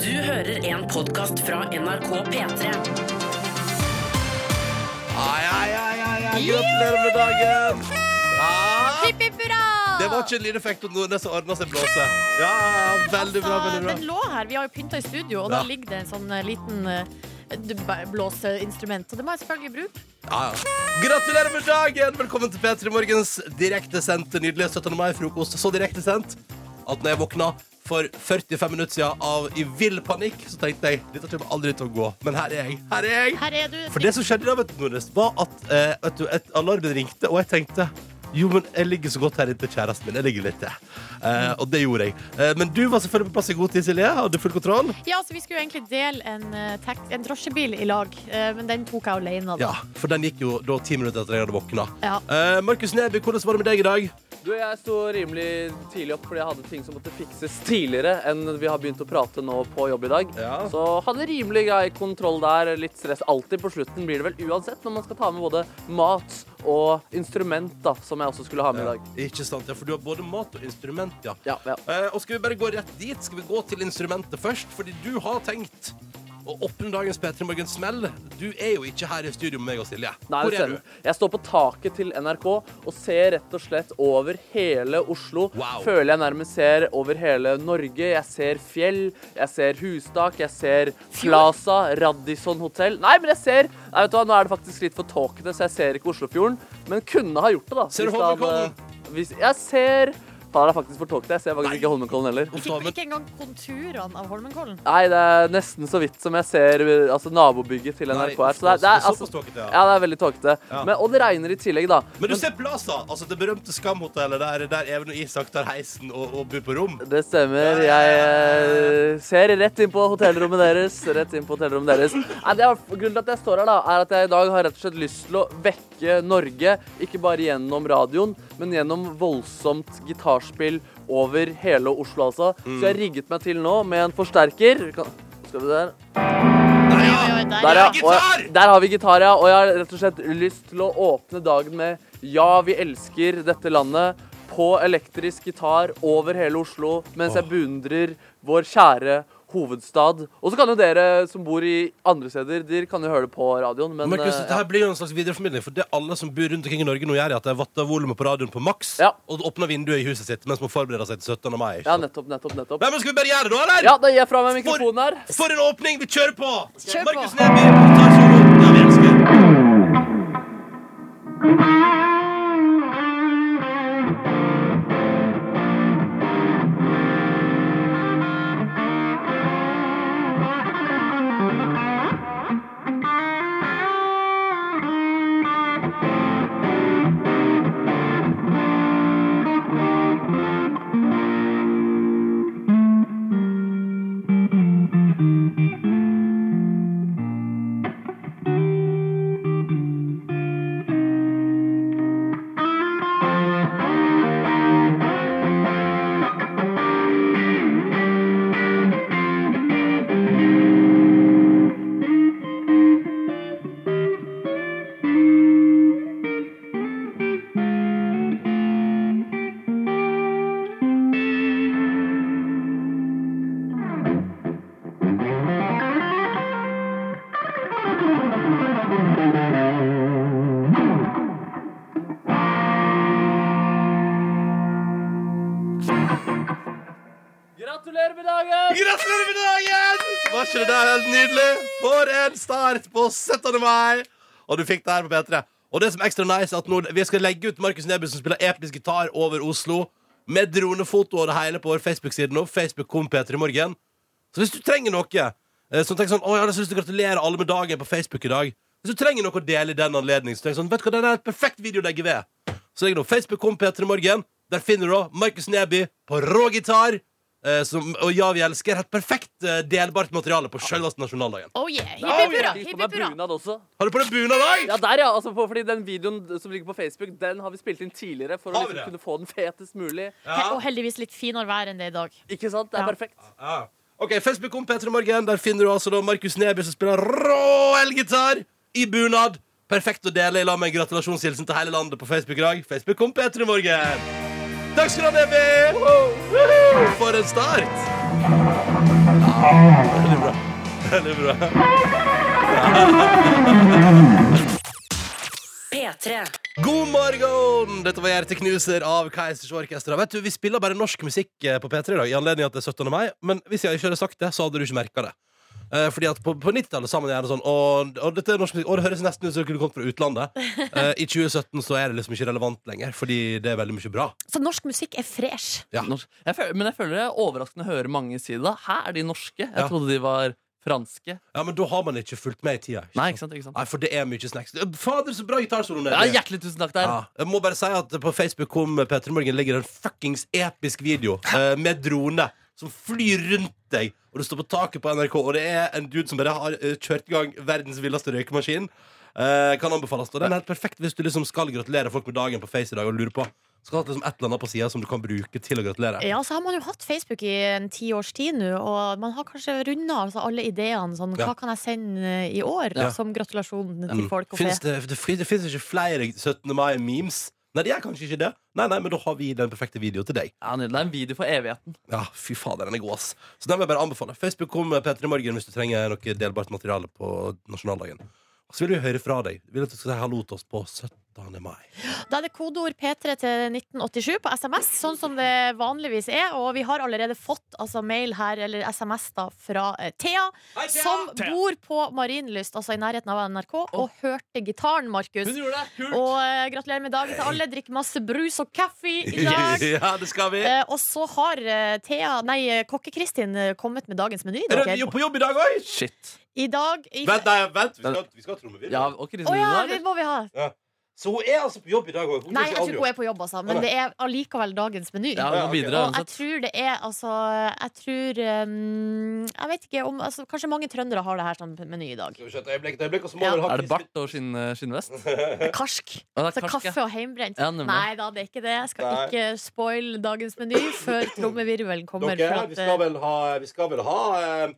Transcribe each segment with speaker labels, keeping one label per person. Speaker 1: Du hører en podkast fra NRK P3.
Speaker 2: Ai, ai, ai, ai, ai. Gratulerer med dagen! Ah,
Speaker 3: Hipp, hipp, hurra!
Speaker 2: det var ikke en lydeffekt om Nordnes som ordna seg blåse. Ja, veldig bra,
Speaker 3: Altså,
Speaker 2: veldig
Speaker 3: Den
Speaker 2: bra.
Speaker 3: lå her. Vi har jo pynta i studio, og
Speaker 2: Ja.
Speaker 3: da ligger det en sånn eh, liten eh, d- b- blåseinstrument. Og det må jeg selvfølgelig bruke.
Speaker 2: Ja, ja. Gratulerer med dagen! Velkommen til P3 Morgens direktesendte nydelige 17. mai-frokost. Så direktesendt at når jeg våkna for 45 minutter siden av i vill panikk, så tenkte jeg dette kommer aldri til å gå. Men her er jeg. Her er jeg.
Speaker 3: Her er du.
Speaker 2: For det som skjedde da, vet du, Nordnes, var at eh, vet du, et alarmen ringte, og jeg tenkte jo, men jeg ligger så godt her inntil kjæresten min. Jeg ligger litt til. Eh, og det gjorde jeg. Eh, men du var selvfølgelig på plass i god tid, Silje. Hadde full kontroll.
Speaker 3: Ja, altså, vi skulle jo egentlig dele en, eh, tak- en drosjebil i lag, eh, men den tok jeg alene. Da.
Speaker 2: Ja, For den gikk jo da ti minutter etter jeg hadde våkna.
Speaker 3: Ja.
Speaker 2: Eh, Markus Neby, hvordan var det med deg i dag?
Speaker 4: Du, jeg sto rimelig tidlig opp fordi jeg hadde ting som måtte fikses tidligere enn vi har begynt å prate nå på jobb i dag.
Speaker 2: Ja.
Speaker 4: Så hadde rimelig grei kontroll der. Litt stress alltid på slutten blir det vel uansett når man skal ta med både mat og instrument, da, som jeg også skulle ha med i dag.
Speaker 2: Ikke sant, ja, For du har både mat og instrument, ja.
Speaker 4: Ja, ja.
Speaker 2: Eh, og skal vi bare gå rett dit? Skal vi gå til instrumentet først? Fordi du har tenkt å åpne dagens P3 Morgens smell. Du er jo ikke her i studio med meg og Silje.
Speaker 4: Nei,
Speaker 2: Hvor er
Speaker 4: stemmer.
Speaker 2: du?
Speaker 4: Jeg står på taket til NRK og ser rett og slett over hele Oslo.
Speaker 2: Wow.
Speaker 4: Føler jeg nærmest ser over hele Norge. Jeg ser fjell, jeg ser hustak, jeg ser Plaza, Radisson hotell. Nei, men jeg ser Nei, vet du hva, nå er det faktisk litt for tåkete, så jeg ser ikke Oslofjorden. Men kunne ha gjort det, da.
Speaker 2: Ser du
Speaker 4: hvis det hadde-
Speaker 2: Holmenkollen?
Speaker 4: Hvis jeg ser Da er det faktisk for tåkete. Jeg ser faktisk ikke Holmenkollen heller.
Speaker 2: Uff,
Speaker 3: Ikke,
Speaker 2: da, men-
Speaker 3: ikke engang konturene av Holmenkollen.
Speaker 4: Nei, det er nesten så vidt som jeg ser uh, altså, nabobygget til
Speaker 2: Nei,
Speaker 4: NRK her. Så det er, det
Speaker 2: såpass
Speaker 4: er, altså,
Speaker 2: tåkete, ja.
Speaker 4: ja, det er veldig tåkete.
Speaker 2: Ja.
Speaker 4: Men- Og det regner i tillegg, da.
Speaker 2: Men du ser Plaza, altså det berømte skamhotellet der, der Even og Isak tar heisen og, og bor på rom.
Speaker 4: Det stemmer. Jeg eh, ser rett inn på hotellrommet deres. Rett inn på hotellrommet deres. Nei, det er, grunnen til at jeg står her, da, er at jeg i dag har rett og slett lyst til å vekke Norge. Ikke bare gjennom radioen, men gjennom voldsomt gitarspill over hele Oslo, altså. Så jeg
Speaker 2: Mm.
Speaker 4: rigget meg til nå med en forsterker. Vi kan- Skal vi der?
Speaker 2: Der,
Speaker 3: Oi,
Speaker 2: ja!
Speaker 3: oi, der,
Speaker 4: Der, ja.
Speaker 3: ja.
Speaker 2: gitar!
Speaker 4: Og jeg, der har vi gitar, ja. Og jeg har rett og slett lyst til å åpne dagen med Ja, vi elsker dette landet på elektrisk gitar over hele Oslo mens jeg beundrer vår kjære hovedstad. Og så kan jo dere som bor i andre steder, dere kan jo høre det på radioen, men
Speaker 2: Markus,
Speaker 4: eh,
Speaker 2: dette her blir jo en slags videreformidling, for det alle som bor rundt omkring i Norge nå gjør, er at de vatter volumet på radioen på maks,
Speaker 4: Ja.
Speaker 2: og åpner vinduet i huset sitt mens man forbereder seg til 17. mai.
Speaker 4: ja,
Speaker 2: Ikke? sant?
Speaker 4: nettopp, nettopp, nettopp.
Speaker 2: Nei, men skal vi bare gjøre det da, eller?
Speaker 4: Ja, da gir jeg fra meg mikrofonen her.
Speaker 2: For en åpning! Vi kjører på!
Speaker 3: Kjør på.
Speaker 2: Markus Neby tar solo. Ja, vi elsker.
Speaker 4: Gratulerer med dagen!
Speaker 2: Gratulerer med dagen! Var ikke det der helt nydelig? For en start på 17. mai! Og du fikk det her på P3. Og det som er ekstra nice, er at nå, vi skal legge ut Markus Neby som spiller episk gitar over Oslo, med dronefoto og det hele på vår Facebook-side nå. Facebook kom P3 i morgen. Så hvis du trenger noe eh, som tenker sånn, å, jeg har lyst til å gratulere alle med dagen på Facebook i dag Hvis du trenger noe å dele i den anledning, så tenker du sånn, vet du hva, den er et perfekt video å legge ved. Så legger du opp Facebook kom P3 Morgen. Der finner du da Markus Neby på rå gitar. eh, Som, og ja, vi elsker helt perfekt eh, delbart materiale på selveste nasjonaldagen.
Speaker 3: Oh yeah. Hipp,
Speaker 4: Oi,
Speaker 3: hipp, hurra.
Speaker 4: jeg fikk
Speaker 3: Hipp,
Speaker 4: på meg
Speaker 3: hipp, hurra.
Speaker 4: bunad også.
Speaker 2: Har du på deg bunad
Speaker 4: Ja,
Speaker 2: i dag?
Speaker 4: der, ja. Altså, for, fordi den videoen som ligger på Facebook, den har vi spilt inn tidligere for å
Speaker 2: Har vi
Speaker 4: liksom,
Speaker 2: det?
Speaker 4: kunne få den fetest mulig.
Speaker 3: He- Og heldigvis litt finere vær enn det i dag.
Speaker 4: Ikke sant? Det er
Speaker 3: Ja.
Speaker 4: perfekt.
Speaker 2: Ja. Ok, Facebook kom P3 Morgen. Der finner du altså da Markus Neby som spiller rå elgitar i bunad. Perfekt å dele i lag med en gratulasjonshilsen til hele landet på Facebook i dag. Facebook kom P3 Morgen. Takk skal du ha, Neby! For en start! Ja, Veldig bra. Veldig bra.
Speaker 1: P3.
Speaker 2: God morgen! Dette var Hjerteknuser av Keisers Orkester. Vet du, Vi spiller bare norsk musikk eh, på P3 i dag, i anledning at det er 17. mai. Men hvis jeg ikke hadde sagt det, så hadde du ikke merka det. Eh, fordi at På, på 90-tallet sammen gjerne sånn og, og dette er norsk musikk, og det høres nesten ut som det kunne kommet fra utlandet. Eh, I 2017 så er det liksom ikke relevant lenger, fordi det er veldig mye bra.
Speaker 3: Så norsk musikk er fresh.
Speaker 2: Ja.
Speaker 4: Norsk. Jeg føler, men jeg føler det er overraskende å høre mange si det. da. Her er de norske. Jeg
Speaker 2: Ja.
Speaker 4: trodde de var franske.
Speaker 2: Ja, Men da har man ikke fulgt med i tida.
Speaker 4: Nei, ikke sant? Ikke sant?
Speaker 2: Nei, for det er mye snacks. Fader, så bra gitarsolo!
Speaker 4: Ja, hjertelig tusen takk der.
Speaker 2: Ja. Jeg må bare si at på Facebook om Petter Morgen ligger det en fuckings episk video eh, med drone som flyr rundt deg, og du står på taket på NRK, og det er en dude som bare har eh, kjørt i gang verdens villeste røykemaskin. Eh, kan anbefales. Og den er helt perfekt hvis du liksom skal gratulere folk med dagen på Face i dag og lurer på Skal ha liksom et eller annet på sida som du kan bruke til å gratulere.
Speaker 3: Ja, så har man jo hatt Facebook i en ti års tid nå, og man har kanskje runda altså, alle ideene. Sånn,
Speaker 2: Ja.
Speaker 3: Hva kan jeg sende eh, i år
Speaker 2: Ja.
Speaker 3: som gratulasjon til
Speaker 2: Mm.
Speaker 3: folk? Og
Speaker 2: Finnes
Speaker 3: fe?
Speaker 2: det, det, fin- det finnes ikke flere 17. mai-memes. Nei, det er kanskje ikke det. Nei, nei, men da har vi den perfekte videoen til deg.
Speaker 4: Ja, nydelig. Det er en video for evigheten.
Speaker 2: Ja, fy fader, den er god, ass. Så den vil jeg bare anbefale. Facebook kom P3 Morgen hvis du trenger noe delbart materiale på nasjonaldagen. Og så vil vi høre fra deg. Vi vil at du skal si hallo til oss på 17. mai.
Speaker 3: Da er det kodeord P3 til 1987 på SMS, sånn som det vanligvis er. Og vi har allerede fått altså, mail her, eller SMS, da, fra eh, Thea, som bor på Marienlyst, altså i nærheten av NRK, og hørte gitaren, Markus.
Speaker 4: gjorde det!
Speaker 3: Og eh, gratulerer med dagen til alle. Drikk masse brus og kaffe i dag.
Speaker 2: ja, det skal vi.
Speaker 3: Eh, og så har eh, Thea, nei, eh, Kokke-Kristin eh, kommet med dagens meny.
Speaker 2: Er
Speaker 3: dere.
Speaker 2: du jo på jobb i dag òg?
Speaker 4: Shit.
Speaker 3: I dag i-
Speaker 2: Vent, nei, vent. Vi skal, vi skal ha trommevirvel.
Speaker 4: Ja, og Kristin
Speaker 3: Å ja,
Speaker 4: Lund
Speaker 3: det
Speaker 4: der.
Speaker 3: må vi ha.
Speaker 2: Så hun er altså på jobb i dag òg?
Speaker 3: Nei, jeg tror ikke hun er på jobb, altså. Men det er allikevel dagens meny.
Speaker 4: Ja, vi må bidra
Speaker 3: Og jeg
Speaker 4: uansett.
Speaker 3: tror det er altså Jeg tror um, Jeg vet ikke om altså, Kanskje mange trøndere har det her som meny i dag.
Speaker 2: Skal vi se et øyeblikk, et øyeblikk, og så må
Speaker 3: Ja.
Speaker 2: vi ha
Speaker 4: Er det bart og skinn, skinnvest? Å,
Speaker 3: Karsk.
Speaker 4: det er
Speaker 3: Altså,
Speaker 4: karsk, ja.
Speaker 3: kaffe og heimbrent.
Speaker 4: Ja, nemlig.
Speaker 3: Nei da, det er ikke det. Jeg skal
Speaker 2: Nei.
Speaker 3: ikke spoil dagens meny før trommevirvelen kommer.
Speaker 2: Dere,
Speaker 3: for at,
Speaker 2: vi skal
Speaker 3: eh,
Speaker 2: vel ha Vi skal vel ha, eh,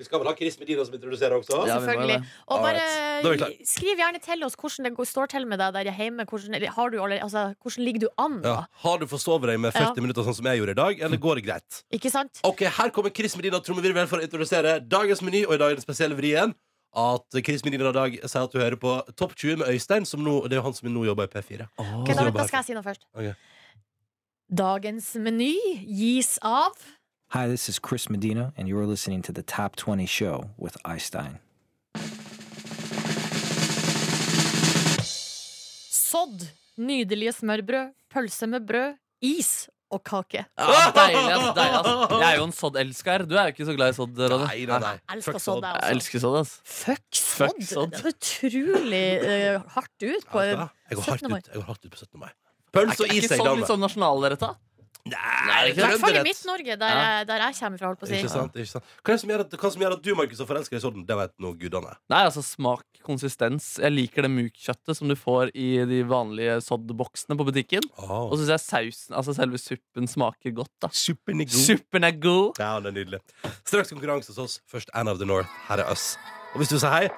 Speaker 2: vi skal vel ha Chris Medina som introduserer også?
Speaker 4: Ja, vi må
Speaker 3: Selvfølgelig.
Speaker 4: det.
Speaker 3: Og
Speaker 2: Alright. Da er vi
Speaker 3: bare eh,
Speaker 2: klare.
Speaker 3: skriv gjerne til oss hvordan det går- står til med deg der hjemme. Hvordan, eller har du allerede, altså, hvordan ligger du an, da?
Speaker 2: Ja. Har du forsovet deg med 40
Speaker 3: Ja.
Speaker 2: minutter, sånn som jeg gjorde i dag, eller går det greit?
Speaker 3: Ikke sant?
Speaker 2: Ok, Her kommer Chris Medina og trommevirvel for å introdusere dagens meny. Og i dag er den spesielle vrien at Chris Medina i dag sier at du hører på Topp 20 med Øystein. Som nå, det er jo han som nå jobber i P4.
Speaker 4: Åh.
Speaker 3: Ok, da,
Speaker 2: jobber
Speaker 3: da
Speaker 2: jeg.
Speaker 3: skal jeg si noe først.
Speaker 2: Ok.
Speaker 3: Dagens meny gis av
Speaker 5: Hi, this is Chris Medina, and you're listening to the Top 20 Show with Einstein.
Speaker 3: sodd, nydelige smørbrød, pølse med brød, is og kake.
Speaker 4: Ja, deilig, ass, deilig, ass. Jeg er jo en sodd-elsker. Du er jo ikke så glad i sodd, Ronny.
Speaker 2: Nei, nei, nei.
Speaker 3: Jeg elsker
Speaker 2: Fuck
Speaker 3: sodd,
Speaker 2: sånn.
Speaker 3: jeg
Speaker 4: Jeg
Speaker 3: også.
Speaker 4: elsker sodd, ass.
Speaker 3: Fuck
Speaker 4: Fuck
Speaker 3: sodd.
Speaker 4: sodd.
Speaker 3: Det er utrolig eh, hardt ut på
Speaker 2: Ja, Jeg går hardt
Speaker 3: 17. mai.
Speaker 2: ut, jeg går hardt ut på 17. mai. Pøls og
Speaker 4: Er ikke- er
Speaker 2: is,
Speaker 4: ikke
Speaker 2: jeg,
Speaker 4: sodd
Speaker 2: dame.
Speaker 4: litt sånn nasjonalretta?
Speaker 2: Nei,
Speaker 4: det
Speaker 3: I hvert fall i
Speaker 2: trønderrett.
Speaker 3: Midt-Norge, der,
Speaker 4: Ja.
Speaker 3: jeg- der jeg kommer fra. holdt på å si
Speaker 2: Ikke sant, ikke sant. Hva er det som gjør at, hva som gjør at du Markus, er forelska i sodden? Det vet nå gudene.
Speaker 4: Nei, altså smak, konsistens. Jeg liker det mukkjøttet som du får i de vanlige soddboksene på butikken. Og
Speaker 2: Oh.
Speaker 4: så syns jeg sausen, altså selve suppen, smaker godt, da.
Speaker 2: Suppen er god.
Speaker 4: Suppen er god!
Speaker 2: Ja, det er nydelig. Straks konkurranse hos oss. Først Anne of the North. Her er oss. Og hvis du sier hei,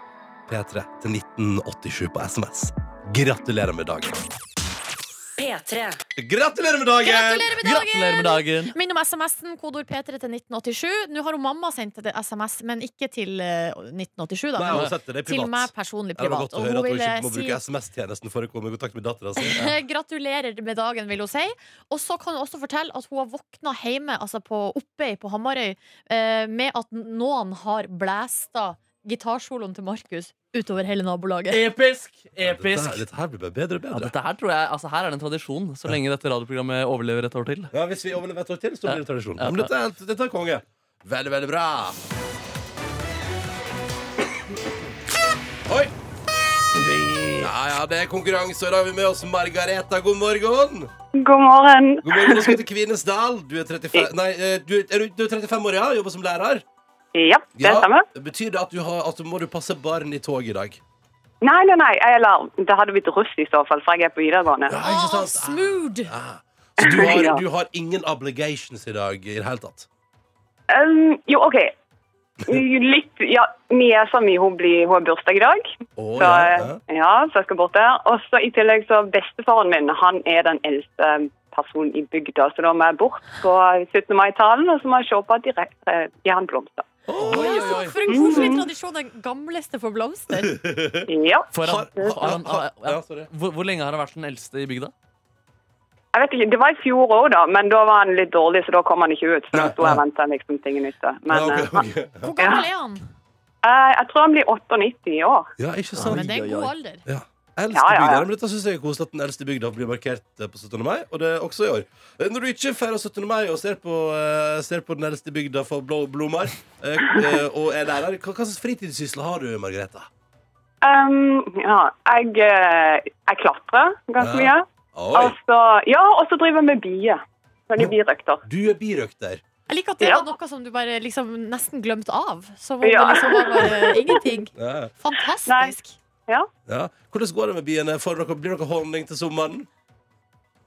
Speaker 2: P3 til 1987 på SMS. Gratulerer med dagen.
Speaker 1: P3.
Speaker 2: Gratulerer med dagen!
Speaker 3: Gratulerer med dagen!
Speaker 4: Gratulerer med dagen!
Speaker 3: Minn om SMS-en, kodord P3 til 1987. Nå har hun mamma sendt et SMS, men ikke til eh, 1987,
Speaker 2: Nei,
Speaker 3: da. men
Speaker 2: hun setter det
Speaker 3: til meg
Speaker 2: privat.
Speaker 3: personlig
Speaker 2: Det var
Speaker 3: privat.
Speaker 2: godt å
Speaker 3: Og
Speaker 2: høre
Speaker 3: hun
Speaker 2: at hun
Speaker 3: ville
Speaker 2: ikke må
Speaker 3: si
Speaker 2: bruke SMS-tjenesten for å komme i kontakt med dattera si.
Speaker 3: Gratulerer med dagen, vil hun si. Og så kan hun også fortelle at hun har våkna hjemme altså på Oppøy på Hamarøy eh, med at noen har blæsta gitarsoloen til Markus utover hele nabolaget.
Speaker 4: Episk!
Speaker 2: Dette,
Speaker 4: Episk!
Speaker 2: dette her blir bare bedre og
Speaker 4: Ja,
Speaker 2: bedre.
Speaker 4: dette her tror jeg, altså her er det en tradisjon, så lenge dette radioprogrammet overlever et år til.
Speaker 2: Ja, Hvis vi overlever et år til, så blir det tradisjon.
Speaker 4: Ja.
Speaker 2: Men dette er, dette er konge. Veldig, veldig bra. Oi! Ja, ja, det er konkurranse, og da har vi med oss Margareta. God morgen.
Speaker 6: God morgen.
Speaker 2: God morgen, Nå skal vi til Kvinesdal. Du er 35, nei, eh, du, er, du- du er 35 år, ja? Jobber som lærer?
Speaker 6: Ja, det
Speaker 2: Ja.
Speaker 6: stemmer.
Speaker 2: Betyr det at du, har, at du må du passe barn i tog i dag?
Speaker 6: Nei, nei, nei, eller det hadde blitt russ i så fall, for jeg er på videregående.
Speaker 2: Ja, ikke
Speaker 3: Ah,
Speaker 2: sant?
Speaker 3: smooth!
Speaker 2: Ah. Så du har,
Speaker 6: Ja.
Speaker 2: ah. du har ingen obligations i dag i det hele tatt?
Speaker 6: Um, jo, OK. Litt Ja, niesa mi hun, blir, hun har bursdag i dag.
Speaker 2: Å,
Speaker 6: Så,
Speaker 2: ja.
Speaker 6: ja, så jeg skal bort der. Og så i tillegg så bestefaren min, han er den eldste personen i bygda, så da må jeg bort på 17. mai-talen, og så må jeg se på direkte i han blomster.
Speaker 2: Oi,
Speaker 3: Ja,
Speaker 2: oi, oi.
Speaker 3: for en koselig
Speaker 6: Mm.
Speaker 3: tradisjon. Den gamleste får blomster.
Speaker 6: Ja.
Speaker 4: For han,
Speaker 2: Har- har-
Speaker 4: han, han,
Speaker 2: har- ja, sorry.
Speaker 4: ja. hvor, hvor lenge har han vært den eldste i bygda?
Speaker 6: Jeg vet ikke, Det var i fjor òg, da, men da var han litt dårlig, så da kom han ikke ut. Så da
Speaker 2: Nei,
Speaker 6: sto jeg og
Speaker 2: nei.
Speaker 6: ventet liksom tingene ute. Men
Speaker 2: Ja,
Speaker 6: eh,
Speaker 2: ok,
Speaker 6: han-
Speaker 2: ok.
Speaker 3: Hvor gammel er han?
Speaker 6: eh, jeg tror han blir 98 i år.
Speaker 2: ja, ikke
Speaker 3: Ja,
Speaker 2: sant?
Speaker 3: men det er en
Speaker 4: Oi, oi, oi.
Speaker 3: god alder.
Speaker 2: Ja. Eldste
Speaker 6: Ja, ja, ja.
Speaker 2: bygda. Men dette synes jeg er koselig at den eldste bygda blir markert eh, på 17. mai, og det er også i år. Eh, Når du ikke feirer 17. mai og ser på, eh, ser på den eldste bygda for blå blomster eh, eh, og er lærer, hva, hva slags fritidssysler har du, Margrethe?
Speaker 6: Um, ja, jeg, eh, jeg klatrer ganske
Speaker 2: Ja.
Speaker 6: mye.
Speaker 2: Oi,
Speaker 6: Og så- ja, og så driver jeg med bier. Sånne birøkter.
Speaker 2: du er birøkter.
Speaker 3: Jeg liker at det
Speaker 6: Ja.
Speaker 3: var noe som du bare liksom nesten glemte av. Som om
Speaker 6: Ja.
Speaker 3: det liksom var bare ingenting.
Speaker 2: Ja.
Speaker 3: Fantastisk.
Speaker 2: Ja. Hvordan går det med biene? Får dere, blir dere honning til sommeren?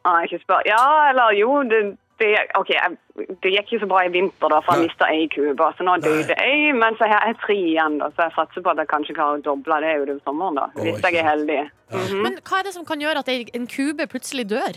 Speaker 6: Ah, ikke spør. Ja, eller jo, det, det, ok, jeg, det gikk jo så bra i vinter, da, for jeg
Speaker 2: Nei.
Speaker 6: mista ei kube. Så nå døde ei, men så har jeg tre igjen, da, så jeg satser på at jeg kanskje klarer å doble det utover sommeren. da, Hvis
Speaker 2: ikke
Speaker 6: jeg er heldig. Mhm.
Speaker 3: Men hva er det som kan gjøre at ei- en kube plutselig dør?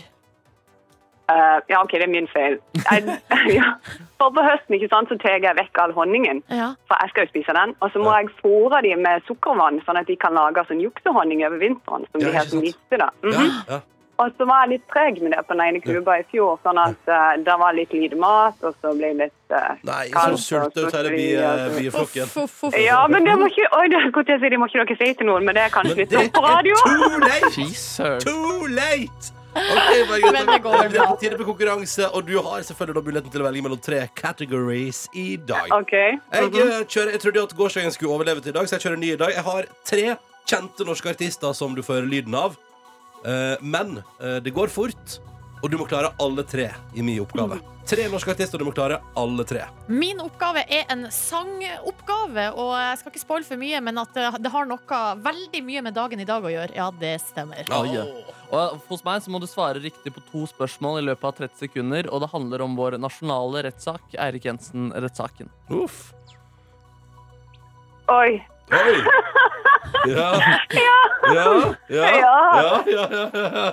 Speaker 6: Eh, ja, OK, det er min feil. Jeg, ja. For på høsten ikke sant, så tar jeg vekk all honningen.
Speaker 3: Ja.
Speaker 6: For jeg skal jo spise den. Og så må jeg fôre dem med sukkervann, sånn at de kan lage sånn juksehonning over vinteren.
Speaker 2: Ja,
Speaker 6: som de
Speaker 2: ikke
Speaker 6: helt
Speaker 2: sant.
Speaker 6: visste da. Mhm.
Speaker 2: Ja. Ja.
Speaker 6: Og så var jeg litt treg med det på den ene kuba i fjor, sånn at eh, det var litt lite mat, og så ble jeg litt eh,
Speaker 2: Nei, så
Speaker 6: kaldt,
Speaker 2: du sulter
Speaker 6: og
Speaker 2: ut
Speaker 6: så
Speaker 2: hele
Speaker 6: fri, altså.
Speaker 2: bi- eh,
Speaker 6: og så-
Speaker 3: Uff,
Speaker 2: bieflokken.
Speaker 3: uff, uff.
Speaker 6: Ja, men det må ikke Oi, det skulle jeg si, det må ikke dere si til noen, men det er kanskje
Speaker 2: Men
Speaker 6: litt
Speaker 2: det er
Speaker 6: sånn på radio.
Speaker 2: too late!
Speaker 4: Fy søren.
Speaker 2: Too late! Ok, Margrethe,
Speaker 3: Men det går vel
Speaker 2: det er
Speaker 3: bra.
Speaker 2: på tide med konkurranse, og du har selvfølgelig da muligheten til å velge mellom tre categories i dag.
Speaker 6: OK.
Speaker 2: Jeg,
Speaker 6: mhm.
Speaker 2: eh, kjører, jeg trodde jo at gårsdagen skulle overleve til i dag, så jeg kjører en ny i dag. Jeg har tre kjente norske artister som du får høre lyden av. Eh, men eh, det går fort, og du må klare alle tre i min oppgave. Tre norske artister, og du må klare alle tre.
Speaker 3: Min oppgave er en sangoppgave, og jeg skal ikke spoile for mye, men at eh, det- det har noe veldig mye med dagen i dag å gjøre. Ja, det stemmer.
Speaker 4: Oi, ja. Og hos meg så må du svare riktig på to spørsmål i løpet av 30 sekunder. Og det handler om vår nasjonale rettssak, Eirik Jensen-rettssaken.
Speaker 2: Uff.
Speaker 6: Oi.
Speaker 2: Oi. Ja. Ja. Ja. Ja.
Speaker 6: Ja.
Speaker 2: Ja. Ja. ja,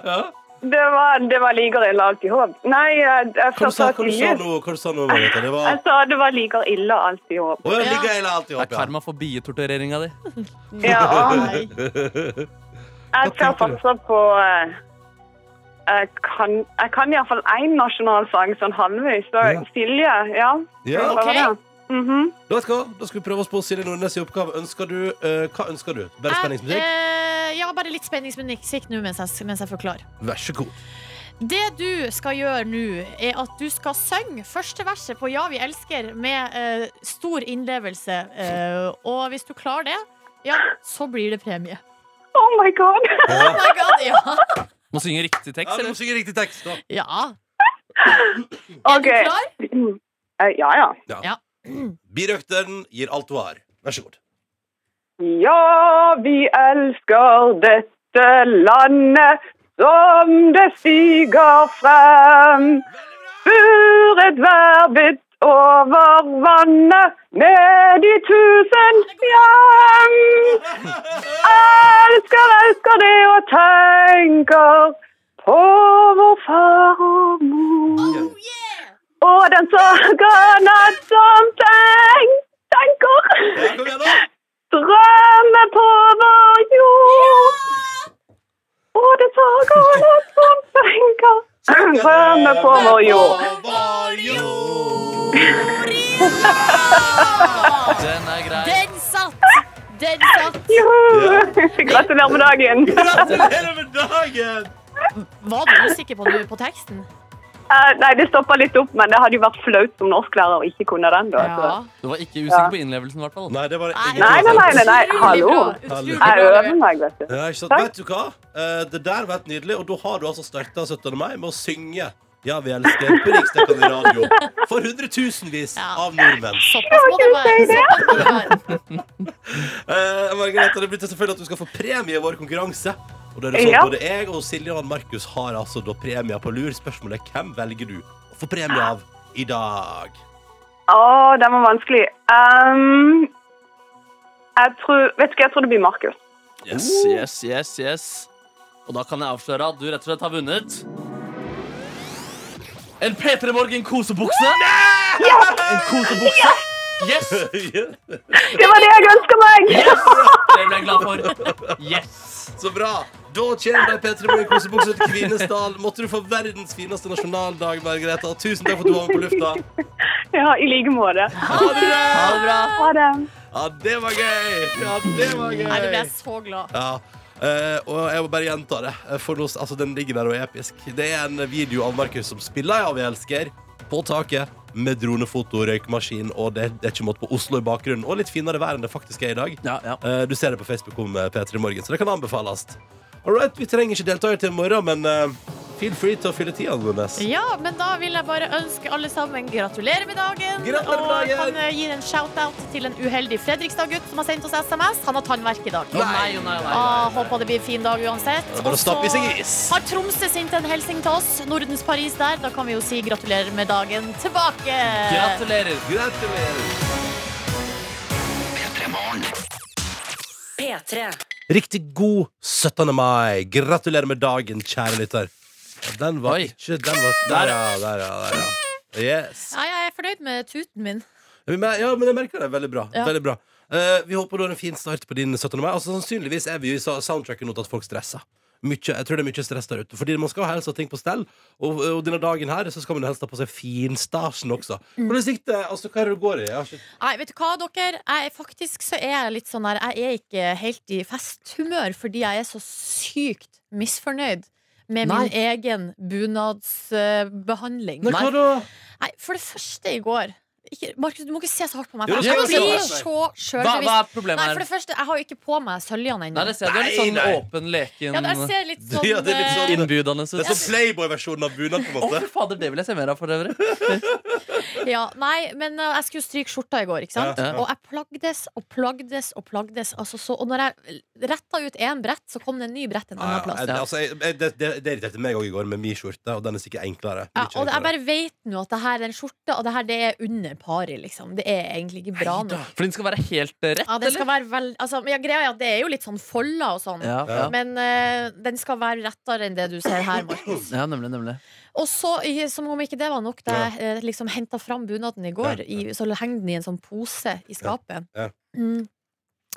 Speaker 2: ja.
Speaker 6: Det var, det var likere ille alt i håp. Nei, jeg,
Speaker 2: Hva
Speaker 6: jeg
Speaker 2: du sa
Speaker 6: forstår
Speaker 2: hva du sa
Speaker 6: ikke.
Speaker 2: nå, hva du sa nå Marita? Det var
Speaker 6: Jeg sa det var likere ille alt i håp.
Speaker 2: Å ja,
Speaker 3: Ja.
Speaker 2: ligger hele alt i
Speaker 4: Det er
Speaker 2: opp, ja.
Speaker 4: karma for bietortureringa di.
Speaker 6: Ja, og
Speaker 3: Nei.
Speaker 6: Jeg skal
Speaker 2: tenker du?
Speaker 6: satse på eh, jeg kan, jeg kan iallfall én nasjonalsang sånn halvveis. Så
Speaker 2: Ja.
Speaker 6: Silje, ja.
Speaker 2: Ja.
Speaker 6: Hva var det? Mhm.
Speaker 2: Da vet du hva, da skal vi prøve oss på Silje Nordnes i oppgave. Ønsker du, eh, hva ønsker du? Bare
Speaker 3: Jeg,
Speaker 2: spenningsmusikk?
Speaker 3: eh, ja, bare litt spenningsmusikk nå mens jeg, mens jeg forklarer.
Speaker 2: Vær så god.
Speaker 3: Det du skal gjøre nå, er at du skal synge første verset på Ja, vi elsker med eh, stor innlevelse. eh, og hvis du klarer det, ja, så blir det premie.
Speaker 6: Oh my god!
Speaker 3: Oh my God, ja.
Speaker 4: Må synge
Speaker 2: Ja,
Speaker 4: riktig tekst,
Speaker 2: du må
Speaker 4: eller?
Speaker 2: synge riktig tekst, da.
Speaker 3: ja. Er
Speaker 6: Ok.
Speaker 3: du klar?
Speaker 6: Eh, Ja, ja.
Speaker 2: Birøkteren gir alt du har. Vær så god.
Speaker 6: Ja, vi elsker dette landet som det stiger frem. Furet verbet over vannet med de tusen hjem. Elsker, elsker det og tenker på vår far og mor. Og den sorgen at som tenk, tenker.
Speaker 2: Ja, kom igjen, da!
Speaker 6: Drømme på vår jord. Og det sager alle som tenker. Drømme på vår jord.
Speaker 2: Vår jord.
Speaker 4: Den er grei.
Speaker 3: Den satt! Den satt!
Speaker 6: Juhu! Gratulerer med dagen.
Speaker 2: Gratulerer med dagen!
Speaker 3: Var du usikker på nå på teksten?
Speaker 6: Eh, nei, det stoppa litt opp, men det hadde jo vært flaut som norsklærer å ikke kunne den. da. så.
Speaker 3: Ja.
Speaker 4: Du var ikke usikker på innlevelsen, i hvert fall.
Speaker 2: Nei, det var
Speaker 3: Nei,
Speaker 6: Nei, nei, nei, nei, nei. hallo.
Speaker 3: Utrolig
Speaker 6: Jeg
Speaker 3: bra.
Speaker 6: øver meg, vet du.
Speaker 2: Ja, ikke sant?
Speaker 6: Takk.
Speaker 2: Vet du hva? Eh, det der var helt nydelig, og da har du altså starta 17. mai med å synge Ja, vi elsker på riksdekkende radio for hundretusenvis
Speaker 3: Ja.
Speaker 2: av nordmenn.
Speaker 3: Såpass må det være. Såpass må det være.
Speaker 2: Eh, Margrethe, det blir til selvfølgelig at du skal få premie i vår konkurranse. Og da er det sånn
Speaker 6: Ja.
Speaker 2: Både jeg og Silje og Markus har altså da premier på lur. Spørsmålet er hvem velger du å få premie av i dag?
Speaker 6: Å, den var vanskelig. Ehm, jeg tror, vet du hva, jeg tror det blir Markus.
Speaker 4: Yes, yes, yes, yes. Og da kan jeg avsløre at du rett og slett har vunnet. En P3 Morgen-kosebukse. En kosebukse. Yes!
Speaker 6: Det var det jeg ønska meg!
Speaker 4: Yes! Det ble jeg glad for. Yes.
Speaker 2: Så bra! Da kommer de P3 Morgen i kosebuksa til Kvinesdal. Måtte du få verdens fineste nasjonaldag, Margrethe. Og tusen takk for at du var med på lufta.
Speaker 6: Ja, i like måte.
Speaker 2: Ha det!
Speaker 4: Ha det bra.
Speaker 6: Ha det.
Speaker 2: Ja, det var gøy! Ja, det var gøy.
Speaker 3: Nei, nå ble jeg så glad.
Speaker 2: Ja. eh, og jeg må bare gjenta det. For nå, altså, den ligger der og er episk. Det er en video av Markus som spiller Ja, vi elsker på taket med dronefoto, røykmaskin og det, det er ikke måte på Oslo i bakgrunnen. Og litt finere vær enn det faktisk er i dag.
Speaker 4: Ja, ja.
Speaker 2: Eh, du ser det på Facebook om eh, P3 Morgen, så det kan anbefales. All right, vi trenger ikke deltaker til i morgen, men eh, feel free til å fylle tida, Nordnes.
Speaker 3: Ja, men da vil jeg bare ønske alle sammen gratulerer med dagen.
Speaker 2: Gratulerer med dagen!
Speaker 3: Og kan eh, gi en shout-out til en uheldig Fredrikstad-gutt som har sendt oss SMS. Han har tannverk i dag.
Speaker 4: Å nei, å nei, å nei.
Speaker 3: Ah, håper det blir en fin dag uansett.
Speaker 2: Det er Bare å
Speaker 3: Og så
Speaker 2: stappe i seg is.
Speaker 3: har Tromsø sendt en hilsen til oss. Nordens Paris der. Da kan vi jo si gratulerer med dagen tilbake.
Speaker 4: Gratulerer.
Speaker 2: Gratulerer.
Speaker 1: P3.
Speaker 2: Riktig god 17. mai. Gratulerer med dagen, kjære lytter. Den var
Speaker 4: Oi.
Speaker 2: ikke Den var Der, ja. Der, ja. Der, ja. Yes.
Speaker 3: Ja, jeg er fornøyd med tuten min.
Speaker 2: Ja, men- Ja, men jeg merker det. Veldig bra.
Speaker 3: Ja.
Speaker 2: Veldig bra. Eh, vi håper du har en fin start på din 17. mai. Altså, sannsynligvis er vi jo i sa- soundtracken nå til at folk stresser. Mykje, jeg tror det er mye stress der ute. Fordi man skal helst ha ting på stell. Og, og denne dagen her så skal man helst ha på seg finstasjen også.
Speaker 3: Mm.
Speaker 2: Hvordan gikk det? Altså, hva er det du går i? Jeg har ikke...
Speaker 3: Nei, vet du hva, dere? Jeg er faktisk så er jeg litt sånn her Jeg er ikke helt i festhumør fordi jeg er så sykt misfornøyd med
Speaker 4: Nei.
Speaker 3: min egen bunadsbehandling.
Speaker 2: Nei, hva da?
Speaker 3: Nei, for det første i går ikke, Markus, du må ikke se så hardt på meg.
Speaker 2: Jo,
Speaker 3: For
Speaker 2: du
Speaker 3: jeg
Speaker 2: skal
Speaker 3: blir
Speaker 2: se
Speaker 3: så
Speaker 4: Hva, hva
Speaker 3: sjølbevisst.
Speaker 4: er problemet
Speaker 3: Nei, for
Speaker 4: her?
Speaker 3: det første, jeg har jo ikke på meg søljene
Speaker 4: Nei,
Speaker 3: ennå.
Speaker 4: det ser jeg. Du er litt sånn
Speaker 2: Nei, nei.
Speaker 4: åpen, leken,
Speaker 3: Ja, det- jeg ser litt sånn,
Speaker 2: Ja, det er litt
Speaker 3: eh,
Speaker 2: sånn-
Speaker 4: innbydende
Speaker 2: Det er
Speaker 4: ut.
Speaker 2: sånn Playboy-versjonen av bunad, på en
Speaker 4: Å,
Speaker 2: måte.
Speaker 4: fy fader, det vil jeg se mer av for øvrig.
Speaker 3: ja, Nei, men eh, jeg skulle stryke skjorta i går, ikke sant?
Speaker 4: Ja.
Speaker 3: Og jeg plagdes og plagdes og plagdes. Altså så, og når jeg retta ut én brett, så kom det en ny brett en
Speaker 2: Ja,
Speaker 3: annen plass.
Speaker 2: jeg, altså, jeg, jeg, det, det, det irriterte meg òg i går med min skjorte, og den er sikkert enklere.
Speaker 3: Ja,
Speaker 2: Mye
Speaker 3: og jeg
Speaker 2: enklere.
Speaker 3: bare vet nå at det her er en skjorte, og det her det er under pari, liksom. Det er egentlig ikke bra nå.
Speaker 4: For den skal være helt eh, rett,
Speaker 3: Ja, det skal
Speaker 4: eller?
Speaker 3: være vel, altså, men ja, greia er at det er jo litt sånn folder og sånn.
Speaker 4: Ja, ja.
Speaker 3: Men eh, den skal være rettere enn det du ser her, Markus.
Speaker 4: ja, nemlig, nemlig.
Speaker 3: Og så, i- som om ikke det var nok, da jeg eh, liksom henta fram bunaden i går,
Speaker 2: Ja,
Speaker 3: I, så henger den i en sånn pose i skapet.
Speaker 2: Ja.
Speaker 3: Mm.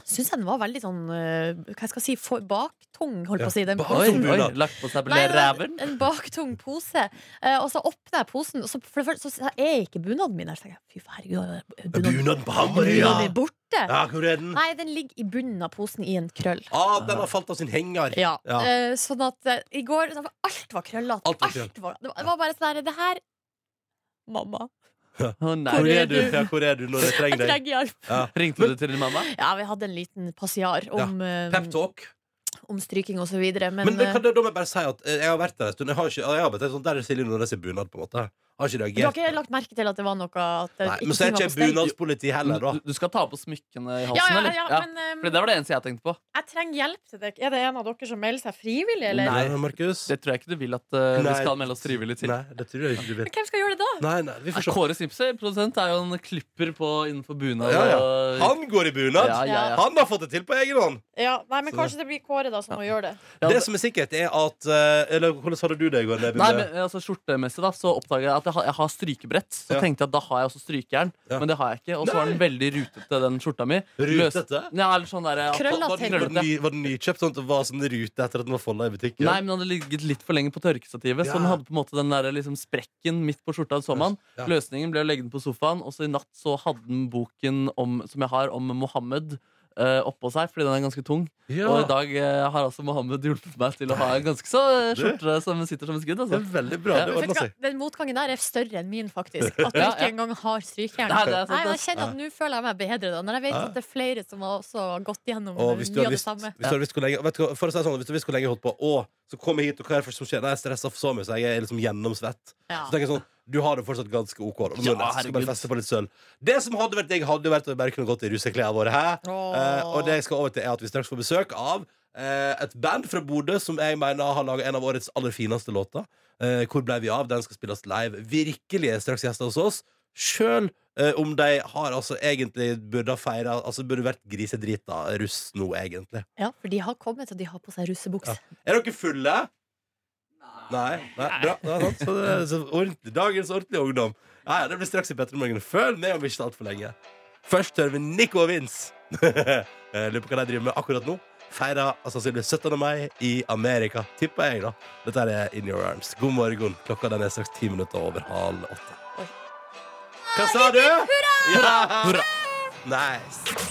Speaker 3: Syns jeg den var veldig sånn eh, Hva skal jeg si? For, baktung, holdt
Speaker 2: Ja,
Speaker 3: på å si. Den
Speaker 4: Oi,
Speaker 2: Som
Speaker 4: oi,
Speaker 2: bunad.
Speaker 4: lagt på seg
Speaker 3: Nei, det var
Speaker 4: ræven.
Speaker 3: En baktung pose. Eh, og så åpner jeg posen, og så, for det første, så er ikke bunaden min der. Så tenker jeg, fy herregud, er bunaden,
Speaker 2: Bunaden på Hamarøy, ja!
Speaker 3: bunaden er borte.
Speaker 2: ja! Hvor er den?
Speaker 3: Nei, den ligger i bunnen av posen i en krøll.
Speaker 2: Ah, den har falt av sin henger.
Speaker 3: Ja.
Speaker 2: Ja.
Speaker 3: Eh, sånn at eh, i går så var Alt var krøllete.
Speaker 2: Alt var krøll.
Speaker 3: var- det, var- det var bare sånn her Det her Mamma,
Speaker 4: Å, nei.
Speaker 2: Hvor er du? Ja, hvor er du når jeg
Speaker 3: jeg
Speaker 2: trenger deg?
Speaker 3: trenger hjelp.
Speaker 2: Ja.
Speaker 4: Ringte du til din mamma?
Speaker 3: Ja, vi hadde en liten passiar om, eh,
Speaker 2: Pep talk.
Speaker 3: om stryking og så videre, men,
Speaker 2: Men, men
Speaker 3: eh,
Speaker 2: kan det, da må jeg bare si at eh, jeg har vært der en stund. Jeg har ikke, jeg har vært der, sånn, der er Silje Nordnes i bunad, på en måte. Jeg Har ikke
Speaker 3: du har
Speaker 2: reagert.
Speaker 3: ikke lagt merke til at det var noe at det
Speaker 2: Nei,
Speaker 3: ikke
Speaker 2: men så er
Speaker 3: ting
Speaker 2: ikke
Speaker 3: var
Speaker 2: jeg
Speaker 3: på stell?
Speaker 2: bunadspoliti heller,
Speaker 4: Du,
Speaker 2: da.
Speaker 4: du skal ta på smykkene i halsen,
Speaker 3: Ja, ja,
Speaker 4: eller?
Speaker 3: ja,
Speaker 4: Ja.
Speaker 3: men eh,
Speaker 4: For det var det eneste jeg tenkte på.
Speaker 3: Jeg trenger hjelp til det. Er det en av dere som melder seg frivillig, eller?
Speaker 4: Nei.
Speaker 2: Nei, Markus.
Speaker 4: Det tror jeg ikke du vil at eh, vi
Speaker 2: Nei.
Speaker 4: skal melde oss frivillig til.
Speaker 2: Nei, det tror jeg ikke du vil.
Speaker 3: Men hvem skal gjøre det da?
Speaker 2: Nei, nei, vi får se.
Speaker 4: Kåre Simpser, produsent, er jo en klipper på innenfor bunad.
Speaker 2: Ja, ja.
Speaker 4: og-
Speaker 2: Han går i bunad!
Speaker 4: Ja, ja, ja.
Speaker 2: Han har fått det til på egen hånd!
Speaker 3: Ja, nei, men
Speaker 2: Så-
Speaker 3: Kanskje det blir Kåre da som må gjøre det.
Speaker 4: Ja,
Speaker 2: Det som er sikkert, er at eh, Eller hvordan hadde du det i går? Nebby,
Speaker 4: Nei,
Speaker 2: med-
Speaker 4: men altså Skjortemessig da så oppdaga jeg at jeg har, jeg har strykebrett. Så
Speaker 2: Ja.
Speaker 4: tenkte jeg at da har jeg også strykejern,
Speaker 2: Ja.
Speaker 4: men det har jeg ikke. Og så var den veldig rutete, den skjorta mi. Løs-
Speaker 2: Rutete?
Speaker 4: Ja, eller sånn der, at-
Speaker 3: Krøll-
Speaker 2: Var, var, den- var, den ny, var den nykjøpt sånn at det var sånn rute etter at den var folda i butikken?
Speaker 4: Nei, men den hadde ligget litt for lenge på tørkestativet,
Speaker 2: Ja.
Speaker 4: så den hadde på en måte den der, liksom, sprekken midt på skjorta. så man.
Speaker 2: Ja.
Speaker 4: Løsningen ble å legge den på sofaen, og så i natt så hadde den boken om, som jeg har om Mohammed. eh, oppå seg, fordi den er ganske tung.
Speaker 2: ja.
Speaker 4: Og i dag eh, har altså Mohammed hjulpet meg til å ha en ganske så eh,
Speaker 2: Du.
Speaker 4: skjorte som sitter som et skudd.
Speaker 2: Det
Speaker 4: Altså.
Speaker 2: er veldig bra.
Speaker 4: Ja.
Speaker 2: Det
Speaker 3: Men vet
Speaker 2: ordna
Speaker 3: du hva?
Speaker 2: seg.
Speaker 3: Den motgangen der er større enn min, faktisk. At du
Speaker 4: Ja, ja.
Speaker 3: ikke engang har strykejern.
Speaker 4: Nei, det er sant,
Speaker 3: Nei, men
Speaker 4: det.
Speaker 3: jeg kjenner at Nå føler jeg meg bedre, da når jeg vet
Speaker 2: Ja.
Speaker 3: at det er flere som har også gått gjennom
Speaker 2: Og hvis du
Speaker 3: mye
Speaker 2: hadde
Speaker 3: av det
Speaker 2: visst,
Speaker 3: samme.
Speaker 2: hvis du hadde visst hvor lenge vet du, hva, For å si det sånn, hvis du visste hvor lenge jeg holdt på Å, så kom jeg hit, og hva er det som skjer? Nei, jeg stresser for så mye, så jeg er liksom gjennomsvett
Speaker 3: Ja.
Speaker 2: Så tenker jeg sånn, du har det fortsatt ganske ok da.
Speaker 4: Ja,
Speaker 2: Nå skal jeg
Speaker 4: herregud.
Speaker 2: bare feste på litt søl Det som hadde vært deg, hadde jo vært At jeg bare kunne gått i russeklærene våre Hæ?
Speaker 3: Åh.
Speaker 2: Eh, og det jeg skal over til er at vi straks får besøk av eh, Et band fra Bodø Som jeg mener har laget en av årets aller fineste låter eh, Hvor ble vi av? Den skal spilles live Virkelig er straks gjester hos oss Sjøl eh, om de har altså egentlig burde ha feira Altså burde vært grisedrita russ nå, egentlig.
Speaker 3: Ja, for de har kommet, og de har på seg russebukse.
Speaker 2: Er dere fulle? Nei. Nei. Bra. Det er sant. Så det er så ordentlig, dagens ordentlige ungdom. Ja, ja, det blir straks i Petter i morgen. Følg med om ikke altfor lenge. Først hører vi Nico og Vince. Eh, Lurer på hva de driver med akkurat nå. Feirer altså, sannsynligvis 17. mai i Amerika, tipper jeg. da Dette her er In Your Arms. God morgen. Klokka den er straks ti minutter over halv åtte. Hva sa du? Hurra! Ja. Hurra! Nice.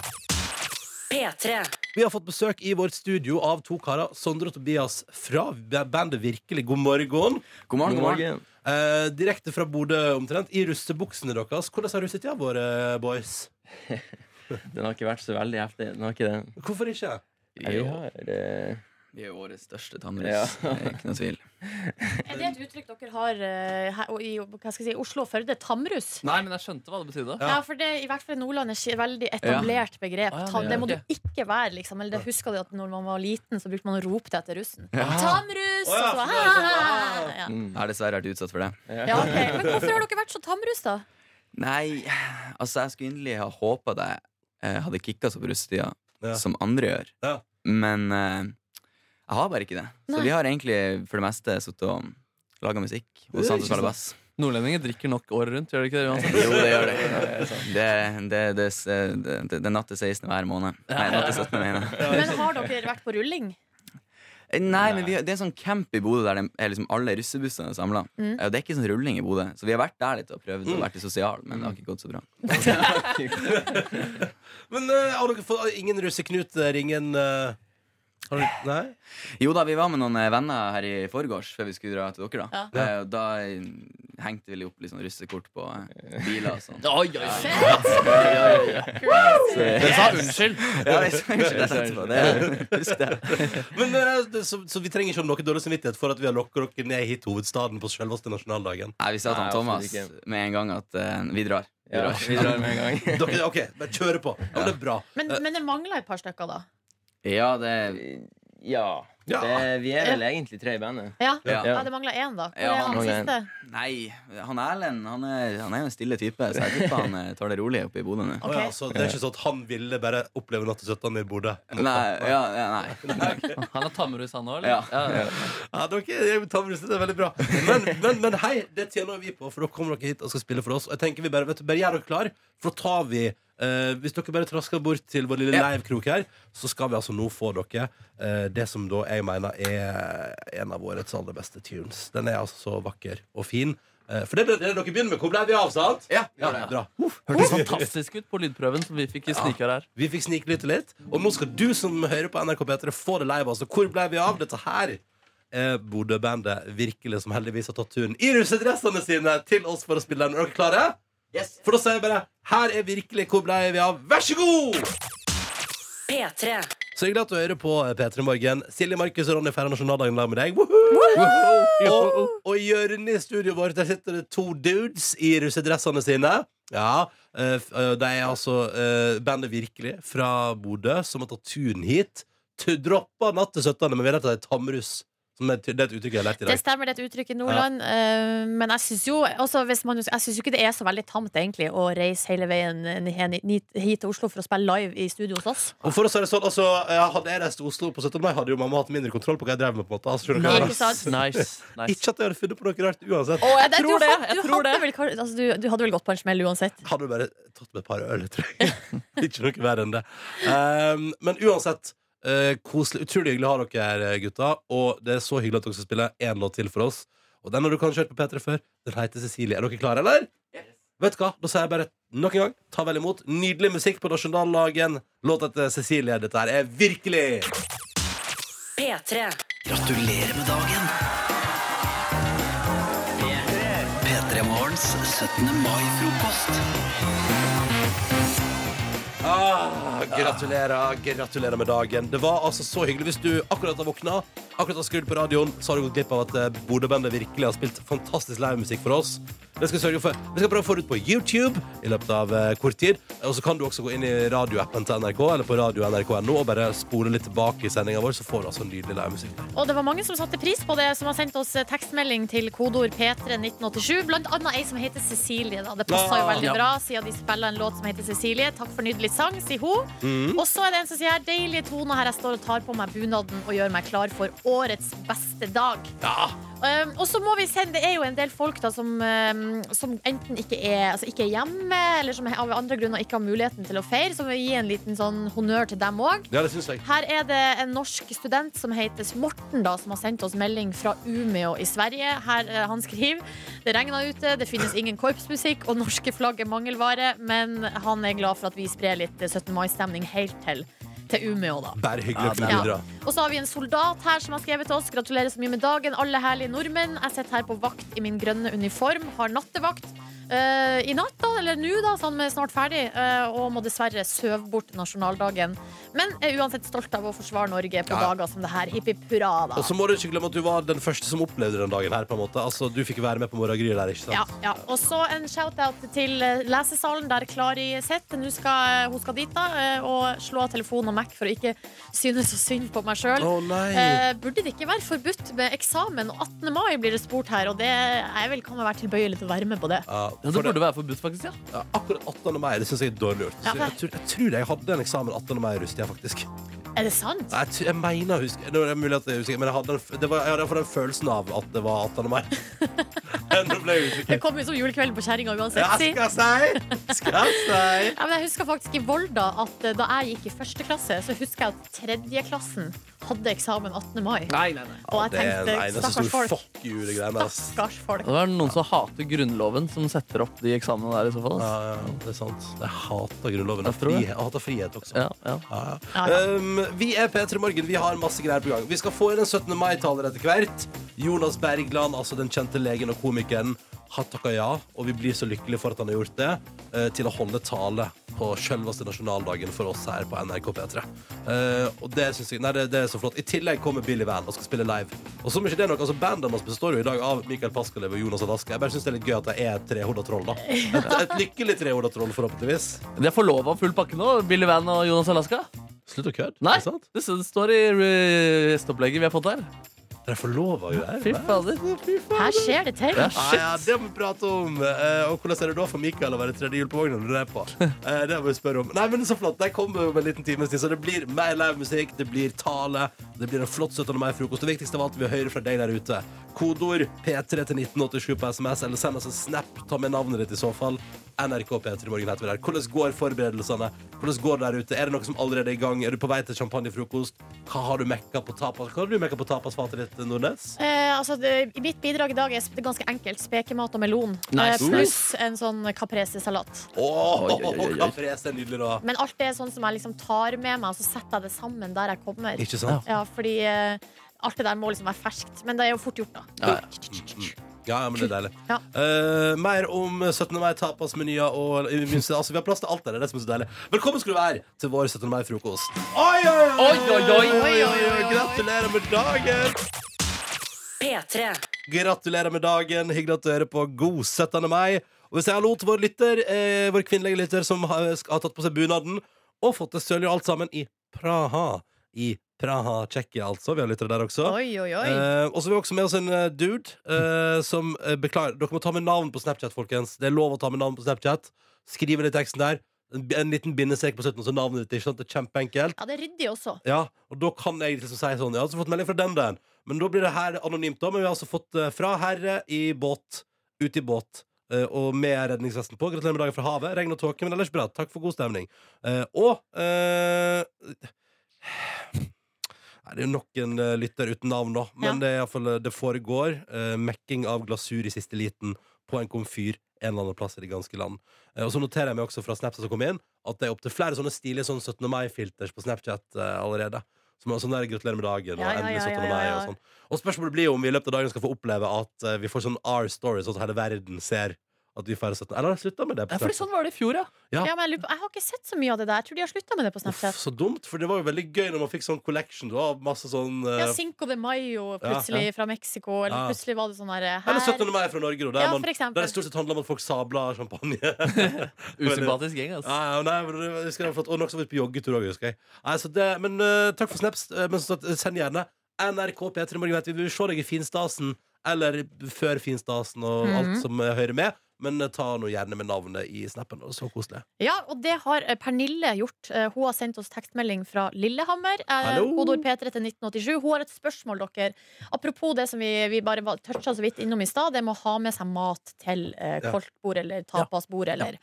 Speaker 1: P3.
Speaker 2: Vi har fått besøk i vårt studio av to karer, Sondre og Tobias fra bandet Virkelig god morgen.
Speaker 7: God morgen, god morgen.
Speaker 2: Eh, direkte fra Bodø, omtrent. I russebuksene deres. Hvordan har russetida vært, eh, boys?
Speaker 7: Den har ikke vært så veldig heftig. Den har ikke det.
Speaker 2: Hvorfor ikke?
Speaker 7: Vi har eh,
Speaker 8: Vi er jo årets største tannruss.
Speaker 7: Ja.
Speaker 8: det er Ikke noe tvil.
Speaker 3: Er det et uttrykk dere har eh, her, og i hva skal jeg si, Oslo og Førde? Tamrus?
Speaker 8: Nei, men jeg skjønte hva det betydde.
Speaker 3: Ja. for det er i hvert fall i Nordland et veldig etablert begrep.
Speaker 8: Ah, ja,
Speaker 3: Tam,
Speaker 8: det
Speaker 3: det
Speaker 8: er
Speaker 3: må du
Speaker 8: det.
Speaker 3: ikke være, liksom. Eller det husker de at når man var liten, så brukte man å rope det etter russen.
Speaker 2: Å, ja,
Speaker 3: Tamrus! og så,
Speaker 2: sånn, ja,
Speaker 3: «Hæ, hæ, hæ».
Speaker 8: Mm.
Speaker 7: Ja.
Speaker 8: Jeg har dessverre vært utsatt for det.
Speaker 3: ja, ok. Men hvorfor har dere vært så tamrus, da?
Speaker 8: Nei, altså, jeg skulle inderlig ha håpa det eh, hadde kicka så på russetida
Speaker 2: Ja.
Speaker 8: som andre gjør,
Speaker 2: Ja.
Speaker 8: men eh, jeg har bare ikke det. Så
Speaker 3: Nei.
Speaker 8: vi har egentlig for det meste sittet og laga musikk
Speaker 7: Det er
Speaker 8: hos han
Speaker 7: ikke
Speaker 8: som spiller
Speaker 7: sant.
Speaker 8: bass.
Speaker 7: Nordlendinger drikker nok året rundt, gjør de ikke det? uansett?
Speaker 8: Jo, det gjør det. Det, det, det, det, det, det er natt til 16 hver måned. Nei, natt til 17, mener jeg.
Speaker 3: Men har dere vært på rulling?
Speaker 8: Nei, men vi, har- det er en sånn camp i Bodø der det er liksom alle russebussene samla.
Speaker 3: Mm.
Speaker 8: Og det er ikke sånn rulling i Bodø. Så vi har vært der litt og prøvd
Speaker 2: Mm.
Speaker 8: og vært i sosial, men det har ikke gått så bra.
Speaker 2: Men eh, har dere fått ingen russeknuter? Ingen eh, har dere, Nei?
Speaker 8: Jo da, vi var med noen eh, venner her i forgårs før vi skulle dra til dere. Da
Speaker 3: Ja.
Speaker 8: Eh, og da eh, hengte vi litt opp litt sånn russekort på eh, biler og sånn.
Speaker 7: Oi, oi, oi.
Speaker 3: Fett!
Speaker 7: Dere sa unnskyld.
Speaker 8: Ja, det er unnskyld, jeg tenkte på det. Husk det.
Speaker 2: Men, eh, det, så, så vi trenger ikke ha noe dårlig samvittighet for at vi har lokka dere ned hit til hovedstaden på selveste nasjonaldagen.
Speaker 8: Nei, vi sa til
Speaker 7: Nei,
Speaker 8: han Thomas
Speaker 7: absolutt
Speaker 8: med en gang at eh, vi drar. Vi
Speaker 7: Ja,
Speaker 8: drar.
Speaker 7: vi drar med en gang.
Speaker 2: Dere, OK, bare kjøre på. Ja, men det er bra.
Speaker 3: Men, men det mangler et par stykker, da.
Speaker 8: Ja, det
Speaker 7: Ja.
Speaker 2: Ja.
Speaker 7: Det, vi er vel egentlig tre i bandet.
Speaker 3: Ja,
Speaker 8: Ja.
Speaker 3: ja det mangler én, da. Hvor
Speaker 8: Ja,
Speaker 3: er han
Speaker 8: mangler
Speaker 7: en.
Speaker 3: siste?
Speaker 8: Nei, han Erlend han er, han er jo en stille type, så jeg tipper han eh, tar det rolig oppe i Bodø nå.
Speaker 2: Å ja, så det er ikke sånn at han ville bare oppleve Natt til 17 i Bodø?
Speaker 8: Nei, ja, ja, nei.
Speaker 7: Han er Tammerus, han òg,
Speaker 8: Ja.
Speaker 7: eller? Ja.
Speaker 2: Ja, dere jeg tar med det er veldig bra. Men, men, men hei, det tjener vi på, for dere kommer dere hit og skal spille for oss. Og jeg tenker vi Bare vet du, bare gjør dere klar, for da tar vi eh, Hvis dere bare trasker bort til vår lille
Speaker 8: Ja.
Speaker 2: livekrok her, så skal vi altså nå få dere eh, det som da jeg mener er en av årets aller beste tunes. Den er altså så vakker og fin. Eh, for det er det, det dere begynner med. Hvor ble vi av, sant?
Speaker 8: Ja,
Speaker 2: Ja,
Speaker 8: ja.
Speaker 2: bra.
Speaker 7: Hørtes fantastisk ut på lydprøven som vi fikk i sniker her.
Speaker 2: Vi fikk sniklytte litt, og nå skal du som hører på NRK P3 få det live. Altså, hvor ble vi av? Dette her er Bodø-bandet virkelig som heldigvis har tatt turen i russedressene sine til oss for å spille den. Er dere klare? For da sier jeg bare her er virkelig hvor ble vi av. Vær så god!
Speaker 1: P3.
Speaker 2: Så hyggelig at du hører på P3 Morgen. Silje, Markus og Ronny feirer nasjonaldagen sammen med deg. Woohoo! Og, og Jørn i studioet vårt, der sitter det to dudes i russedressene sine. Ja, eh, f- eh, De er altså eh, bandet Virkelig fra Bodø, som har tatt turen hit. Tu- Droppa natt til 17., men vi vet at det er tamrus. Som er, det er et uttrykk jeg har lært i
Speaker 3: Det
Speaker 2: dag.
Speaker 3: stemmer, det er et uttrykk i Nordland. eh, men jeg syns jo altså, hvis man, Jeg synes jo ikke det er så veldig tamt, egentlig, å reise hele veien hen- hit hit til Oslo for å spille live i studio hos oss.
Speaker 2: Og for å si det sånn, altså, eh, Hadde jeg reist til Oslo på 17. mai, hadde jo mamma hatt mindre kontroll på hva jeg drev med. på en måte altså, skjønner du hva jeg mener?
Speaker 3: Ikke sant?
Speaker 7: nice, nice.
Speaker 2: Ikke at jeg hadde funnet på noe rart uansett.
Speaker 3: Å, jeg
Speaker 7: tror det, jeg
Speaker 3: Du,
Speaker 7: tror
Speaker 3: hadde vel, kar- altså, du, du hadde vel gått på en smell uansett.
Speaker 2: hadde du bare tatt med et par øl, tror jeg. ikke noe verre enn det. Ehm, men uansett, eh, koselig. Utrolig hyggelig å ha dere her, eh, gutta. Og det er så hyggelig at dere skal spille én låt til for oss. Og den har du kanskje hørt på P3 før. Den heter Cecilie. Er dere klare, eller? Vet du hva? Da sier jeg bare nok en gang ta vel imot nydelig musikk på nasjonaldagen. Låta til Cecilie. Dette her er virkelig
Speaker 1: P3.
Speaker 9: Gratulerer med dagen! P3 Morgens 17. mai-frokost.
Speaker 2: Ah, gratulerer, gratulerer med dagen. Det var altså så hyggelig hvis du akkurat har våkna, akkurat har skrudd på radioen, så har du gått glipp av at eh, Bodø-bandet virkelig har spilt fantastisk livemusikk for oss. Det skal vi sørge for. Vi skal prøve å få det ut på YouTube i løpet av eh, kort tid. Og så kan du også gå inn i radioappen til NRK eller på radio nrk.no og bare spole litt tilbake i sendinga vår, så får du altså nydelig livemusikk. der.
Speaker 3: Og det var mange som satte pris på det, som har sendt oss eh, tekstmelding til kodeord P31987. Blant annet ei som heter Cecilie. Da. Det passer jo veldig
Speaker 4: Ja.
Speaker 3: bra, siden de spiller en låt som heter Cecilie. Takk for nydelig sang, sier hun.
Speaker 2: Mm.
Speaker 3: Og så er det en som sier her, deilige toner her jeg står og tar på meg bunaden og gjør meg klar for årets beste dag. Um, og så må vi sende, Det er jo en del folk da som, um, som enten ikke er, altså ikke er hjemme, eller som av andre grunner ikke har muligheten til å feire, så må vi gi en liten sånn honnør til dem òg.
Speaker 2: Ja, det syns jeg.
Speaker 3: Her er det en norsk student som heter Morten, da, som har sendt oss melding fra Umeå i Sverige. Her eh, Han skriver det regner ute, det finnes ingen korpsmusikk, og norske flagg er mangelvare, men han er glad for at vi sprer litt eh, 17. mai-stemning helt til, til Umeå, da.
Speaker 2: Bare hyggelig å kunne
Speaker 3: Ja.
Speaker 2: bidra.
Speaker 3: Og så har vi en soldat her som har skrevet til oss. Gratulerer så mye med dagen, alle herlige nordmenn. Jeg sitter her på vakt i min grønne uniform, har nattevakt. eh, I natt, da, eller nå, da, sånn vi er snart ferdig, eh, og må dessverre søve bort nasjonaldagen. Men er uansett stolt av å forsvare Norge på
Speaker 2: Ja.
Speaker 3: dager som det her. Hipp hipp hurra, da.
Speaker 2: Og så må du ikke glemme at du var den første som opplevde den dagen her. på en måte Altså, Du fikk være med på morgengryet der, ikke sant?
Speaker 3: Ja, ja. Og så en shout-out til eh, lesesalen, der Kari sitter. Nå skal eh, hun skal dit da, eh, og slå av telefon og Mac for å ikke synes så synd på meg sjøl.
Speaker 2: Å, nei.
Speaker 3: Eh, burde det ikke være forbudt med eksamen? Og 18. mai blir det spurt her, og det jeg vel kan vel være tilbøyelig til å være med på det.
Speaker 2: Ja,
Speaker 4: Ja,
Speaker 2: for
Speaker 4: det
Speaker 2: det,
Speaker 4: burde være forbudt, faktisk. ja.
Speaker 2: ja, akkurat 18. mai det syns jeg er dårlig gjort.
Speaker 3: Ja,
Speaker 2: Så jeg, tror, jeg tror jeg hadde en eksamen 18. mai i rustia, faktisk.
Speaker 3: Er det sant?
Speaker 2: Nei, Jeg, tror- jeg mener å huske Nå er det mulig at jeg er usikker, men jeg hadde, en f- det var, jeg hadde i hvert fall den følelsen av at det var 18. mai. Nå ble jeg
Speaker 3: Det
Speaker 2: usikker.
Speaker 3: kommer jo som julekvelden på kjerringa uansett.
Speaker 2: Ja,
Speaker 3: si.
Speaker 2: skal si! Skal si!
Speaker 3: Ja, men jeg husker faktisk i Volda at eh, da jeg gikk i første klasse, så husker jeg at tredjeklassen hadde eksamen 18. mai.
Speaker 4: Nei, nei, nei.
Speaker 3: Og jeg
Speaker 2: Det er en
Speaker 3: tenkte
Speaker 2: eneste
Speaker 3: stakkars
Speaker 2: stor
Speaker 3: folk.
Speaker 2: fuck you, det greiene der. ass.
Speaker 3: Stakkars folk.
Speaker 4: Det er noen som hater Grunnloven, som setter opp de eksamene der i så fall. ass.
Speaker 2: Ja, ja, det er sant. Jeg hater Grunnloven.
Speaker 4: Jeg
Speaker 2: Jeg,
Speaker 4: tror det.
Speaker 2: frihet, jeg hater frihet også.
Speaker 4: Ja, ja. Eh,
Speaker 2: Ja, ja.
Speaker 3: Ja, ja.
Speaker 2: Um, vi er P3 Morgen. Vi har masse greier på gang. Vi skal få inn en 17. mai-taler etter hvert. Jonas Bergland, altså den kjente legen og komikeren, har takka ja, og vi blir så lykkelige for at han har gjort det, eh, til å holde tale på selveste nasjonaldagen for oss her på NRK P3. Eh, og det synes jeg, nei, det, det er så flott. I tillegg kommer Billy Van og skal spille live. Og som ikke det er nok, altså Bandene hans består jo i dag av Mikael Paskalev og Jonas Alaska. Jeg bare syns det er litt gøy at de er et trehoda troll, da. Et, et lykkelig trehoda troll, forhåpentligvis.
Speaker 4: De er forlova full pakke nå, Billy Van og Jonas Alaska.
Speaker 2: Slutt å kødde.
Speaker 4: Nei,
Speaker 2: er det sant?
Speaker 4: det s- står i eh, stopplegget vi har fått her.
Speaker 2: Dere forlover jo her.
Speaker 4: Fy fader.
Speaker 3: Her skjer det til.
Speaker 4: Ja,
Speaker 2: Ja,
Speaker 4: shit.
Speaker 2: Ah, ja, det må vi prate om. Eh, og hvordan er det da for Mikael å være tredje hjul på vognen? når du er på? Eh, det må vi spørre om. Nei, men så flott. De kommer om en liten times tid, så det blir mer livemusikk, det blir tale, det blir en flott 17. mai-frokost. Det viktigste av alt vi hører fra deg der ute. Kodeord P3 til 1987 på SMS, eller send oss en snap. Ta med navnet ditt i så fall. NRK P3 Morgen heter vi der. Hvordan går forberedelsene? Hvordan går det der ute? Er det noe som allerede er i gang? Er du på vei til champagnefrokost? Hva har du mekka på tapas? Hva har du mekka på tapasfatet ditt, Nordnes?
Speaker 3: Eh, altså, det, mitt bidrag i dag er sp- det er ganske enkelt. Spekemat og melon.
Speaker 4: Nice.
Speaker 3: eh, pluss en sånn caprese-salat.
Speaker 2: Åh,
Speaker 4: Oi, oi, oi, oi.
Speaker 2: Caprese er nydelig, da.
Speaker 3: Men alt det er sånn som jeg liksom tar med meg, og så setter jeg det sammen der jeg kommer.
Speaker 2: Ikke sant?
Speaker 3: Ja, fordi eh, alt det der må liksom være ferskt. Men det er jo fort gjort, da.
Speaker 4: Ja, ja.
Speaker 2: Ja, ja, men det er deilig.
Speaker 3: Ja.
Speaker 2: Eh, mer om 17. mai, tapasmenyer og minst, altså, Vi har plass til alt der. Det er det som er så deilig. Velkommen skal du være til vår 17. mai-frokost. Oi, oi,
Speaker 4: Oi, oi, oi.
Speaker 2: Gratulerer med dagen!
Speaker 1: P3.
Speaker 2: Gratulerer med dagen. Hyggelig at du hører på. God 17. mai. Og vi sier hallo til vår lytter, eh, vår kvinnelige lytter som har, sk- har tatt på seg bunaden og fått til sølv og alt sammen i Praha. I Praha, Tsjekkia, altså. Vi har lyttere der også.
Speaker 3: Oi, oi, oi.
Speaker 2: Eh, og så har vi også med oss en eh, dude eh, som eh, beklager Dere må ta med navn på Snapchat, folkens. Det er lov å ta med navn på Snapchat. Skriv inn i teksten der. En, b- en liten bindestrek på slutten, og så navnet ditt. Ikke sant? Det er kjempeenkelt.
Speaker 3: Ja, det er ryddig også.
Speaker 2: Ja, og da kan jeg liksom si sånn. Jeg har altså fått melding fra den der. Men da blir det her anonymt, da. Men vi har altså fått eh, fra herre i båt, ute i båt. eh, og med redningsvesten på. Gratulerer med dagen fra havet. Regn og tåke, men ellers bra. Takk for god stemning. Eh, og eh, Nei, det er jo nok en eh, lytter uten navn, da. Men
Speaker 3: Ja.
Speaker 2: det, er i hvert fall, eh, det foregår eh, mekking av glasur i siste liten på en komfyr en eller annen plass i det ganske land. Eh, og så noterer jeg meg også fra Snapchat som kom inn, at det er opptil flere sånne stilige sånn 17. mai-filters på Snapchat eh, allerede. Som er sånn der 'Gratulerer med dagen' og
Speaker 3: Ja, ja, ja,
Speaker 2: 'Endelig 17.
Speaker 3: ja, ja,
Speaker 2: mai' og
Speaker 3: ja.
Speaker 2: sånn. Og spørsmålet blir jo om vi i løpet av dagen skal få oppleve at eh, vi får sånn R-story, sånn at hele verden ser at vi feirer 17. Eller har de slutta med det? på
Speaker 4: Ja, fordi
Speaker 2: Snapchat?
Speaker 4: sånn var det i fjor, ja.
Speaker 2: Ja.
Speaker 3: Ja, men jeg, lurer på, jeg har ikke sett så mye av det der. Jeg tror de har slutta med det på
Speaker 2: Uff,
Speaker 3: Snapchat.
Speaker 2: så dumt, for det var jo veldig gøy når man fikk sånn collection av masse sånn eh,
Speaker 3: Ja, Cinco de Mayo plutselig fra Mexico, eller
Speaker 2: Ja.
Speaker 3: plutselig var det sånn her
Speaker 2: Eller 17.
Speaker 3: her.
Speaker 2: mai fra Norge, da. Der,
Speaker 3: Ja,
Speaker 2: man,
Speaker 3: for eksempel.
Speaker 2: der det stort sett handler om at folk sabler champagne.
Speaker 4: Usympatisk gjeng, altså.
Speaker 2: Ja, ja, nei, men jeg husker det var flott. Og noen som var ute på joggetur òg, husker jeg. Nei, så det, men eh, takk for snaps. eh, men som sagt, eh, send gjerne NRK P3 Morgen. vet Vi Vi vil se deg i finstasen, eller før finstasen og
Speaker 3: Mhm.
Speaker 2: alt som eh, hører med. Men eh, ta nå gjerne med navnet i snappen. Og så koselig.
Speaker 3: Ja, og det har eh, Pernille gjort. Eh, Hun har sendt oss tekstmelding fra Lillehammer. Eh,
Speaker 2: Hallo.
Speaker 3: Kodord P3 til 1987. Hun har et spørsmål, dere. Apropos det som vi, vi bare var- toucha så vidt innom i stad, det med å ha med seg mat til eh,
Speaker 2: Ja.
Speaker 3: koldtbord eller tapasbord eller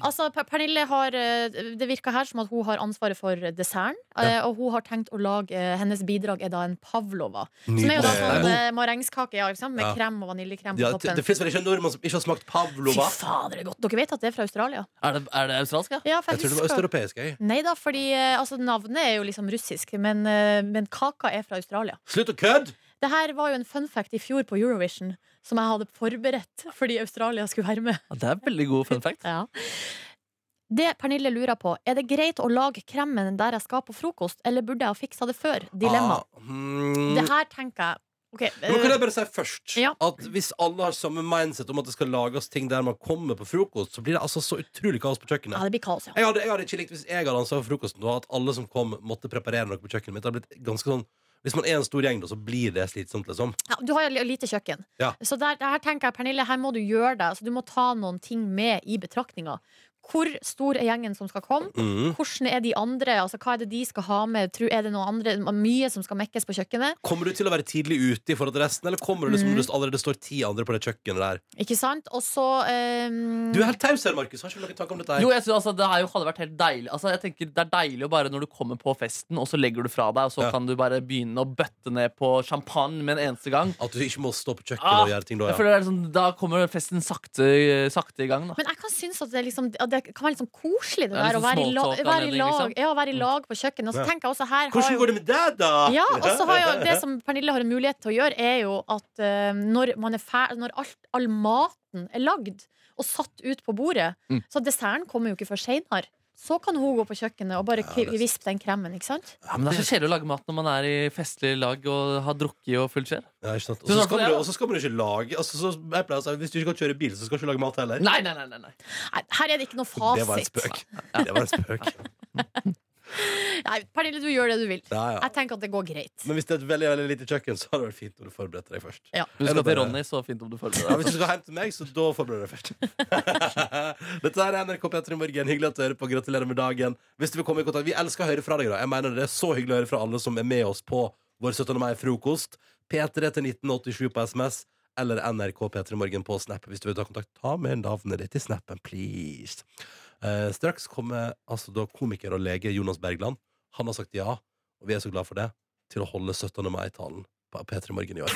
Speaker 3: Altså, Per- Pernille har eh, Det virker her som at hun har ansvaret for desserten, eh, og hun har tenkt å lage eh, Hennes bidrag er da en pavlova. Som er jo da sånn
Speaker 2: Nydelig.
Speaker 3: eh, marengskake ja, ikke sant? med
Speaker 2: Ja.
Speaker 3: krem og vaniljekrem på
Speaker 2: Ja, det
Speaker 3: toppen.
Speaker 2: det fins vel ikke en nordmann som ikke har smakt
Speaker 3: Fy
Speaker 2: pavlova?
Speaker 3: fader, det er godt. Dere vet at det er fra Australia?
Speaker 4: Er det, er det australsk, ja?
Speaker 3: Ja, for
Speaker 2: Jeg tror det var østeuropeisk. jeg.
Speaker 3: Nei da, fordi eh, altså, navnet er jo liksom russisk, men, eh, men kaka er fra Australia.
Speaker 2: Slutt å kødde!
Speaker 3: Det her var jo en fun fact i fjor på Eurovision, som jeg hadde forberedt fordi Australia skulle være med.
Speaker 4: Ja, Det er veldig god fun fact.
Speaker 3: Ja. Det Pernille lurer på, er det greit å lage kremen der jeg skal på frokost, eller burde jeg ha fiksa det før? Dilemma.
Speaker 2: Ah, mm.
Speaker 3: Det her tenker jeg Ok,
Speaker 2: Men kan
Speaker 3: eh,
Speaker 2: jeg bare si først
Speaker 3: Ja.
Speaker 2: at hvis alle har samme mindset om at det skal lages ting der man kommer på frokost, så blir det altså så utrolig kaos på
Speaker 3: ja,
Speaker 2: kjøkkenet.
Speaker 3: det blir kaos, ja.
Speaker 2: Jeg hadde, jeg hadde ikke likt hvis jeg hadde ansvar for frokosten og at alle som kom, måtte preparere noe på kjøkkenet mitt. Det hadde blitt ganske sånn Hvis man er en stor gjeng, da, så blir det slitsomt, liksom.
Speaker 3: ja. Du har jo li- lite kjøkken.
Speaker 2: Ja.
Speaker 3: Så der, der her tenker jeg, Pernille, her må du gjøre deg. Altså, du må ta noen ting med i betraktninga. Hvor stor er gjengen som skal komme?
Speaker 2: Mm.
Speaker 3: Hvordan er de andre? Altså, hva er det de skal ha med? Tror- Er det noe andre, mye som skal mekkes på kjøkkenet?
Speaker 2: Kommer du til å være tidlig ute i forhold til resten, eller kommer du liksom
Speaker 3: Mhm.
Speaker 2: når det allerede står ti andre på det kjøkkenet der?
Speaker 3: Ikke sant? Og så ehm,
Speaker 2: Du er helt taus her, Markus. Har ikke du noen tanke om dette? her?
Speaker 4: Jo, jeg synes, altså, Det her jo hadde vært helt deilig Altså, jeg tenker Det er deilig å bare når du kommer på festen, og så legger du fra deg, og så
Speaker 2: Ja.
Speaker 4: kan du bare begynne å bøtte ned på champagne med en eneste gang.
Speaker 2: At du ikke må stå på kjøkkenet
Speaker 4: Ah,
Speaker 2: og gjøre ting da,
Speaker 4: Jeg
Speaker 2: ja.
Speaker 4: føler det er sånn, Da kommer festen sakte, sakte i gang. da
Speaker 3: Men jeg kan synes at det, er liksom, at det kan være litt sånn koselig det
Speaker 4: Ja, litt
Speaker 3: der, å
Speaker 4: sånn
Speaker 3: være i, la, være, i
Speaker 4: smalltalk-anledning,
Speaker 3: lag,
Speaker 4: liksom.
Speaker 3: ja, å være i lag på kjøkkenet. Og så
Speaker 2: Mm. Ja.
Speaker 3: tenker jeg også her har
Speaker 2: Hvordan
Speaker 3: jo,
Speaker 2: går det med deg, da?
Speaker 3: ja, og så har jo Det som Pernille har en mulighet til å gjøre, er jo at eh, når, man er fer, når alt, all maten er lagd og satt ut på bordet,
Speaker 4: Mm.
Speaker 3: så desserten kommer jo ikke før seinere. Så kan hun gå på kjøkkenet og bare
Speaker 2: Ja,
Speaker 3: kvi-
Speaker 2: det er-
Speaker 3: vispe den kremen. ikke sant?
Speaker 4: ja, men Det er så kjedelig å lage mat når man er i festlig lag og har drukket og fullt skjer.
Speaker 2: Ja, ikke sant? Og
Speaker 4: Du
Speaker 2: så
Speaker 4: snakker
Speaker 2: skal
Speaker 4: det,
Speaker 2: man jo-
Speaker 4: altså, ja.
Speaker 2: og så skal man jo ikke lage altså, så, jeg pleier å si, Hvis du ikke kan kjøre bil, så skal du ikke lage mat heller.
Speaker 4: Nei, nei, nei, nei, nei.
Speaker 3: Nei, her er det ikke noe
Speaker 2: Det var en
Speaker 3: fasit.
Speaker 2: spøk. Det var en spøk.
Speaker 3: Nei, Pernille, du gjør det du vil.
Speaker 2: Ja, ja.
Speaker 3: Jeg tenker at det går greit.
Speaker 2: Men hvis det er et veldig, veldig lite kjøkken, så hadde det vært fint om du forberedte deg først.
Speaker 3: Ja.
Speaker 4: Du
Speaker 2: Eller
Speaker 4: skal
Speaker 2: bare-
Speaker 4: til Ronny, så fint om du følger
Speaker 2: Ja,
Speaker 4: deg.
Speaker 2: hvis du skal hjem til meg, så da forbereder jeg først. Dette her er NRK P3 Morgen. Hyggelig at du hører på. Gratulerer med dagen. Hvis du vil komme i kontakt Vi elsker å høre fra deg. da Jeg mener Det er så hyggelig å høre fra alle som er med oss på vår 17. mai-frokost. P3 til 1987 på SMS eller NRK P3 Morgen på Snap. Hvis du vil ta kontakt, ta med navnet ditt i snappen, please. Eh, straks kommer altså da komiker og lege Jonas Bergland. Han har sagt ja, og vi er så glad for det, til å holde 17. mai-talen på P3 Morgen i år.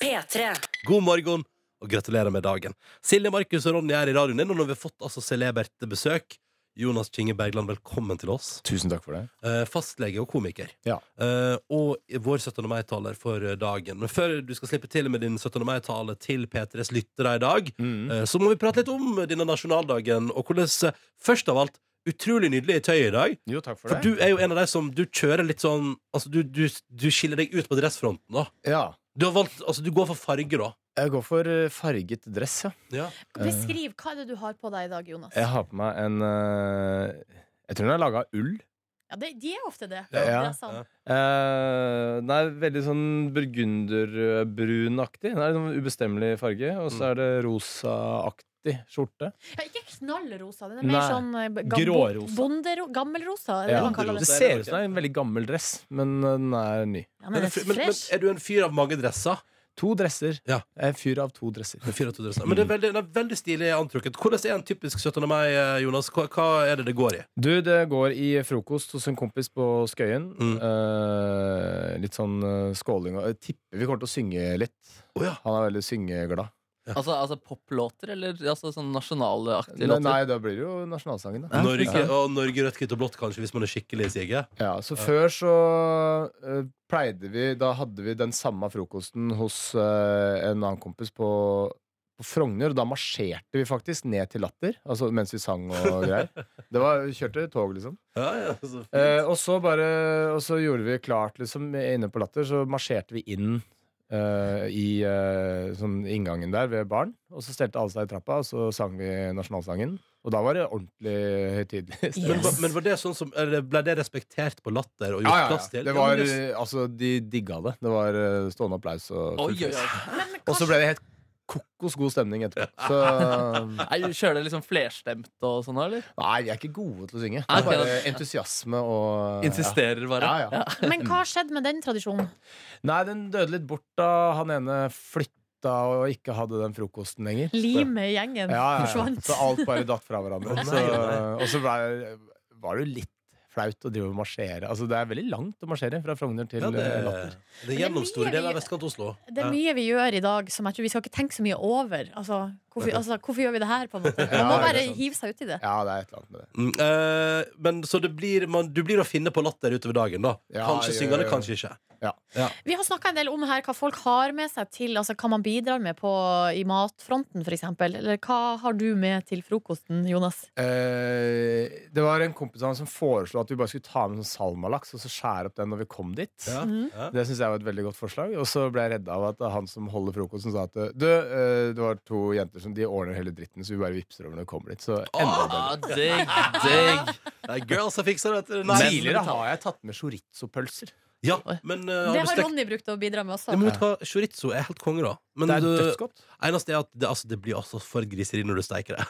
Speaker 1: P3.
Speaker 2: God morgen og gratulerer med dagen. Silje, Markus og Ronny er i radioen din, og når vi har fått altså celebert besøk Jonas Kinge Bergland, velkommen til oss.
Speaker 10: Tusen takk for det.
Speaker 2: Eh, fastlege og komiker.
Speaker 10: Ja.
Speaker 2: Eh, og vår 17. mai-taler for eh, dagen. Men før du skal slippe til med din 17. mai-tale til P3s lyttere i dag,
Speaker 10: Mm.
Speaker 2: eh, så må vi prate litt om denne nasjonaldagen, og hvordan eh, Først av alt, utrolig nydelig i tøyet i dag.
Speaker 10: Jo, takk for
Speaker 2: For
Speaker 10: det.
Speaker 2: du er jo en av de som du kjører litt sånn Altså, du, du, du skiller deg ut på dressfronten, da.
Speaker 10: Ja.
Speaker 2: Du, har valgt, altså, du går for farge, da.
Speaker 10: Jeg går for eh, farget dress, ja. Eh,
Speaker 2: Ja.
Speaker 3: Beskriv hva er det du har på deg i dag, Jonas.
Speaker 10: Jeg har på meg en eh, Jeg tror den er laga av ull.
Speaker 3: Ja, det, de er ofte det.
Speaker 10: Ja.
Speaker 3: det er sant.
Speaker 2: Ja.
Speaker 10: Eh, den er veldig sånn burgunderbrunaktig. Den er en sånn ubestemmelig farge. Og
Speaker 2: Mm.
Speaker 10: så er det rosaaktig skjorte.
Speaker 3: Ja, ikke knallrosa. Den er mer
Speaker 10: Nei.
Speaker 3: sånn eh, gam-
Speaker 10: Grårosa.
Speaker 3: Bondero, gammelrosa, er det
Speaker 10: Ja.
Speaker 3: man kaller
Speaker 10: Det
Speaker 3: det.
Speaker 10: ser ut som det er en veldig gammel dress, men eh, den er ny.
Speaker 3: Ja, men det
Speaker 2: fyr-
Speaker 3: er fresh.
Speaker 2: er du en fyr av mange dresser?
Speaker 10: To dresser.
Speaker 2: Ja.
Speaker 10: Jeg er en fyr av to dresser.
Speaker 2: En fyr av to dresser. Men det
Speaker 10: Mm.
Speaker 2: er veldig, det er veldig stilig antrukket. Hvordan er en typisk 17. mai, eh, Jonas? Hva, hva er det det går i?
Speaker 10: Du, det går i frokost hos en kompis på Skøyen.
Speaker 2: Mm.
Speaker 10: Eh, litt sånn eh, skåling og Jeg tipper vi kommer til å synge litt.
Speaker 2: Å ja.
Speaker 10: Han er veldig syngeglad.
Speaker 4: Altså, altså poplåter, eller altså, sånn nasjonalaktige
Speaker 10: Nei,
Speaker 4: låter?
Speaker 10: nei, da blir det jo nasjonalsangen, da.
Speaker 2: Norge,
Speaker 10: Ja.
Speaker 2: og Norge rødt, hvitt og blått, kanskje, hvis man er skikkelig siget.
Speaker 10: Ja, så før så eh, pleide vi Da hadde vi den samme frokosten hos eh, en annen kompis på på Frogner, og da marsjerte vi faktisk ned til Latter. Altså mens vi sang og greier. Det var, vi kjørte tog, liksom.
Speaker 2: Ja, ja, så fint.
Speaker 10: Eh, og så bare Og så gjorde vi klart, liksom, inne på Latter, så marsjerte vi inn eh, i eh, sånn inngangen der ved baren. Og så stelte alle seg i trappa, og så sang vi nasjonalsangen. Og da var det ordentlig høytidelig.
Speaker 2: men, var- men var det sånn som eller Ble det respektert på latter og gjort
Speaker 10: Ja, ja,
Speaker 2: plass
Speaker 10: ja.
Speaker 2: til?
Speaker 10: Det var,
Speaker 2: men det-
Speaker 10: eh, altså, de digga det. Det var eh, stående applaus. Og, full
Speaker 2: Oi, oi, oi.
Speaker 10: fest. og så ble det helt kokos god stemning etterpå. Så eh,
Speaker 4: Nei, Kjører dere liksom flerstemt og sånn, eller?
Speaker 10: nei, vi er ikke gode til å synge. Det
Speaker 4: Nei,
Speaker 10: er bare
Speaker 4: ok,
Speaker 10: entusiasme og ja.
Speaker 4: Insisterer bare.
Speaker 10: Ja, ja.
Speaker 3: Men hva har skjedd med den tradisjonen?
Speaker 10: Nei, den døde litt bort da han ene flytta og ikke hadde den frokosten lenger.
Speaker 3: Limet i gjengen
Speaker 10: Ja, ja, ja.
Speaker 3: forsvant.
Speaker 10: Så alt bare datt fra hverandre.
Speaker 2: Å, nei,
Speaker 10: Så,
Speaker 2: å,
Speaker 10: og så ble- var det jo litt flaut å drive og marsjere. Altså, det er veldig langt å marsjere fra Frogner til
Speaker 2: ja, det,
Speaker 10: eh, Latter.
Speaker 2: det er gjennomstore deler av vestkant-Oslo.
Speaker 3: Det er mye vi gjør i dag som jeg tror vi skal ikke tenke så mye over. Altså, hvorfor, altså, hvorfor gjør vi det her, på en måte? Man må
Speaker 10: Ja, det er
Speaker 3: bare
Speaker 10: sant.
Speaker 3: hive seg uti det.
Speaker 10: Ja, det er et eller annet med det.
Speaker 2: Mm, eh, men så det blir, man, du blir å finne på latter utover dagen, da.
Speaker 10: Ja,
Speaker 2: kanskje
Speaker 10: ja,
Speaker 2: syngende,
Speaker 10: ja.
Speaker 2: kanskje ikke.
Speaker 3: Vi har snakka en del om her hva folk har med seg til altså hva man bidrar med på, i matfronten, f.eks. Eller hva har du med til frokosten, Jonas?
Speaker 10: Eh, det var en kompis av meg som foreslo at vi bare skulle ta med sånn salmalaks og så skjære opp den når vi kom dit.
Speaker 2: Ja,
Speaker 4: Mhm.
Speaker 2: ja.
Speaker 10: Det syns jeg var et veldig godt forslag. Og så ble jeg redda av at han som holder frokosten, sa at du, eh, det var to jenter som de ordner hele dritten, så vi bare vipser over når vi kommer dit. Så enda bedre.
Speaker 4: Ja, digg, digg.
Speaker 2: Ah, Det er girls som fikser det. vet du. Nei.
Speaker 10: Tidligere har jeg tatt med chorizo-pølser.
Speaker 2: Ja, men eh,
Speaker 3: Det
Speaker 2: har du
Speaker 3: har
Speaker 2: stekt
Speaker 3: Ronny brukt å bidra med
Speaker 2: Ja,
Speaker 3: også.
Speaker 2: men vet du hva, Chorizo er helt konge, da. Men
Speaker 10: Det er
Speaker 2: du-
Speaker 10: dødsgodt.
Speaker 2: eneste er at det, altså, det blir altså for griseri når du steiker det.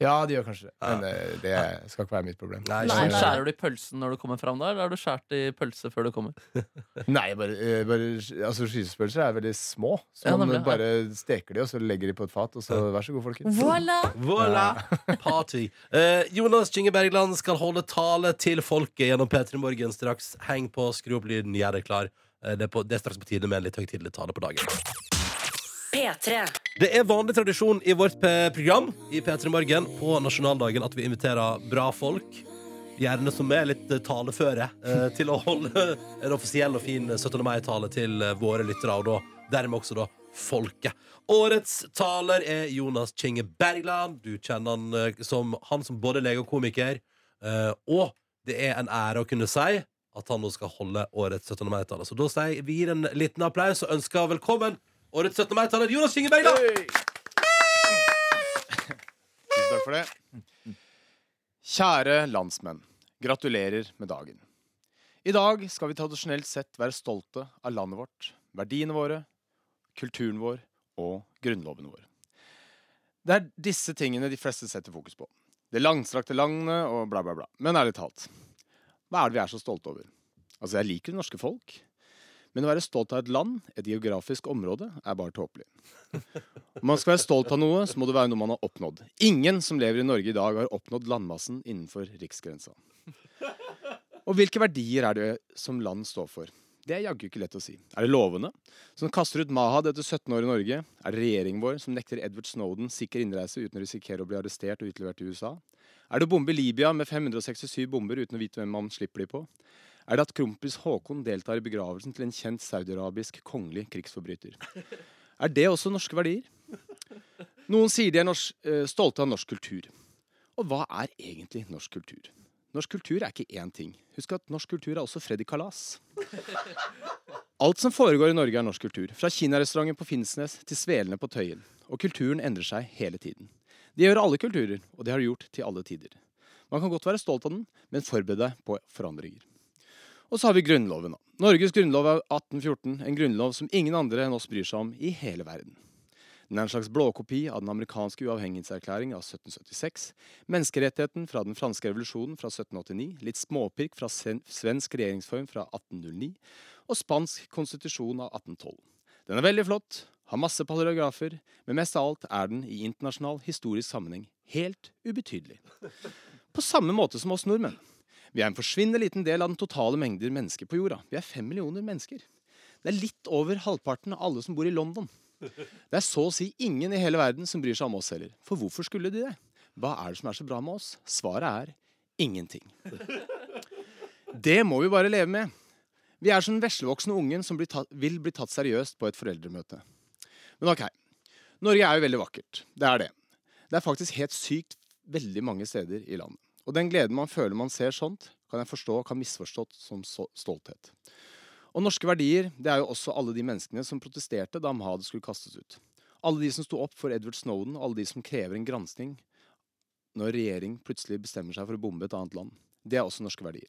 Speaker 10: Ja, de gjør kanskje det. Men eh, det skal ikke være mitt problem.
Speaker 2: Nei,
Speaker 3: Nei, nei.
Speaker 4: Skjærer du i pølsen når du kommer fram da, eller har du skjært i pølse før du kommer?
Speaker 10: Nei, bare, eh, bare altså, Chorizo-pølser er veldig små. Så
Speaker 4: Ja,
Speaker 10: man
Speaker 4: nemlig, ja.
Speaker 10: bare steker de, og så legger de på et fat, og så vær så god, folkens.
Speaker 3: Voilà!
Speaker 2: Voilà! Party. Eh, Jonas Kynge Bergland skal holde tale til folket gjennom P3 Morgen straks. Heng på, skru opp lyden, gjør deg klar. Eh, det, er på, det er straks på tide med en litt høytidelig tale på dagen.
Speaker 1: P3.
Speaker 2: Det er vanlig tradisjon i vårt p- program i P3 Morgen på nasjonaldagen at vi inviterer bra folk, gjerne som er litt eh, taleføre, eh, til å holde en offisiell og fin 17. mai-tale til eh, våre lyttere, og da, dermed også da folket. Årets taler er Jonas Kinge Bergland. Du kjenner han eh, som han som både lege og komiker. eh, Og det er en ære å kunne si at han nå skal holde årets 17. mai-tale. Så da sier vi gir en liten applaus og ønsker velkommen årets 17. mai-taler Jonas Kinge Bergland!
Speaker 10: Tusen takk for det. Kjære landsmenn. Gratulerer med dagen. I dag skal vi tradisjonelt sett være stolte av landet vårt, verdiene våre, kulturen vår og grunnloven vår. Det er disse tingene de fleste setter fokus på. Det langstrakte landet og bla, bla, bla. Men ærlig talt, hva er det vi er så stolte over? Altså, jeg liker det norske folk, men å være stolt av et land, et geografisk område, er bare tåpelig. Om man skal være stolt av noe, så må det være noe man har oppnådd. Ingen som lever i Norge i dag, har oppnådd landmassen innenfor riksgrensa. Og hvilke verdier er det som land står for? Det er jaggu ikke lett å si. Er det lovene, som kaster ut Mahad etter 17 år i Norge? Er det regjeringen vår, som nekter Edward Snowden sikker innreise uten å risikere å bli arrestert og utlevert til USA? Er det å bombe Libya med 567 bomber uten å vite hvem man slipper de på? Er det at kronprins Haakon deltar i begravelsen til en kjent saudiarabisk kongelig krigsforbryter? Er det også norske verdier? Noen sier de er norsk, eh, stolte av norsk kultur. Og hva er egentlig norsk kultur? Norsk kultur er ikke én ting. Husk at norsk kultur er også Freddy Kalas. Alt som foregår i Norge, er norsk kultur. Fra kinarestauranten på Finnsnes til svelene på Tøyen. Og kulturen endrer seg hele tiden. Det gjør alle kulturer, og det har de gjort til alle tider. Man kan godt være stolt av den, men forbered deg på forandringer. Og så har vi Grunnloven. da. Norges grunnlov er 1814, en grunnlov som ingen andre enn oss bryr seg om i hele verden. Den er en slags blåkopi av den amerikanske uavhengighetserklæring av 1776, menneskerettigheten fra den franske revolusjonen fra 1789, litt småpirk fra sen- svensk regjeringsform fra 1809 og spansk konstitusjon av 1812. Den er veldig flott, har masse paragrafer, men mest av alt er den i internasjonal historisk sammenheng helt ubetydelig. På samme måte som oss nordmenn. Vi er en forsvinnende liten del av den totale mengder mennesker på jorda. Vi er fem millioner mennesker. Det er litt over halvparten av alle som bor i London. Det er så å si ingen i hele verden som bryr seg om oss heller. For hvorfor skulle de det? Hva er det som er så bra med oss? Svaret er ingenting. Det må vi bare leve med. Vi er som den veslevoksne ungen som blir tatt, vil bli tatt seriøst på et foreldremøte. Men ok, Norge er jo veldig vakkert. Det er det. Det er faktisk helt sykt veldig mange steder i landet. Og den gleden man føler man ser sånt, kan jeg forstå kan misforstått som så- stolthet. Og norske verdier, det er jo også alle de menneskene som protesterte da Mahad skulle kastes ut. Alle de som sto opp for Edward Snowden, alle de som krever en gransking når regjering plutselig bestemmer seg for å bombe et annet land. Det er også norske verdier.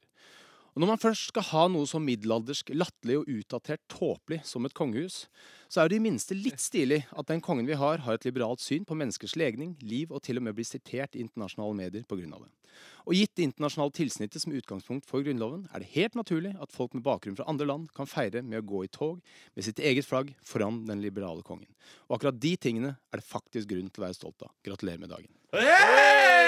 Speaker 10: Og når man først skal ha noe så middelaldersk, latterlig og utdatert tåpelig som et kongehus, så er det i minste litt stilig at den kongen vi har, har et liberalt syn på menneskers legning, liv og til og med blir sitert i internasjonale medier på grunn av det. Og gitt det internasjonale tilsnittet som utgangspunkt for Grunnloven, er det helt naturlig at folk med bakgrunn fra andre land kan feire med å gå i tog med sitt eget flagg foran den liberale kongen. Og akkurat de tingene er det faktisk grunn til å være stolt av. Gratulerer med dagen.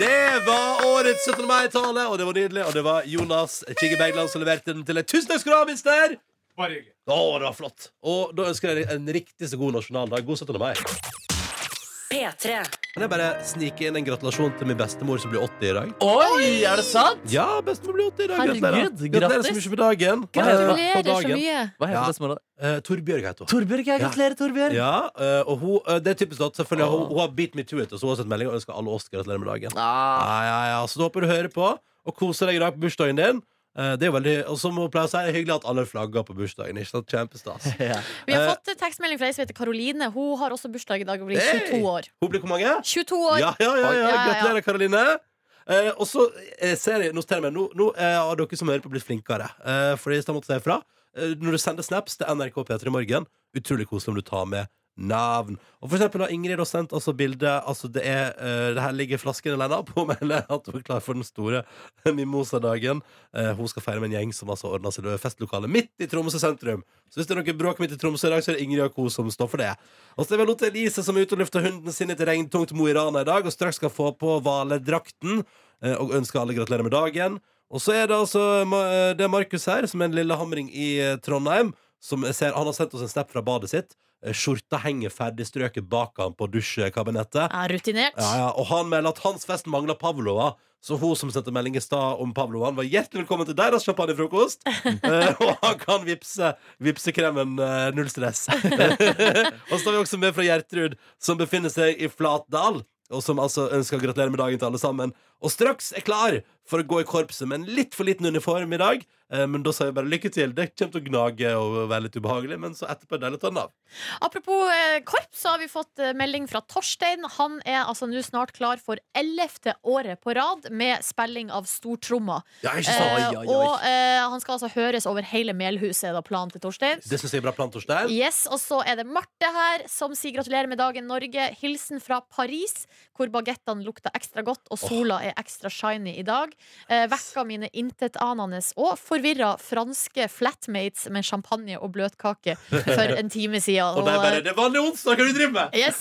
Speaker 2: Det var årets 17. mai-tale, og det var nydelig. Og det var Jonas Kigge Bergland som leverte den til deg. Tusen takk skal du ha, minster!
Speaker 10: Bare hyggelig.
Speaker 2: Å, det var flott. Og da ønsker jeg deg en riktig så god nasjonaldag. God 17. mai.
Speaker 1: P3.
Speaker 2: Kan jeg bare snike inn en gratulasjon til min bestemor som blir 80 i dag?
Speaker 1: Oi, er det sant?
Speaker 2: Ja, bestemor blir 80 i dag.
Speaker 4: Herregud,
Speaker 2: Gratulerer. Gratulerer så
Speaker 4: grattis.
Speaker 2: mye på dagen.
Speaker 4: Gratulerer
Speaker 2: På
Speaker 4: så
Speaker 2: dagen.
Speaker 4: mye. Hva heter
Speaker 2: Ja.
Speaker 4: bestemora
Speaker 2: Eh, Torbjørg heter hun.
Speaker 4: Torbjørg, jeg
Speaker 2: Ja.
Speaker 4: gratulerer, Torbjørg.
Speaker 2: Ja, eh, og hun, eh, det er typisk at selvfølgelig, hun, hun har beat me to it, og så har hun sendt melding og ønsker alle oss gratulerer med dagen. Ja, ja, ja, så da håper jeg du hører på og koser deg i dag på bursdagen din. Eh, det er jo veldig, og som hun pleier å si, det er hyggelig at alle flagger på bursdagen. Ikke sant? Kjempestas.
Speaker 3: Vi har
Speaker 2: Eh,
Speaker 3: fått tekstmelding fra ei som heter Karoline. Hun har også bursdag i dag og blir
Speaker 2: Hey!
Speaker 3: 22 år.
Speaker 2: Hun blir hvor mange?
Speaker 3: 22 år.
Speaker 2: Ja, ja, ja,
Speaker 3: Oi.
Speaker 2: ja.
Speaker 3: Ja, ja, ja.
Speaker 2: Gratulerer, Karoline. Eh, og så eh, ser jeg, nå, ser jeg meg, nå, nå eh, har dere som hører på, blitt flinkere. Eh, fordi jeg måtte si ifra. Eh, når du sender snaps til NRK P3 i morgen, utrolig koselig om du tar med navn. Og for eksempel har Ingrid har sendt altså bilde altså det, er, eh, det her ligger flasken alene på meldet at hun er klar for den store mimosadagen. Eh, hun skal feire med en gjeng som altså ordna seg festlokale midt i Tromsø sentrum. Så hvis det er noe bråk midt i Tromsø i dag, så er det Ingrid og co. som står for det. Og så er det vel Lotte Elise som er ute og lufter hunden sin til regntungt Mo i Rana i dag, og straks skal få på hvaledrakten. eh, Og ønsker alle gratulerer med dagen. Og så er det altså Ma- det er Markus her, som er en lillehamring i eh, Trondheim. Som jeg ser, han har sendt oss en snap fra badet sitt. Eh, Skjorta henger ferdig strøket bak han på dusjkabinettet.
Speaker 3: Ja, rutinert.
Speaker 2: Ja, ja, og han melder at hans fest mangler Pavlova. Så hun som sendte melding i stad om Pavlovaen, var hjertelig velkommen til deres champagnefrokost. Eh, og han kan vipse vipsekremen eh, null stress. og så har vi også med fra Gjertrud, som befinner seg i Flatdal. Og som altså ønsker å gratulere med dagen til alle sammen. Og straks er klar for å gå i korpset med en litt for liten uniform i dag. Eh, Men da sier vi bare lykke til. Det kommer til å gnage og være litt ubehagelig, men så etterpå er det deilig å ta den av.
Speaker 3: Apropos eh, korps, så har vi fått eh, melding fra Torstein. Han er altså nå snart klar for ellevte året på rad med spilling av stortromma.
Speaker 2: Ja, ikke sant?
Speaker 3: Eh,
Speaker 2: Oi, oi, oi.
Speaker 3: Og eh, han skal altså høres over hele Melhuset, er da planen til Torstein.
Speaker 2: Det syns jeg er bra plan, Torstein.
Speaker 3: Yes, og så er det Marte her som sier gratulerer med dagen Norge. Hilsen fra Paris, hvor bagettene lukter ekstra godt og sola er ekstra shiny i dag. Eh, vekka mine intetanende og forvirra franske flatmates med champagne og bløtkake for en time siden.
Speaker 2: Og de bare 'Det er vanlig onsdag, hva er det du driver med?'
Speaker 3: Yes.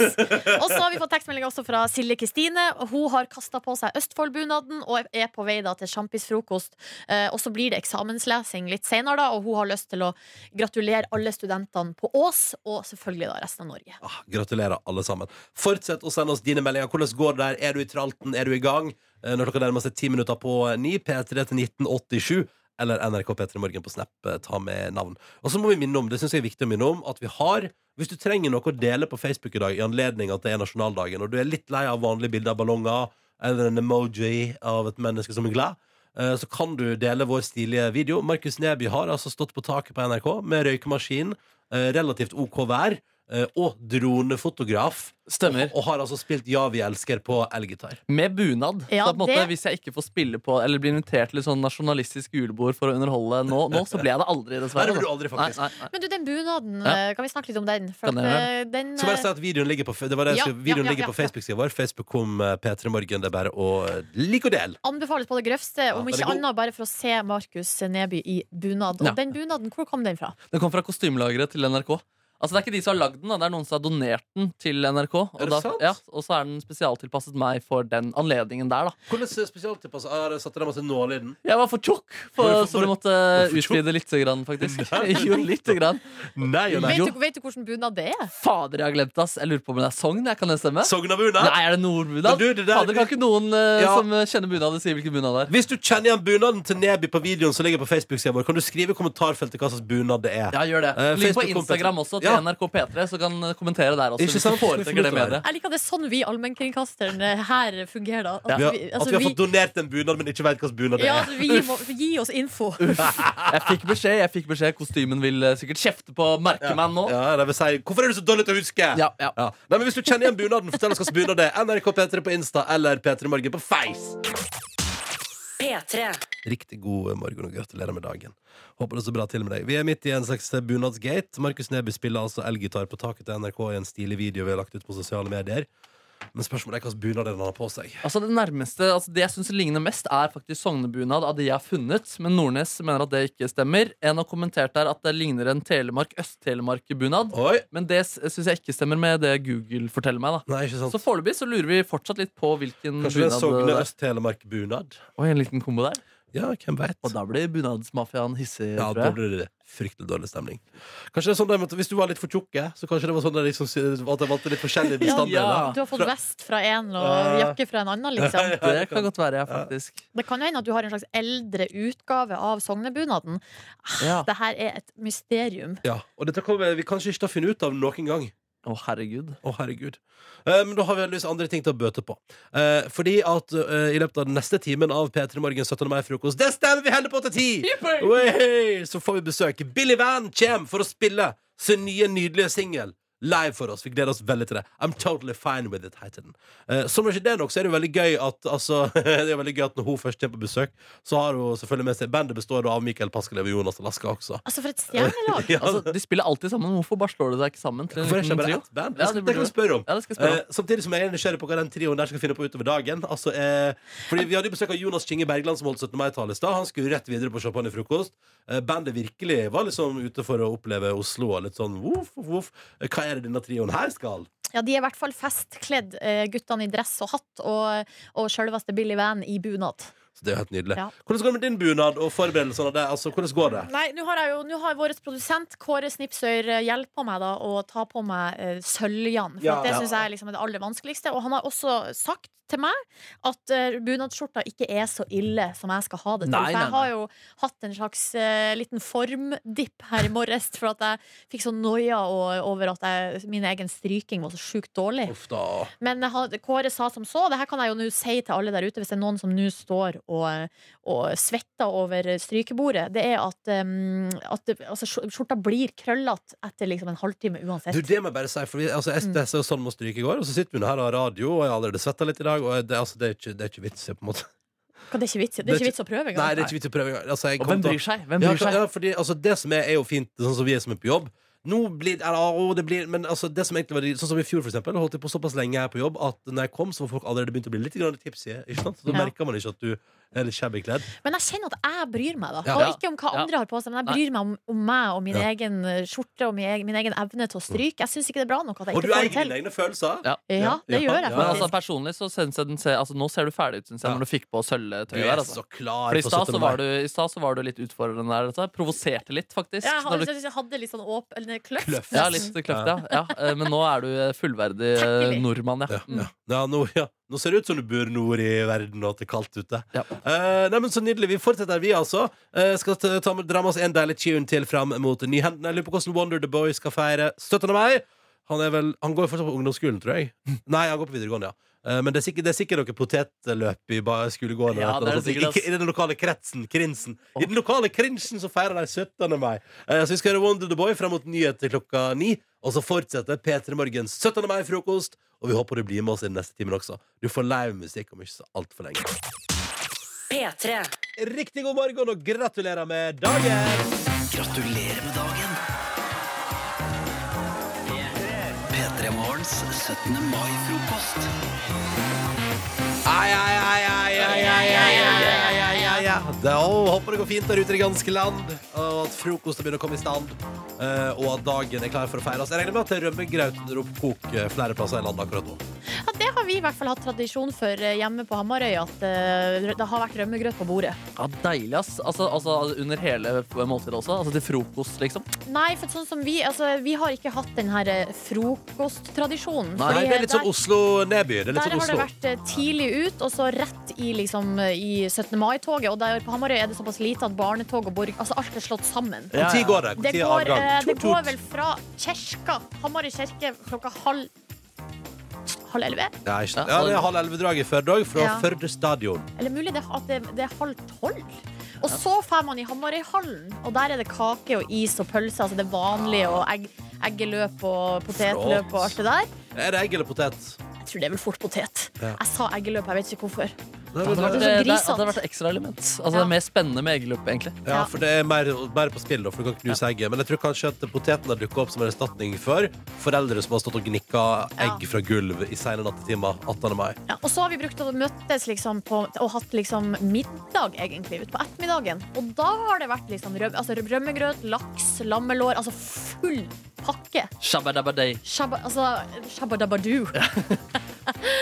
Speaker 3: Og så har vi fått tekstmelding også fra Silje Kristine. og Hun har kasta på seg Østfoldbunaden og er på vei da til sjampisfrokost. Eh, og så blir det eksamenslesing litt senere, da, og hun har lyst til å gratulere alle studentene på Ås, og selvfølgelig da resten av Norge.
Speaker 4: Ah,
Speaker 2: Gratulerer, alle sammen. Fortsett å sende oss dine meldinger. Hvordan går det der? Er du i tralten? Er du i gang? Eh, Når klokka nærmer seg ti minutter på ni, P3 til 1987. Eller NRK P3 Morgen på Snap. eh, Ta med navn. Og så må vi minne om, det synes jeg er viktig å minne om, at vi har Hvis du trenger noe å dele på Facebook i dag i anledning at det er nasjonaldagen, og du er litt lei av vanlige bilder av ballonger eller en emoji av et menneske som er glad, eh, så kan du dele vår stilige video. Markus Neby har altså stått på taket på NRK med røykemaskin, eh, relativt OK vær, eh, og dronefotograf.
Speaker 4: Stemmer.
Speaker 2: Og, og har altså spilt Ja, vi elsker på elgitar.
Speaker 4: Med bunad.
Speaker 2: Ja,
Speaker 4: så på en måte,
Speaker 2: det-
Speaker 4: Hvis jeg ikke får spille på eller blir invitert til et sånn nasjonalistisk julebord for å underholde nå, nå så blir jeg det aldri,
Speaker 2: Nei,
Speaker 4: dessverre.
Speaker 2: det blir
Speaker 4: altså.
Speaker 2: du aldri, faktisk.
Speaker 4: Nei, nei, nei.
Speaker 3: Men du, den bunaden,
Speaker 4: Ja.
Speaker 3: eh, kan vi snakke litt om den? For
Speaker 4: Kan
Speaker 3: at,
Speaker 4: jeg gjøre
Speaker 3: eh, den
Speaker 2: Så bare si at videoen ligger på, f- det var det, jeg
Speaker 3: Ja,
Speaker 2: skulle- videoen
Speaker 3: ja, ja,
Speaker 2: ligger på
Speaker 3: ja, ja.
Speaker 2: Facebook-sida vår. Facebook kom eh, P3 Morgen. Det er bare å eh, like og dele.
Speaker 3: Anbefales på det grøvste, om
Speaker 2: den er
Speaker 3: ikke
Speaker 2: god.
Speaker 3: annet bare for å se Markus Neby i bunad.
Speaker 4: Ja.
Speaker 3: Og den bunaden, hvor kom den fra?
Speaker 4: Den kom fra kostymelageret til NRK. Altså Det er ikke de som har lagd den, da. det er noen som har donert den til NRK. Og,
Speaker 2: Er det
Speaker 4: da,
Speaker 2: sant?
Speaker 4: ja, og så er den spesialtilpasset meg for den anledningen der, da.
Speaker 2: Hvordan eh, altså? spesialtilpassa har jeg satt Ah, deg masse nåler i den?
Speaker 4: Jeg var for tjukk, for,
Speaker 2: Hvorfor-
Speaker 4: så du måtte eh, utvide litt, grann, faktisk. jo, lite grann.
Speaker 2: Nei og nei.
Speaker 3: Vet du, vet du hvordan bunad det er?
Speaker 4: Fader, jeg har glemt ass. Jeg lurer på om det er Sogn? jeg Kan det stemme?
Speaker 2: Sognabunad?
Speaker 4: Nei, er det nordbunad?
Speaker 2: Men du, det der-
Speaker 4: Fader, kan ikke noen eh,
Speaker 2: Ja.
Speaker 4: som eh, kjenner bunaden, si hvilken bunad det er?
Speaker 2: Hvis du kjenner igjen bunaden til Neby på videoen som ligger på Facebook-sida vår, kan du skrive i kommentarfeltet hva slags bunad det er.
Speaker 4: Ja, gjør det.
Speaker 2: Eh,
Speaker 4: Ligg på
Speaker 2: Facebook-
Speaker 4: Instagram også, til NRK P3, så kan eh, kommentere der også.
Speaker 2: Ikke
Speaker 4: Hvis du
Speaker 2: sant?
Speaker 4: foretrekker det mediet.
Speaker 3: Jeg liker at det er sånn vi allmennkringkasterne her fungerer. da. altså,
Speaker 2: Vi har, at vi altså, har fått donert en bunad, men ikke vet hvilken bunad det
Speaker 3: ja,
Speaker 2: er.
Speaker 3: at vi må, gi oss info.
Speaker 4: Jeg fikk beskjed, jeg fikk beskjed Kostymen vil eh, sikkert kjefte på merkemann nå.
Speaker 2: Ja, det vil si, Hvorfor er du så dårlig til å huske?
Speaker 4: Ja, ja.
Speaker 2: Ja. Nei, men Hvis du kjenner igjen bunaden, fortell oss hvilken bunad det er. NRK P3 på Insta eller P3 Morgen på Face.
Speaker 1: P3.
Speaker 2: Riktig god morgen og gratulerer med dagen. Håper det står bra til med deg. Vi er midt i en slags bunadsgate. Markus Neby spiller altså elgitar på taket til NRK i en stilig video vi har lagt ut på sosiale medier. Men spørsmålet er hvilken bunad er det han har på seg.
Speaker 4: Altså Det nærmeste, altså det jeg syns ligner mest, er faktisk sognebunad av de jeg har funnet. Men Nordnes mener at det ikke stemmer. En har kommentert der at det ligner en Telemark Øst-Telemark-bunad.
Speaker 2: Oi!
Speaker 4: Men det syns jeg ikke stemmer med det Google forteller meg. da
Speaker 2: Nei, ikke sant.
Speaker 4: Så foreløpig så lurer vi fortsatt litt på hvilken eh,
Speaker 2: Kanskje det er
Speaker 4: det
Speaker 2: Sogne
Speaker 4: er.
Speaker 2: Øst-Telemark-bunad?
Speaker 4: Mm. Oi, en liten kombo der.
Speaker 2: Ja, hvem vet?
Speaker 4: Og da blir bunadsmafiaen hissig,
Speaker 2: Ja,
Speaker 4: tror
Speaker 2: da
Speaker 4: jeg.
Speaker 2: blir det fryktelig dårlig stemning. Kanskje det er sånn at Hvis du var litt for tjukke, så kanskje det var sånn at de liksom, at de valgte litt forskjellige
Speaker 4: Ja.
Speaker 2: bestanddeler.
Speaker 3: Du har fått vest fra en og jakke fra en annen, liksom.
Speaker 4: Det kan godt være, ja, faktisk.
Speaker 3: Det kan jo hende at du har en slags eldre utgave av sognebunaden. Ah,
Speaker 4: Ja.
Speaker 3: Det her er et mysterium.
Speaker 2: Ja, og dette kommer vi kanskje ikke til å finne ut av noen gang.
Speaker 4: Å, herregud.
Speaker 2: Å, herregud. Eh, Men da har vi heldigvis andre ting til å bøte på. Eh, fordi at eh, i løpet av den neste timen av P3 Morgen 17. mai-frokost Det stemmer vi hender på til ti! Wey! Så får vi besøk. Billy Van kommer for å spille sin nye, nydelige singel. Live for oss. Vi gleder oss veldig til det. I'm totally fine with it, heter den. Eh, som om ikke det er nok, så er det jo veldig gøy at altså, Det er veldig gøy at når hun først kommer på besøk, så har hun selvfølgelig med seg Bandet består da av Mikael Paskelev og Jonas Alaska også.
Speaker 3: Altså, for et stjernelag!
Speaker 2: Ja,
Speaker 4: Altså, De spiller alltid sammen. Hvorfor bare slår de seg ikke sammen? til en
Speaker 2: Hvorfor er det
Speaker 4: liten
Speaker 2: ikke bare
Speaker 4: trio?
Speaker 2: ett band?
Speaker 4: Ja,
Speaker 2: Mm, Det skal- det
Speaker 4: det
Speaker 2: kan
Speaker 4: burde
Speaker 2: vi spørre om.
Speaker 4: Ja, det skal jeg spørre om.
Speaker 2: Eh, samtidig som jeg er nysgjerrig på hva den trioen der skal finne på utover dagen. Altså, eh, fordi Vi hadde jo besøk av Jonas Kinge Bergland, som holdt 17. mai-tale i stad. Han skulle jo rett videre på champagne i frokost. Eh, bandet virkelig var liksom ute for å oppleve Oslo og litt sånn voff, voff, voff. Eh, Hva er det denne trioen her skal?
Speaker 3: Ja, de er i hvert fall festkledd, eh, guttene i dress og hatt, og, og sjølveste Billy Van i bunad.
Speaker 2: Så Det er jo helt nydelig.
Speaker 3: Ja.
Speaker 2: Hvordan går det med din bunad og forberedelsene av det? Altså, hvordan går det?
Speaker 3: Nei, nå har jeg jo, nå har vår produsent Kåre Snipsøyr eh, hjulpet meg da å ta på meg eh, søljan. For
Speaker 2: Ja.
Speaker 3: at det
Speaker 2: Ja.
Speaker 3: syns jeg er liksom det aller vanskeligste. Og han har også sagt til meg at eh, bunadsskjorta ikke er så ille som jeg skal ha det til.
Speaker 4: Nei,
Speaker 3: for jeg
Speaker 4: nei, nei.
Speaker 3: har jo hatt en slags eh, liten formdipp her i morges for at jeg fikk sånn noia og- over at jeg, min egen stryking var så sjukt dårlig.
Speaker 2: Uff da.
Speaker 3: Men han- Kåre sa som så, det her kan jeg jo nå si til alle der ute hvis det er noen som nå står og, og svetter over strykebordet, det er at, um, at det, altså, skj- skjorta blir krøllete etter liksom en halvtime uansett.
Speaker 2: Du, det må jeg bare si, for vi- altså, jeg stressa jo sånn med å stryke i går, og så sitter vi nå her og har radio, og jeg har allerede svetta litt i dag, og det, altså, det, er ikke, det er ikke vits i, på en måte.
Speaker 3: det er ikke vits, i- det er ikke vits å prøve engang.
Speaker 2: Nei, det er ikke vits i å prøve engang. Altså, jeg
Speaker 4: Og
Speaker 2: kom
Speaker 4: hvem
Speaker 2: til å-
Speaker 4: bryr seg? Hvem
Speaker 2: Ja,
Speaker 4: bryr seg?
Speaker 2: ja, fordi, altså, det som er, er jo fint, sånn som vi er som er på jobb. Nå blir, eller, å, det blir, men altså, det som egentlig var Sånn som i fjor, for eksempel. Holdt jeg på såpass lenge her på jobb at når jeg kom, så var folk allerede begynt å bli litt grann tipsige. Ikke sant? Så da
Speaker 3: Ja.
Speaker 2: merker man ikke at du er litt shabby kledd.
Speaker 3: Men jeg kjenner at jeg bryr meg, da.
Speaker 2: Ja.
Speaker 3: Og
Speaker 4: Ja.
Speaker 3: ikke om hva
Speaker 4: Ja.
Speaker 3: andre har på seg, men jeg
Speaker 4: Nei.
Speaker 3: bryr meg om, om meg og min
Speaker 2: Ja. Mm.
Speaker 3: egen eh, skjorte og min egen, min egen evne til å stryke. Jeg syns ikke det er bra nok at jeg
Speaker 2: Og du
Speaker 3: ikke får
Speaker 2: eier
Speaker 3: det til.
Speaker 2: dine egne følelser.
Speaker 4: Ja.
Speaker 3: Ja, det
Speaker 2: Ja,
Speaker 3: gjør jeg
Speaker 2: ja.
Speaker 4: Men altså
Speaker 3: faktisk.
Speaker 4: personlig så synes jeg den ser altså, Nå ser du ferdig ut, synes jeg,
Speaker 2: Ja.
Speaker 4: når du fikk
Speaker 2: Du
Speaker 4: på sølvetøyet.
Speaker 2: er
Speaker 4: der, Altså.
Speaker 2: så klar
Speaker 4: For i
Speaker 2: for
Speaker 4: stad
Speaker 2: 17.
Speaker 4: så
Speaker 2: mai.
Speaker 4: var du, i stad så var du litt utfordrende der. Altså. Provoserte litt, faktisk.
Speaker 3: Ja, Jeg
Speaker 4: når
Speaker 3: hadde,
Speaker 4: du,
Speaker 3: jeg hadde litt sånn åpen kløft.
Speaker 2: Kløft.
Speaker 4: ja, litt kløft, ja. ja. eh, Men nå er du eh, fullverdig eh,
Speaker 3: Takkelig.
Speaker 4: nordmann, ja.
Speaker 2: Ja, ja. Ja, nå, ja. nå ser det ut som du bor nord i verden, og at det er kaldt ute.
Speaker 4: Ja.
Speaker 2: Eh, nei, men Så nydelig. Vi fortsetter, vi, altså. Eh, skal ta, ta, med- dra med oss en deilig tune til fram mot Nyhendene. Jeg lurer på hvordan Wonder the Boy skal feire 17. mai. Han, er vel, han går fortsatt på ungdomsskolen, tror jeg. Nei, han går på videregående, ja. Eh, men det er sikkert, det er sikkert noe potetløp i ba- skolegården.
Speaker 4: Ja,
Speaker 2: eller noe
Speaker 4: det er det
Speaker 2: sånt.
Speaker 4: sikkert,
Speaker 2: I, I den lokale kretsen. Krinsen. I den lokale krinsen så feirer de 17. mai. Eh, så vi skal høre Wonder the Boy fram mot nyheter klokka ni. Og så fortsetter P3 Morgens 17. mai-frokost. Og vi håper du blir med oss i den neste timen også. Du får live musikk om ikke så altfor lenge.
Speaker 1: P3.
Speaker 2: Riktig god morgen og gratulerer med dagen!
Speaker 9: Gratulerer med dagen P3 Morgens 17. mai-frokost
Speaker 2: Ai, ai, ai, ai, ai, ai, ai, ai, ai, ai, ai, ai. Da håper det går fint der ute i det ganske land, og at frokosten begynner å komme i stand. eh, Og at dagen er klar for å feires. Jeg regner med at det er rømmegrauten roper kok eh, flere plasser i landet akkurat nå.
Speaker 3: Ja, det har vi i hvert fall hatt tradisjon for eh, hjemme på Hamarøy, at eh, det har vært rømmegrøt på bordet.
Speaker 4: Ja, Deilig, ass. Altså, altså, under hele måltidet også. Altså til frokost, liksom.
Speaker 3: Nei, for sånn som vi altså, Vi har ikke hatt den her eh, frokosttradisjonen.
Speaker 2: Nei,
Speaker 3: fordi
Speaker 2: det er litt sånn
Speaker 3: der-
Speaker 2: Oslo-nedby. Det er
Speaker 3: Der
Speaker 2: litt sånn
Speaker 3: har det
Speaker 2: Oslo.
Speaker 3: vært eh, tidlig ut, og så rett i, liksom, eh, i 17. mai-toget. Og der på Hamarøy er det såpass lite at barnetog og borg Altså alt er slått sammen.
Speaker 2: Hvor tid går det? Hvor
Speaker 3: Det
Speaker 2: tid er
Speaker 3: går,
Speaker 2: avgang?
Speaker 3: eh, det
Speaker 2: Tut, tut.
Speaker 3: går vel fra kirka, Hamarøy kirke, klokka halv Halv elleve?
Speaker 2: Ja, ikke sant. ja, det er halv elleve-draget i Førde òg, fra
Speaker 3: Ja.
Speaker 2: Førde stadion.
Speaker 3: Eller mulig det, at det, det er halv tolv? Og så drar man i Hamarøyhallen, og der er det kake og is og pølse. Altså det vanlige, og egg, eggeløp og potetløp og alt det der.
Speaker 2: Er det egg eller potet?
Speaker 3: Jeg tror det er vel fort potet.
Speaker 2: Ja.
Speaker 3: Jeg sa eggeløp, jeg vet ikke hvorfor.
Speaker 2: Nei,
Speaker 4: Det
Speaker 2: men
Speaker 4: hadde vært, eh,
Speaker 3: Det er så
Speaker 4: det- det
Speaker 3: grisete.
Speaker 4: hadde vært ekstra element. Altså, Det
Speaker 3: Ja.
Speaker 4: er mer spennende med eggeløp, egentlig.
Speaker 2: Ja, for det er mer, mer på spill, da, for du kan knuse egget. Men jeg tror kanskje at poteten har dukka opp som en erstatning for foreldre som har stått og gnikka egg fra gulv i sene nattetimer 18. mai.
Speaker 3: Ja, og så har vi brukt å møttes liksom på, og hatt liksom middag egentlig ut på ettermiddagen. Og da har det vært liksom røm, altså rømmegrøt, laks, lammelår, altså full pakke.
Speaker 4: Shabba-dabba-day.
Speaker 3: Shabba, altså, shabba-dabba-doo.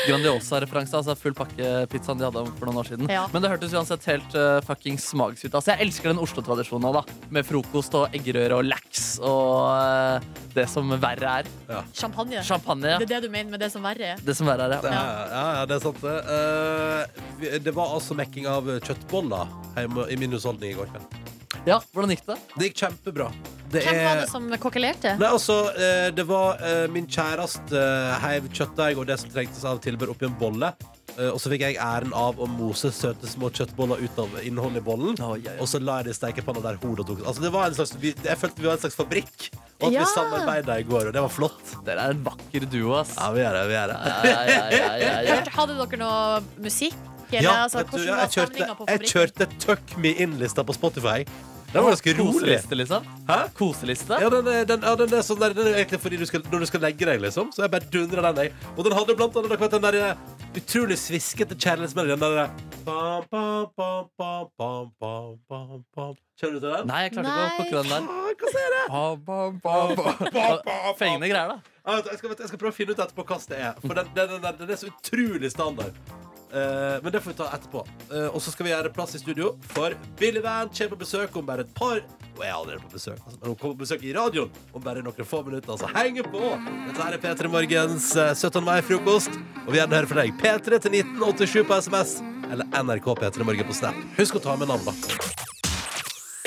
Speaker 4: Grandiosa-referanse. altså Full pakke-pizzaen de hadde for noen år siden.
Speaker 3: Ja.
Speaker 4: Men det hørtes uansett helt uh, fuckings magisk ut. Altså, Jeg elsker den Oslo-tradisjonen nå, da. Med frokost og eggerøre og laks og eh, det som verre er.
Speaker 3: Champagne.
Speaker 4: Champagne, ja.
Speaker 3: Det er det du mener med det som verre er.
Speaker 4: Det som verre er,
Speaker 2: Det,
Speaker 4: ja.
Speaker 2: er- ja, ja, det er sant, det. Eh, vi- det var altså mekking av kjøttboller hjemme i min husholdning i går kveld.
Speaker 4: ja. Hvordan gikk det?
Speaker 2: Det gikk kjempebra. Det
Speaker 3: Hvem var
Speaker 2: er-
Speaker 3: det som kokkelerte?
Speaker 2: Nei, altså, eh, det var eh, min kjæreste eh, heiv kjøttdeig og det som trengtes av tilbør oppi en bolle. Eh, og så fikk jeg æren av å mose søte små kjøttboller ut av innholdet i bollen.
Speaker 4: Oi, oi, oi.
Speaker 2: Og så la jeg det i stekepanna der hodet tok altså, det var en slags, vi, Jeg følte vi var en slags fabrikk, og at
Speaker 3: Ja.
Speaker 2: vi samarbeida i går, og det var flott.
Speaker 4: Dere er en vakker duo, ass.
Speaker 2: Ja, vi gjør det. vi gjør det
Speaker 4: Ja, ja, ja, ja, ja.
Speaker 3: Hørte- Hadde dere noe musikk? Eller,
Speaker 2: Ja,
Speaker 3: altså,
Speaker 2: vet du,
Speaker 3: hvordan
Speaker 2: ja,
Speaker 3: var
Speaker 2: jeg,
Speaker 3: stemninga
Speaker 2: kjørte,
Speaker 3: på
Speaker 2: jeg
Speaker 3: fabrikken?
Speaker 2: kjørte Tuck Me In-lista på Spotify. Den var ganske rolig.
Speaker 4: Koseliste, liksom?
Speaker 2: Hæ?
Speaker 4: Koseliste?
Speaker 2: Ja, den, er- den, ja, den er sånn der, den er egentlig fordi du skal, når du skal legge deg, liksom. Så jeg bare dundrer den, jeg. Og den hadde blant annet dere vet, den der eh, utrolig sviskete kjærlighetsmelodien. Den der eh, bam, bam, bam, bam, bam, bam, bam, bam. Kjenner du til den?
Speaker 4: Nei, jeg klarte ikke å
Speaker 3: Nei.
Speaker 4: plukke den der.
Speaker 2: Ah, hva sier jeg?
Speaker 4: Ba, ba, ba, ba. Fengende greier, da.
Speaker 2: Ah, vet du, Jeg skal, vet du, jeg skal prøve å finne ut etterpå hva det er. For den, den, den, den, den er så utrolig standard. Eh, men det får vi ta etterpå. Eh, og så skal vi gjøre plass i studio, for Billy Van kommer på besøk om bare et par Hun er allerede på besøk, altså, men hun kommer på besøk i radioen om bare noen få minutter. Så henge på! Dette her er P3 Morgens eh, 17. mai-frokost. Og vi gjerne hører fra deg. P3 til 1987 på SMS eller NRK P3 Morgen på Snap. Husk å ta med navn, da.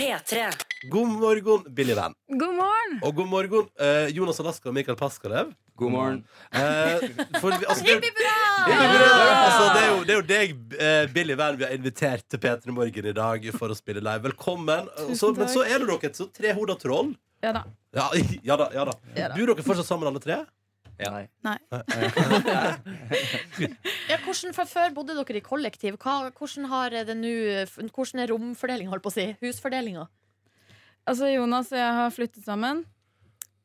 Speaker 1: P3.
Speaker 2: God morgen, Billy Van.
Speaker 11: God morgen!
Speaker 2: Og god morgen, eh, Jonas Alaska og Mikael Paskalev.
Speaker 8: God morgen.
Speaker 2: Eh, for vi, altså, det,
Speaker 3: Bra!
Speaker 2: Ja! Altså, det, er jo, det er jo deg, eh, Billy Vann, vi har invitert til P3 Morgen i dag for å spille live. Velkommen. Og Så,
Speaker 11: Tusen
Speaker 2: men
Speaker 11: takk.
Speaker 2: så er det dere et så trehoda troll.
Speaker 11: Ja da.
Speaker 2: Ja, ja da. ja da
Speaker 11: Ja da.
Speaker 2: Bor dere fortsatt sammen, alle tre?
Speaker 3: Ja, hvordan, fra før bodde dere i kollektiv. Hva, hvordan, har det nå, hvordan er romfordelinga, holdt på å si? Husfordelinga?
Speaker 11: Altså, Jonas og jeg har flyttet sammen.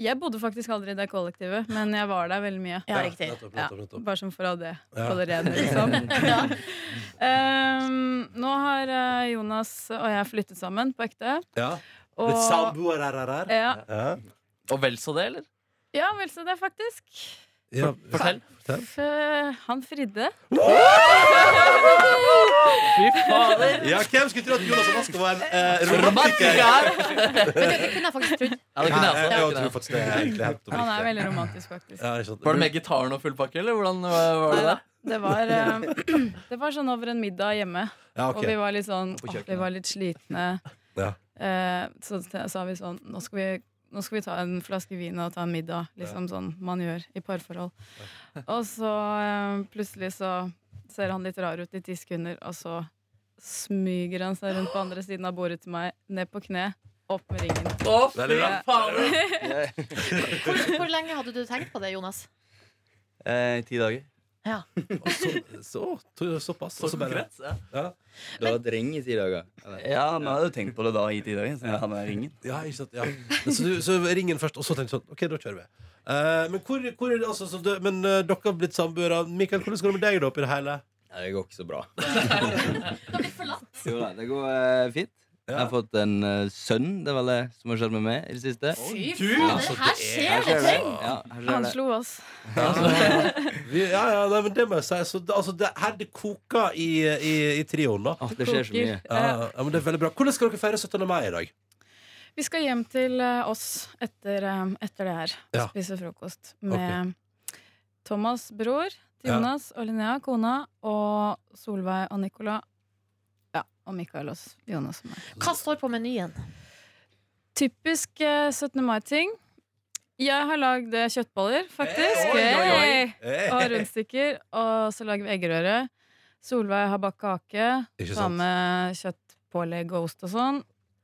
Speaker 11: Jeg bodde faktisk aldri i det kollektivet, men jeg var der veldig mye.
Speaker 3: Ja, riktig.
Speaker 2: nettopp,
Speaker 11: Ja,
Speaker 2: nettopp, nettopp.
Speaker 11: bare som for å ha det
Speaker 2: Ja.
Speaker 11: på det rene, liksom.
Speaker 3: Ja.
Speaker 11: Ehm, nå har eh, Jonas og jeg flyttet sammen på ekte.
Speaker 2: Ja.
Speaker 11: Og,
Speaker 2: Litt samboer her, her, her.
Speaker 11: ja,
Speaker 2: Ja.
Speaker 4: Og vel så det, eller?
Speaker 11: ja, vel så det, faktisk.
Speaker 2: Ja.
Speaker 4: Fortell.
Speaker 11: F- eh, han fridde.
Speaker 4: Fy fader.
Speaker 2: ja, hvem skulle tro at Jonas Alaska var en eh, romantiker?
Speaker 4: Romantiker!
Speaker 3: Vet du, det kunne jeg faktisk trodd.
Speaker 4: Ja, det
Speaker 2: Nei,
Speaker 4: kunne
Speaker 2: jeg, jeg,
Speaker 4: jeg også. det
Speaker 2: tror
Speaker 4: kunne jeg.
Speaker 2: faktisk det er egentlig helt
Speaker 11: Han er
Speaker 2: oppriktig.
Speaker 11: veldig romantisk, faktisk.
Speaker 2: Ja, ikke sant.
Speaker 4: Var det med gitaren og full pakke, eller hvordan øh, var det der?
Speaker 11: Det var, eh, det var sånn over en middag hjemme,
Speaker 2: Ja, ok.
Speaker 11: og vi var litt sånn
Speaker 2: På
Speaker 11: åh,
Speaker 2: kjøkkenet.
Speaker 11: Vi var litt slitne.
Speaker 2: Ja.
Speaker 11: Eh, så t- sa vi sånn nå skal vi, nå skal vi ta en flaske vin og ta en middag. Liksom sånn man gjør i parforhold. Og så eh, plutselig så ser han litt rar ut i ti sekunder, og så smyger han seg rundt på andre siden av bordet til meg, ned på kne, opp med ringen.
Speaker 4: Å,
Speaker 2: Veldig bra.
Speaker 4: fy fader.
Speaker 3: Hvor, hvor lenge hadde du tenkt på det, Jonas?
Speaker 8: Eh, ti dager.
Speaker 2: Og så, så, to, såpass. og
Speaker 4: Så
Speaker 2: så bare-
Speaker 4: konkret. Ja.
Speaker 8: Du har hatt ring i ti dager? Ja, men jeg hadde jo tenkt på det da i ti dager. Så jeg hadde den ringen
Speaker 2: Ja, ikke sant, ja. Men Så, du, så ringen først, og så tenkte du sånn OK, da kjører vi. Eh, men hvor, hvor er det, altså, så det, men eh, dere har blitt samboere. Mikael, hvordan går det med deg da oppi det hele?
Speaker 12: Nei, Det går ikke så bra.
Speaker 3: Du har blitt forlatt.
Speaker 12: Jo da, det går eh, fint. Jeg har fått en eh, sønn, det er vel det som har skjedd med meg i det siste.
Speaker 11: Fy faen,
Speaker 8: altså,
Speaker 12: Altså,
Speaker 11: det her skjer det ting!
Speaker 12: Ja, her skjer
Speaker 11: Han
Speaker 12: det.
Speaker 11: slo oss. eh,
Speaker 2: Vi, ja, ja, nei, men det må jeg si. Så, det- altså, det, her det koker i, i, i trioen, da.
Speaker 12: Ah, det skjer så mye.
Speaker 2: Ja, ja, ja, men det er veldig bra. Hvordan skal dere feire 17. mai i dag?
Speaker 11: Vi skal hjem til eh, oss etter, eh, etter det her.
Speaker 2: Ja.
Speaker 11: Spise frokost med Thomas, bror, til
Speaker 2: Ja.
Speaker 11: Jonas og Linnea, kona, og Solveig og Nicola. Ja, og Mikael og s- Jonas og meg.
Speaker 3: Hva står på menyen?
Speaker 11: Typisk eh, 17. mai-ting. Jeg har lagd eh, kjøttboller, faktisk.
Speaker 3: Hey, oi, oi, oi.
Speaker 11: Hey. Og rundstykker. Og så lager vi eggerøre. Solveig har bakt kake.
Speaker 3: Ikke
Speaker 11: Tar
Speaker 3: sant.
Speaker 11: med kjøttpålegg og ost og sånn.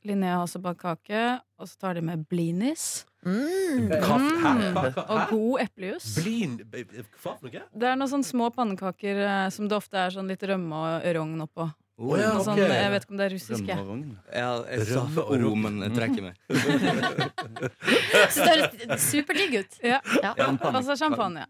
Speaker 11: Linnea har også bakt kake. Og så tar de med blinis.
Speaker 2: Mm. Hva- hæ? Hva- hva- hæ?
Speaker 11: Mm. Og god eplejus.
Speaker 2: Blin b- b- Hva for noe?
Speaker 11: Det er noen sånne små pannekaker eh, som det ofte er sånn litt rømme og rogn oppå.
Speaker 12: Å, ja,
Speaker 11: Noe
Speaker 12: ok.
Speaker 11: sånn, jeg vet ikke om det er russisk, jeg.
Speaker 12: Ja, jeg sa
Speaker 2: Rømme og
Speaker 12: O,
Speaker 2: rogn.
Speaker 12: men jeg trekker meg.
Speaker 11: Så det høres superdigg ut. Ja.
Speaker 2: Champagne.
Speaker 11: Altså champagne.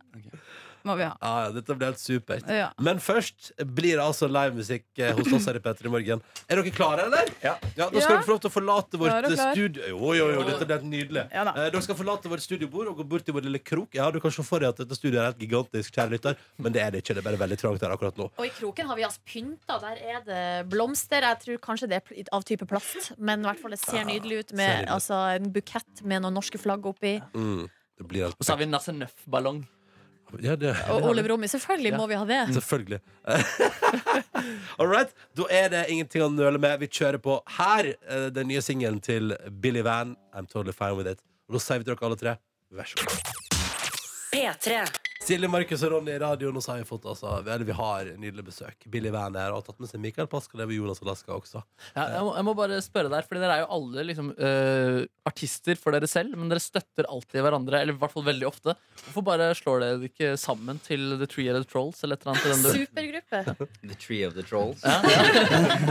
Speaker 11: Må vi ha.
Speaker 2: Ja, ja, dette blir helt supert.
Speaker 11: Ja.
Speaker 2: Men først blir det altså livemusikk eh, hos oss her i Petter i morgen. Er dere klare, eller? Ja. da skal
Speaker 11: Ja.
Speaker 2: dere få lov til å forlate
Speaker 11: Klar
Speaker 2: vårt
Speaker 11: og klar.
Speaker 2: studio Jo, jo, jo, dette blir helt nydelig.
Speaker 11: Ja da.
Speaker 2: Eh, dere skal forlate vårt studiobord og gå bort til vår lille krok. Ja, du kan se for deg at dette studioet er helt gigantisk, kjære lytter, men det er det ikke. Det er bare veldig trangt her akkurat nå.
Speaker 3: Og i kroken har vi altså pynta. Der er det blomster. Jeg tror kanskje det er pl- av type plast, men i hvert fall det ser nydelig ut
Speaker 2: ser
Speaker 3: med
Speaker 2: nydelig ut.
Speaker 3: altså, en bukett med noen norske flagg oppi.
Speaker 2: Mm. Det blir helt
Speaker 13: Og så har vi en Nasse Nøff-ballong.
Speaker 2: ja, det,
Speaker 3: Og Ole Brumm. Selvfølgelig må vi ha det.
Speaker 2: Selvfølgelig. All right. Da er det ingenting å nøle med. Vi kjører på her, eh, den nye singelen til Billy Van. I'm totally fine with it. Og da sier vi til dere alle tre, vær så god.
Speaker 1: P3.
Speaker 2: Silje, Markus og Ronny i radioen, og så har vi fått altså, eller vi har nydelig besøk. Billy Van er her, og har tatt med seg Mikael Paskal og Jonas Alaska også.
Speaker 13: Ja, jeg, må, jeg må bare spørre der, for dere er jo alle liksom, øh, artister for dere selv, men dere støtter alltid hverandre, eller i hvert fall veldig ofte. Hvorfor bare slår dere ikke sammen til The Three Headed Trolls eller et eller annet? i den
Speaker 3: Supergruppe.
Speaker 12: The Tree of the Trolls.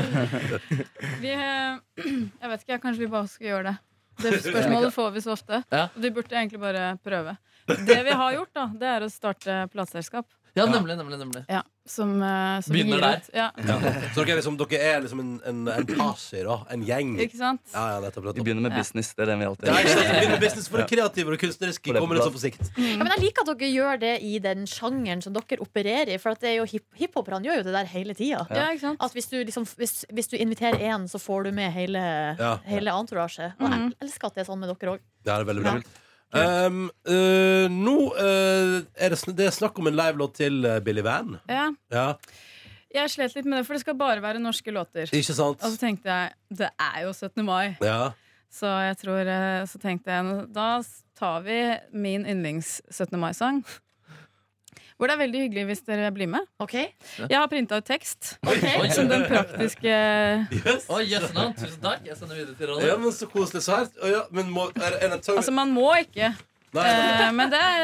Speaker 11: Vi, eh, jeg vet ikke, kanskje vi bare skal gjøre det. Det spørsmålet får vi så ofte.
Speaker 13: Ja.
Speaker 11: Og vi burde egentlig bare prøve. Det vi har gjort, da, det er å starte plateselskap.
Speaker 13: du- Ja, nemlig, nemlig, nemlig.
Speaker 11: Ja, som, eh, som
Speaker 2: Begynner
Speaker 11: gir
Speaker 2: der.
Speaker 11: ut. Ja.
Speaker 2: Ja. Så dere er liksom, dere er liksom en, en, en pasi, da. En gjeng.
Speaker 11: Ikke sant?
Speaker 2: Ja, ja, nettopp, nettopp.
Speaker 8: Vi begynner med business. Det er den vi alltid
Speaker 2: Ja, ikke sant? Vi begynner med business for det kreative og det kunstneriske. Kommer liksom på sikt.
Speaker 3: Ja, men jeg liker at dere gjør det i den sjangeren som dere opererer i. For at det er jo hip hiphoperne gjør jo det der hele tida.
Speaker 2: Ja. Ja,
Speaker 3: At hvis du, liksom, hvis, hvis du inviterer én, så får du med hele,
Speaker 2: Ja. Mm.
Speaker 3: hele entourage. Og jeg elsker at det er sånn med dere òg.
Speaker 2: Det er veldig bra. Um, eh, nå eh, er det, sn det er snakk om en livelåt til eh, Billy Van.
Speaker 11: Ja.
Speaker 2: Ja,
Speaker 11: Jeg slet litt med det, for det skal bare være norske låter.
Speaker 2: Ikke sant?
Speaker 11: Og så tenkte jeg, det er jo 17. mai.
Speaker 2: ja.
Speaker 11: Så jeg tror, eh, så tenkte jeg Da tar vi min yndlings 17. mai-sang Hvor det er veldig hyggelig hvis dere blir med Jeg har printet ut tekst Som den praktiske
Speaker 2: Yes.
Speaker 13: Oi, jøss, nå. Tusen takk. Jeg sender videre til Ronny.
Speaker 2: ja, men så koselig. Så her. Å ja, men må, er, er det en tung
Speaker 11: Altså man må ikke
Speaker 2: Nei,
Speaker 11: eh,
Speaker 2: nei.
Speaker 11: Men det er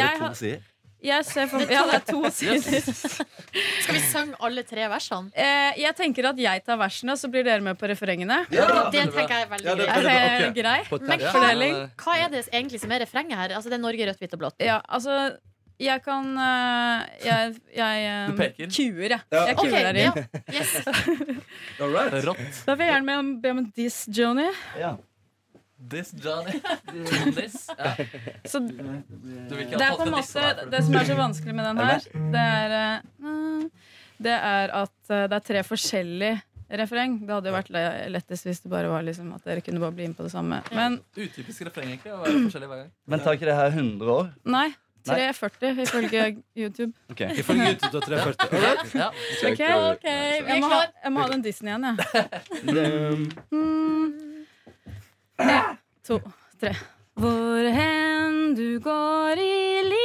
Speaker 11: jeg, har-
Speaker 2: sider?
Speaker 11: jeg ser for Ja, det er to sider
Speaker 3: Skal vi synge alle tre versene?
Speaker 11: Eh, jeg tenker at jeg tar versene, så blir dere med på referengene.
Speaker 3: Ja, det tenker jeg er veldig Ja, det er greit. veldig bra,
Speaker 11: Er det
Speaker 3: ok.
Speaker 11: grei?
Speaker 3: På
Speaker 11: Men
Speaker 3: terpen.
Speaker 11: fordeling.
Speaker 3: Hva er det egentlig som er refrenget her? Altså, det er Norge rødt, hvitt og blått.
Speaker 11: Ja, altså jeg kan eh, Jeg, jeg eh,
Speaker 13: Du peker.
Speaker 11: kuer, jeg.
Speaker 13: Ja.
Speaker 11: Jeg
Speaker 13: Ok,
Speaker 11: kuer deg
Speaker 13: ja.
Speaker 11: i.
Speaker 2: All right.
Speaker 13: Rått.
Speaker 11: Da vil jeg gjerne be om- be om en diss, Joni.
Speaker 13: This Johnny. This. Ja.
Speaker 11: Så
Speaker 13: Du vil ikke
Speaker 11: Det
Speaker 13: ha
Speaker 11: er på
Speaker 13: fått
Speaker 11: en
Speaker 13: med
Speaker 11: måte
Speaker 13: dissen her, for
Speaker 11: Det som er så vanskelig med den
Speaker 13: Er
Speaker 11: her,
Speaker 13: det
Speaker 11: det er eh, Det er at eh, det er tre forskjellige refreng. Det hadde jo vært le- lettest hvis det bare var liksom at dere kunne bare bli med på det samme. Men
Speaker 13: Utypisk refreng, egentlig. å være forskjellig hver gang.
Speaker 12: Men tar ikke det her 100 år?
Speaker 11: nei. 3,40 ifølge YouTube.
Speaker 12: Ok.
Speaker 2: Ifølge YouTube tar 340. All right.
Speaker 13: Ja.
Speaker 11: Ok, ok, Jeg må ha, jeg må ha den Disney igjen, jeg. En, to, tre. Hvor hen du går i li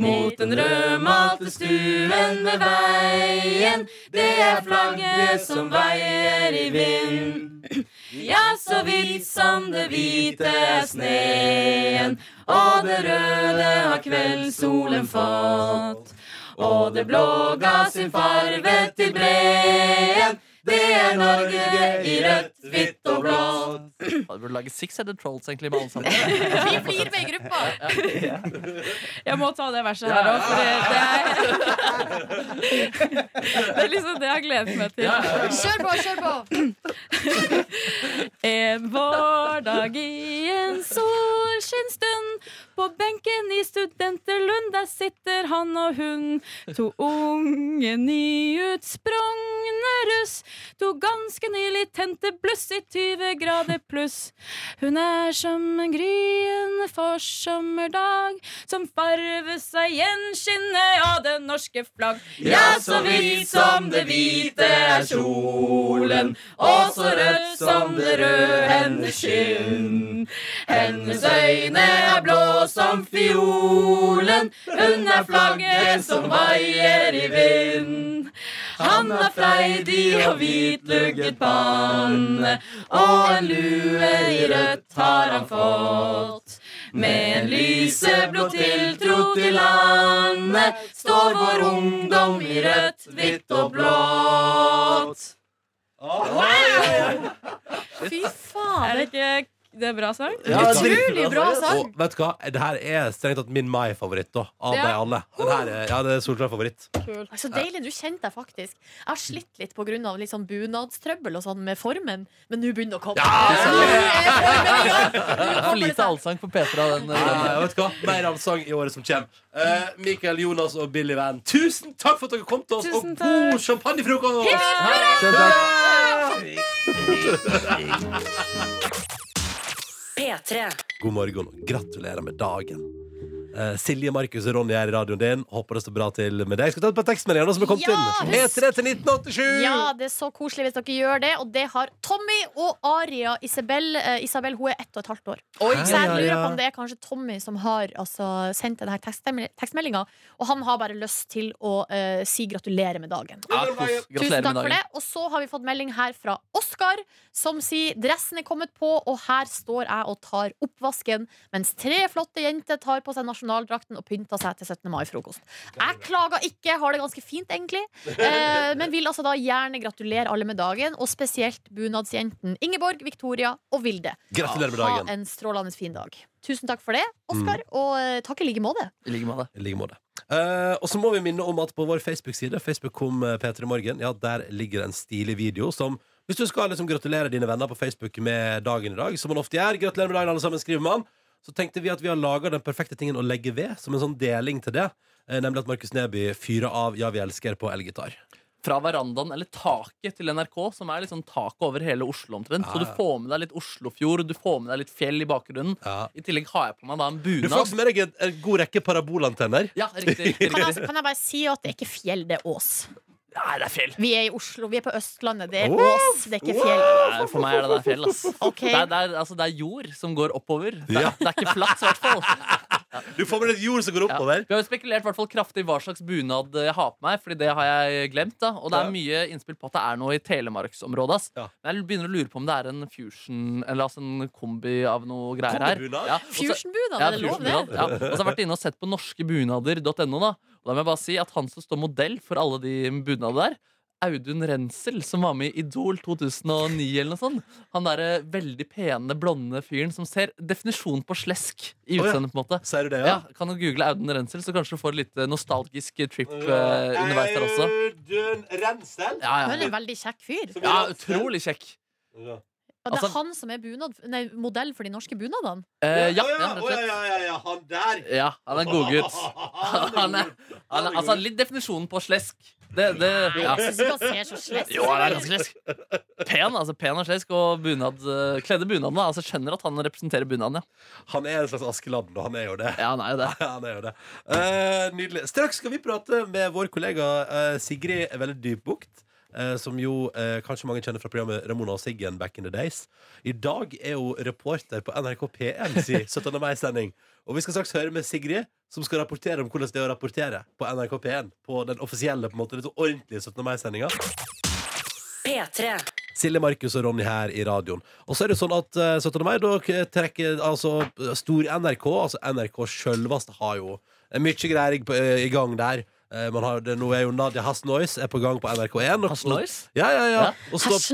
Speaker 14: mot den rødmalte stuen ved veien. Det er flagget som veier i vind. Ja, så hvit som det hvite er sneen, og det røde har kveldssolen fått. Og det blå ga sin farve til breen. Det er Norge i rødt, hvitt og blått.
Speaker 4: Ja, Du burde lage six-headed trolls egentlig med alle sammen.
Speaker 15: Vi blir med i gruppa! Jeg må ta det verset her òg, for det er Det er liksom det jeg har gledet meg til.
Speaker 14: Kjør på, kjør på!
Speaker 15: En vårdag i en solskinnsstund. På benken i Studenterlund, der sitter han og hun. To unge, nyutsprungne russ. To ganske nylig tente bluss i 20 grader pluss. Hun er som en gryende forsommerdag, som farves av gjenskinnet av det norske flagg.
Speaker 14: Ja, så hvit som det hvite er kjolen, og så rødt som det røde hennes skinn. Hennes øyne er blå som fiolen, hun er flagget som vaier i vind. Han har freidig og hvitlugget panne, og en lue i rødt har han fått. Med en lyseblå tiltro til landet står vår ungdom i rødt, hvitt og blått.
Speaker 15: Fy faen! Er det ikke det er bra sang?
Speaker 2: Ja,
Speaker 15: Utrolig
Speaker 2: dritbra.
Speaker 15: bra sang.
Speaker 2: Og vet du hva? Det her er strengt tatt min my-favoritt da, av
Speaker 3: Ja.
Speaker 2: de alle. Den her er, ja, det er solklar favoritt.
Speaker 3: Nei, Så Altså, deilig. Du kjente deg faktisk. Jeg har slitt litt pga. Litt sånn bunadstrøbbel og sånn med formen, men nå begynner det å komme. Så nå er formen i gang.
Speaker 4: For lite allsang på Petra. Den,
Speaker 2: Ja, vet du hva? Mer allsang i året som kommer. Eh, Mikael, Jonas og Billy Van, tusen takk for at dere kom til oss,
Speaker 14: Tusen
Speaker 2: og god champagnefrokost!
Speaker 14: Hipp, hipp,
Speaker 16: P3.
Speaker 2: God morgen og gratulerer med dagen. Eh, Silje, Markus og Ronny er i radioen din. Håper det står bra til med deg. Skal vi ta et par tekstmeldinger da, som er kommet
Speaker 3: Ja,
Speaker 2: inn?
Speaker 3: husk-
Speaker 2: E3 til 1987!
Speaker 3: Ja, det er så koselig hvis dere gjør det. Og det har Tommy og Aria Isabel. Eh, Isabel hun er ett og et halvt år.
Speaker 14: Oi.
Speaker 3: så jeg
Speaker 14: Ja, ja,
Speaker 3: lurer
Speaker 14: ja.
Speaker 3: på om det er kanskje Tommy som har altså, sendt denne tekstmeldinga. Og han har bare lyst til å eh, si gratulerer med dagen.
Speaker 14: Ja, kos.
Speaker 3: Tusen
Speaker 14: Gratulerer
Speaker 3: takk
Speaker 14: med
Speaker 3: for
Speaker 14: dagen.
Speaker 3: det. Og så har vi fått melding her fra Oskar, som sier dressen er kommet på, og her står jeg og tar oppvasken, mens tre flotte jenter tar på seg nasjonaldrakten og pynter seg til 17. mai-frokost. Jeg klager ikke, har det ganske fint, egentlig. Eh, men vil altså da gjerne gratulere alle med dagen, og spesielt bunadsjenten Ingeborg, Victoria og Vilde.
Speaker 2: Gratulerer med dagen. Mm.
Speaker 3: Ha en strålende fin dag. Tusen takk for det, Oskar, og eh, takk i like måte.
Speaker 2: I like måte. Eh, og så må vi minne om at på vår Facebook-side, Facebook kom eh, P3 Morgen, ja, der ligger det en stilig video som Hvis du skal liksom gratulere dine venner på Facebook med dagen i dag, som man ofte gjør, gratulerer med dagen, alle sammen, skriver man, så tenkte vi at vi har laga den perfekte tingen å legge ved, som en sånn deling til det, eh, nemlig at Markus Neby fyrer av Ja, vi elsker på elgitar.
Speaker 4: fra verandaen eller taket til NRK, som er liksom taket over hele Oslo omtrent.
Speaker 2: Ja,
Speaker 4: Så du
Speaker 2: ja.
Speaker 4: får med deg litt Oslofjord, du får med deg litt fjell i bakgrunnen. I tillegg har jeg på meg da en
Speaker 2: Du får
Speaker 4: bunad.
Speaker 2: også med deg en, en god rekke parabolantenner.
Speaker 4: Ja, riktig.
Speaker 3: Kan jeg, kan jeg bare si at det er ikke fjell, det er ås.
Speaker 4: Nei, det er fjell.
Speaker 3: Vi er i Oslo, vi er på Østlandet. Det er
Speaker 4: Wow!
Speaker 3: ås, det er ikke fjell.
Speaker 4: Nei, for meg er det der fjell, ass.
Speaker 3: Ok.
Speaker 4: Det, er, det, er, altså, det er jord som går oppover. Det, er-
Speaker 2: Ja.
Speaker 4: det er ikke flatt, i hvert fall.
Speaker 2: Du får med deg jord som går oppover.
Speaker 4: Vi har jo spekulert i hvert fall kraftig hva slags bunad eh, jeg har på meg, Fordi det har jeg glemt. da Og det
Speaker 2: Ja.
Speaker 4: er mye innspill på at det er noe i telemarksområdet. ass. Men jeg begynner å lure på om det er en fusion, eller altså en kombi av noe greier her.
Speaker 14: Kombibunad?
Speaker 4: Ja, og så-
Speaker 14: Fusionbunad, er det lov, det?
Speaker 4: fusionbunad, Ja. Og så har jeg vært inne og sett på norskebunader.no. da Og da må jeg bare si at han som står modell for alle de bunadene der, Audun Rensel, som var med i Idol 2009 eller noe sånt. Han derre veldig pene, blonde fyren som ser definisjon på slesk
Speaker 2: Å,
Speaker 4: i
Speaker 2: ja.
Speaker 4: utseendet, på en måte.
Speaker 2: Ser du det,
Speaker 4: ja? Kan du google Audun Rensel, så kanskje du får litt eh, nostalgisk trip eh, underveis der også.
Speaker 2: Audun Rensel?
Speaker 4: Ja,
Speaker 3: Han er en
Speaker 4: ja.
Speaker 3: veldig kjekk fyr.
Speaker 4: ja, utrolig kjekk.
Speaker 3: Og det
Speaker 4: Altså-
Speaker 3: er han som er bunad, nei, modell for de norske bunadene.
Speaker 4: Eh, ja, ja, rett og slett.
Speaker 2: han der.
Speaker 4: Ja, han er en godgutt. Han er, han er, altså, litt definisjonen på slesk. Det, det, ja.
Speaker 14: jeg synes ikke han ser så slesk ut.
Speaker 4: Jo, han er ganske slesk. Pen, altså, pen og slesk, og bunad, eh, kledde bunaden. da. Altså, skjønner at han representerer bunaden, ja.
Speaker 2: Han er en slags Askeladden, og han er jo det.
Speaker 4: Ja, han er jo det.
Speaker 2: Han er jo det. Eh, nydelig. Straks skal vi prate med vår kollega eh, Sigrid Velle Dybbukt. eh, som jo eh, kanskje mange kjenner fra programmet Ramona og Siggen back in the days. I dag er hun reporter på NRK P1 si 17. mai-sending. Og vi skal straks høre med Sigrid, som skal rapportere om hvordan det er å rapportere på NRK P1. På den offisielle, på en måte, litt sånn ordentlige 17. mai-sendinga.
Speaker 1: P3.
Speaker 2: Silje, Markus og Ronny her i radioen. Og så er det jo sånn at eh, 17. mai, da k- trekker altså Stor-NRK, altså NRK sjølveste, har jo eh, mye greier i, eh, i gang der. Eh, Man har, det, nå er jo Nadia Hasnois er på gang på NRK1. og-
Speaker 13: Hasnois?
Speaker 2: Ja, ja, ja.
Speaker 13: Ja.
Speaker 2: Og står-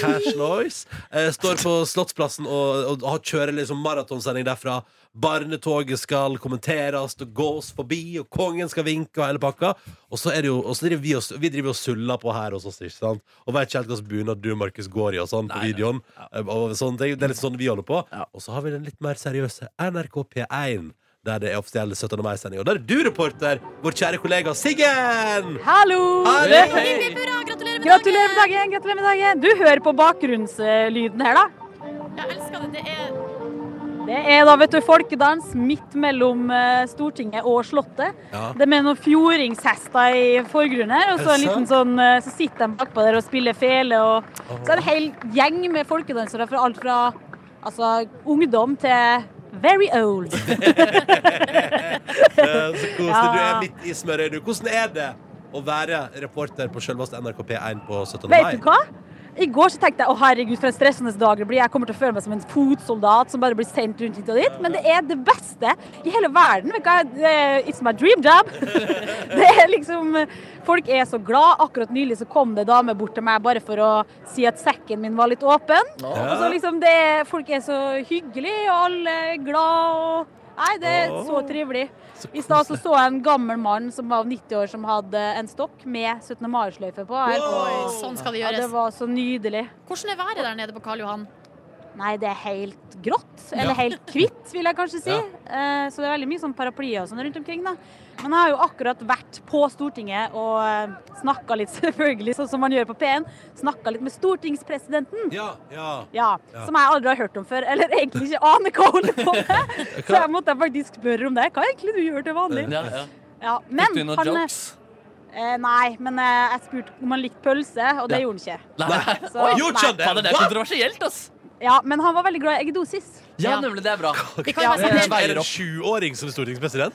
Speaker 2: Cash Noise. Eh, står på Slottsplassen og, og, har- kjører liksom maratonsending derfra. Barnetoget skal kommenteres og gås forbi, og kongen skal vinke og hele pakka. Og så er det jo, og så driver vi, og, vi driver og suller på her hos oss, ikke sant? Og vet ikke helt hvilken bunad du, Markus, går i og sånn på videoen. Eh, Og sånne ting. Det er litt sånn vi holder på. Og så har vi den litt mer seriøse NRK P1. Der det er offisiell 17. mai-sending. Og der er du reporter, vår kjære kollega Siggen!
Speaker 17: Hallo!
Speaker 2: Hei! Hei!
Speaker 17: Gratulerer med dagen! gratulerer med dagen. Du hører på bakgrunnslyden her, da.
Speaker 3: Jeg elsker det. Det er
Speaker 17: Det er da, vet du, folkedans midt mellom eh, Stortinget og Slottet.
Speaker 3: Ja.
Speaker 17: Det er med noen fjordingshester i forgrunnen her, og så, en
Speaker 3: Er det
Speaker 17: liten sånn, eh, så sitter de bakpå der og spiller fele. Og, så er det en hel gjeng med folkedansere fra alt fra altså, ungdom til very old.
Speaker 2: Eh, Så koselig.
Speaker 17: Ja.
Speaker 2: Du er midt i smørøyet. du. Hvordan er det å være reporter på selveste NRK P1 på 17. mai?
Speaker 17: Vet du hva? I går så tenkte jeg å herregud, for en stressende dag det blir. Jeg kommer til å føle meg som en fotsoldat som bare blir sendt rundt hit og dit. Men det er det beste i hele verden. Vet du hva? Det- It's my dream job. Det er liksom Folk er så glad. Akkurat nylig så kom det en dame bort til meg bare for å si at sekken min var litt åpen.
Speaker 14: Ja.
Speaker 17: Og så liksom det Folk er så hyggelige, og alle er glad og Nei, det er så trivelig. I stad så, så jeg en gammel mann som var 90 år som hadde en stokk med 17. mai-sløyfe på. Her på
Speaker 3: Oi, sånn skal det gjøres.
Speaker 17: Ja, det var så nydelig.
Speaker 3: Hvordan er været der nede på Karl Johan?
Speaker 17: Nei, det er helt grått. Eller helt hvitt, vil jeg kanskje si. Eh, Så det er veldig mye sånn paraplyer og sånn rundt omkring, da. Men jeg har jo akkurat vært på Stortinget og snakka litt, selvfølgelig, sånn som man gjør på P1. Snakka litt med stortingspresidenten.
Speaker 2: Ja, ja.
Speaker 17: Ja,
Speaker 2: Ja.
Speaker 17: Som jeg aldri har hørt om før, eller egentlig ikke aner hva holder på med. Så jeg måtte faktisk spørre om det. Hva er egentlig du gjør til vanlig?
Speaker 14: Ja, ja.
Speaker 17: Ja,
Speaker 14: Fikk du
Speaker 17: men
Speaker 14: noen
Speaker 17: han
Speaker 14: jokes?
Speaker 17: Eh, nei, men eh, jeg spurte om han likte pølse, og det
Speaker 14: Ja.
Speaker 17: gjorde han ikke.
Speaker 13: Nei.
Speaker 17: Så- Oi, gjorde han det?
Speaker 13: Fader, det er
Speaker 17: What?
Speaker 13: kontroversielt, ass!
Speaker 17: Ja, Men han var veldig glad i eggedosis.
Speaker 13: Ja, nemlig. Det er bra.
Speaker 17: Vi kan sånn- jo bare si-
Speaker 2: Er det en sjuåring som er stortingspresident?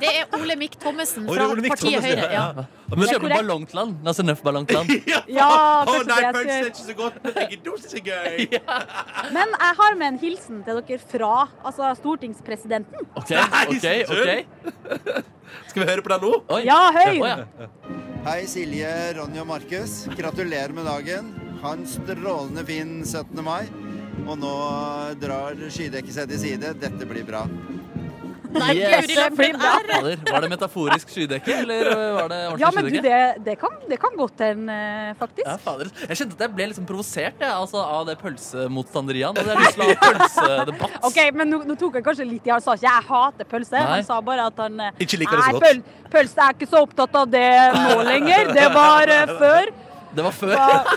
Speaker 3: Det er Ole Mikk Thommessen
Speaker 13: Oi,
Speaker 3: fra
Speaker 13: Ole Mikk
Speaker 3: partiet
Speaker 13: Thommessen,
Speaker 3: Høyre.
Speaker 13: ja.
Speaker 3: Ja.
Speaker 13: Men
Speaker 3: Det er
Speaker 13: kjøper
Speaker 3: korrekt.
Speaker 13: ballongtland. Lasse Nøff ballongtland.
Speaker 17: Ja,
Speaker 2: Å,
Speaker 17: kanskje
Speaker 2: nei,
Speaker 17: det jeg
Speaker 2: pølse
Speaker 17: skal
Speaker 2: er
Speaker 17: gjøre.
Speaker 2: ikke så godt, men eggedosis er gøy!
Speaker 17: Men jeg har med en hilsen til dere fra altså, stortingspresidenten.
Speaker 13: Ok,
Speaker 2: ok, ok. Skal vi høre på den nå?
Speaker 17: Ja, hør!
Speaker 18: Hei, Silje, Ronny og Markus. Gratulerer med dagen. Ha en strålende fin 17. mai. Og nå drar skydekket seg til side. Dette blir bra.
Speaker 17: Nei,
Speaker 13: Yes.
Speaker 17: Guri land, den er-
Speaker 13: Fader, Var det metaforisk skydekke, eller
Speaker 4: eh,
Speaker 13: var det ordentlig
Speaker 17: Ja, men du,
Speaker 13: skydekke?
Speaker 17: det, det, kan, det kan godt hende, eh, faktisk.
Speaker 13: Ja, fader. Jeg kjente at jeg ble liksom provosert jeg, altså, av det pølsemotstanderiet. Og jeg har lyst til å ha pølsedebatt.
Speaker 17: OK, men nå, nå tok jeg kanskje litt i Han sa ikke 'jeg hater pølse',
Speaker 13: Nei.
Speaker 17: han sa bare at han eh,
Speaker 13: Ikke liker det så
Speaker 17: «Nei,
Speaker 13: godt».
Speaker 17: pøl- pølse er ikke så opptatt av det nå lenger. Det var eh, før.
Speaker 13: Det var før.
Speaker 17: Ja.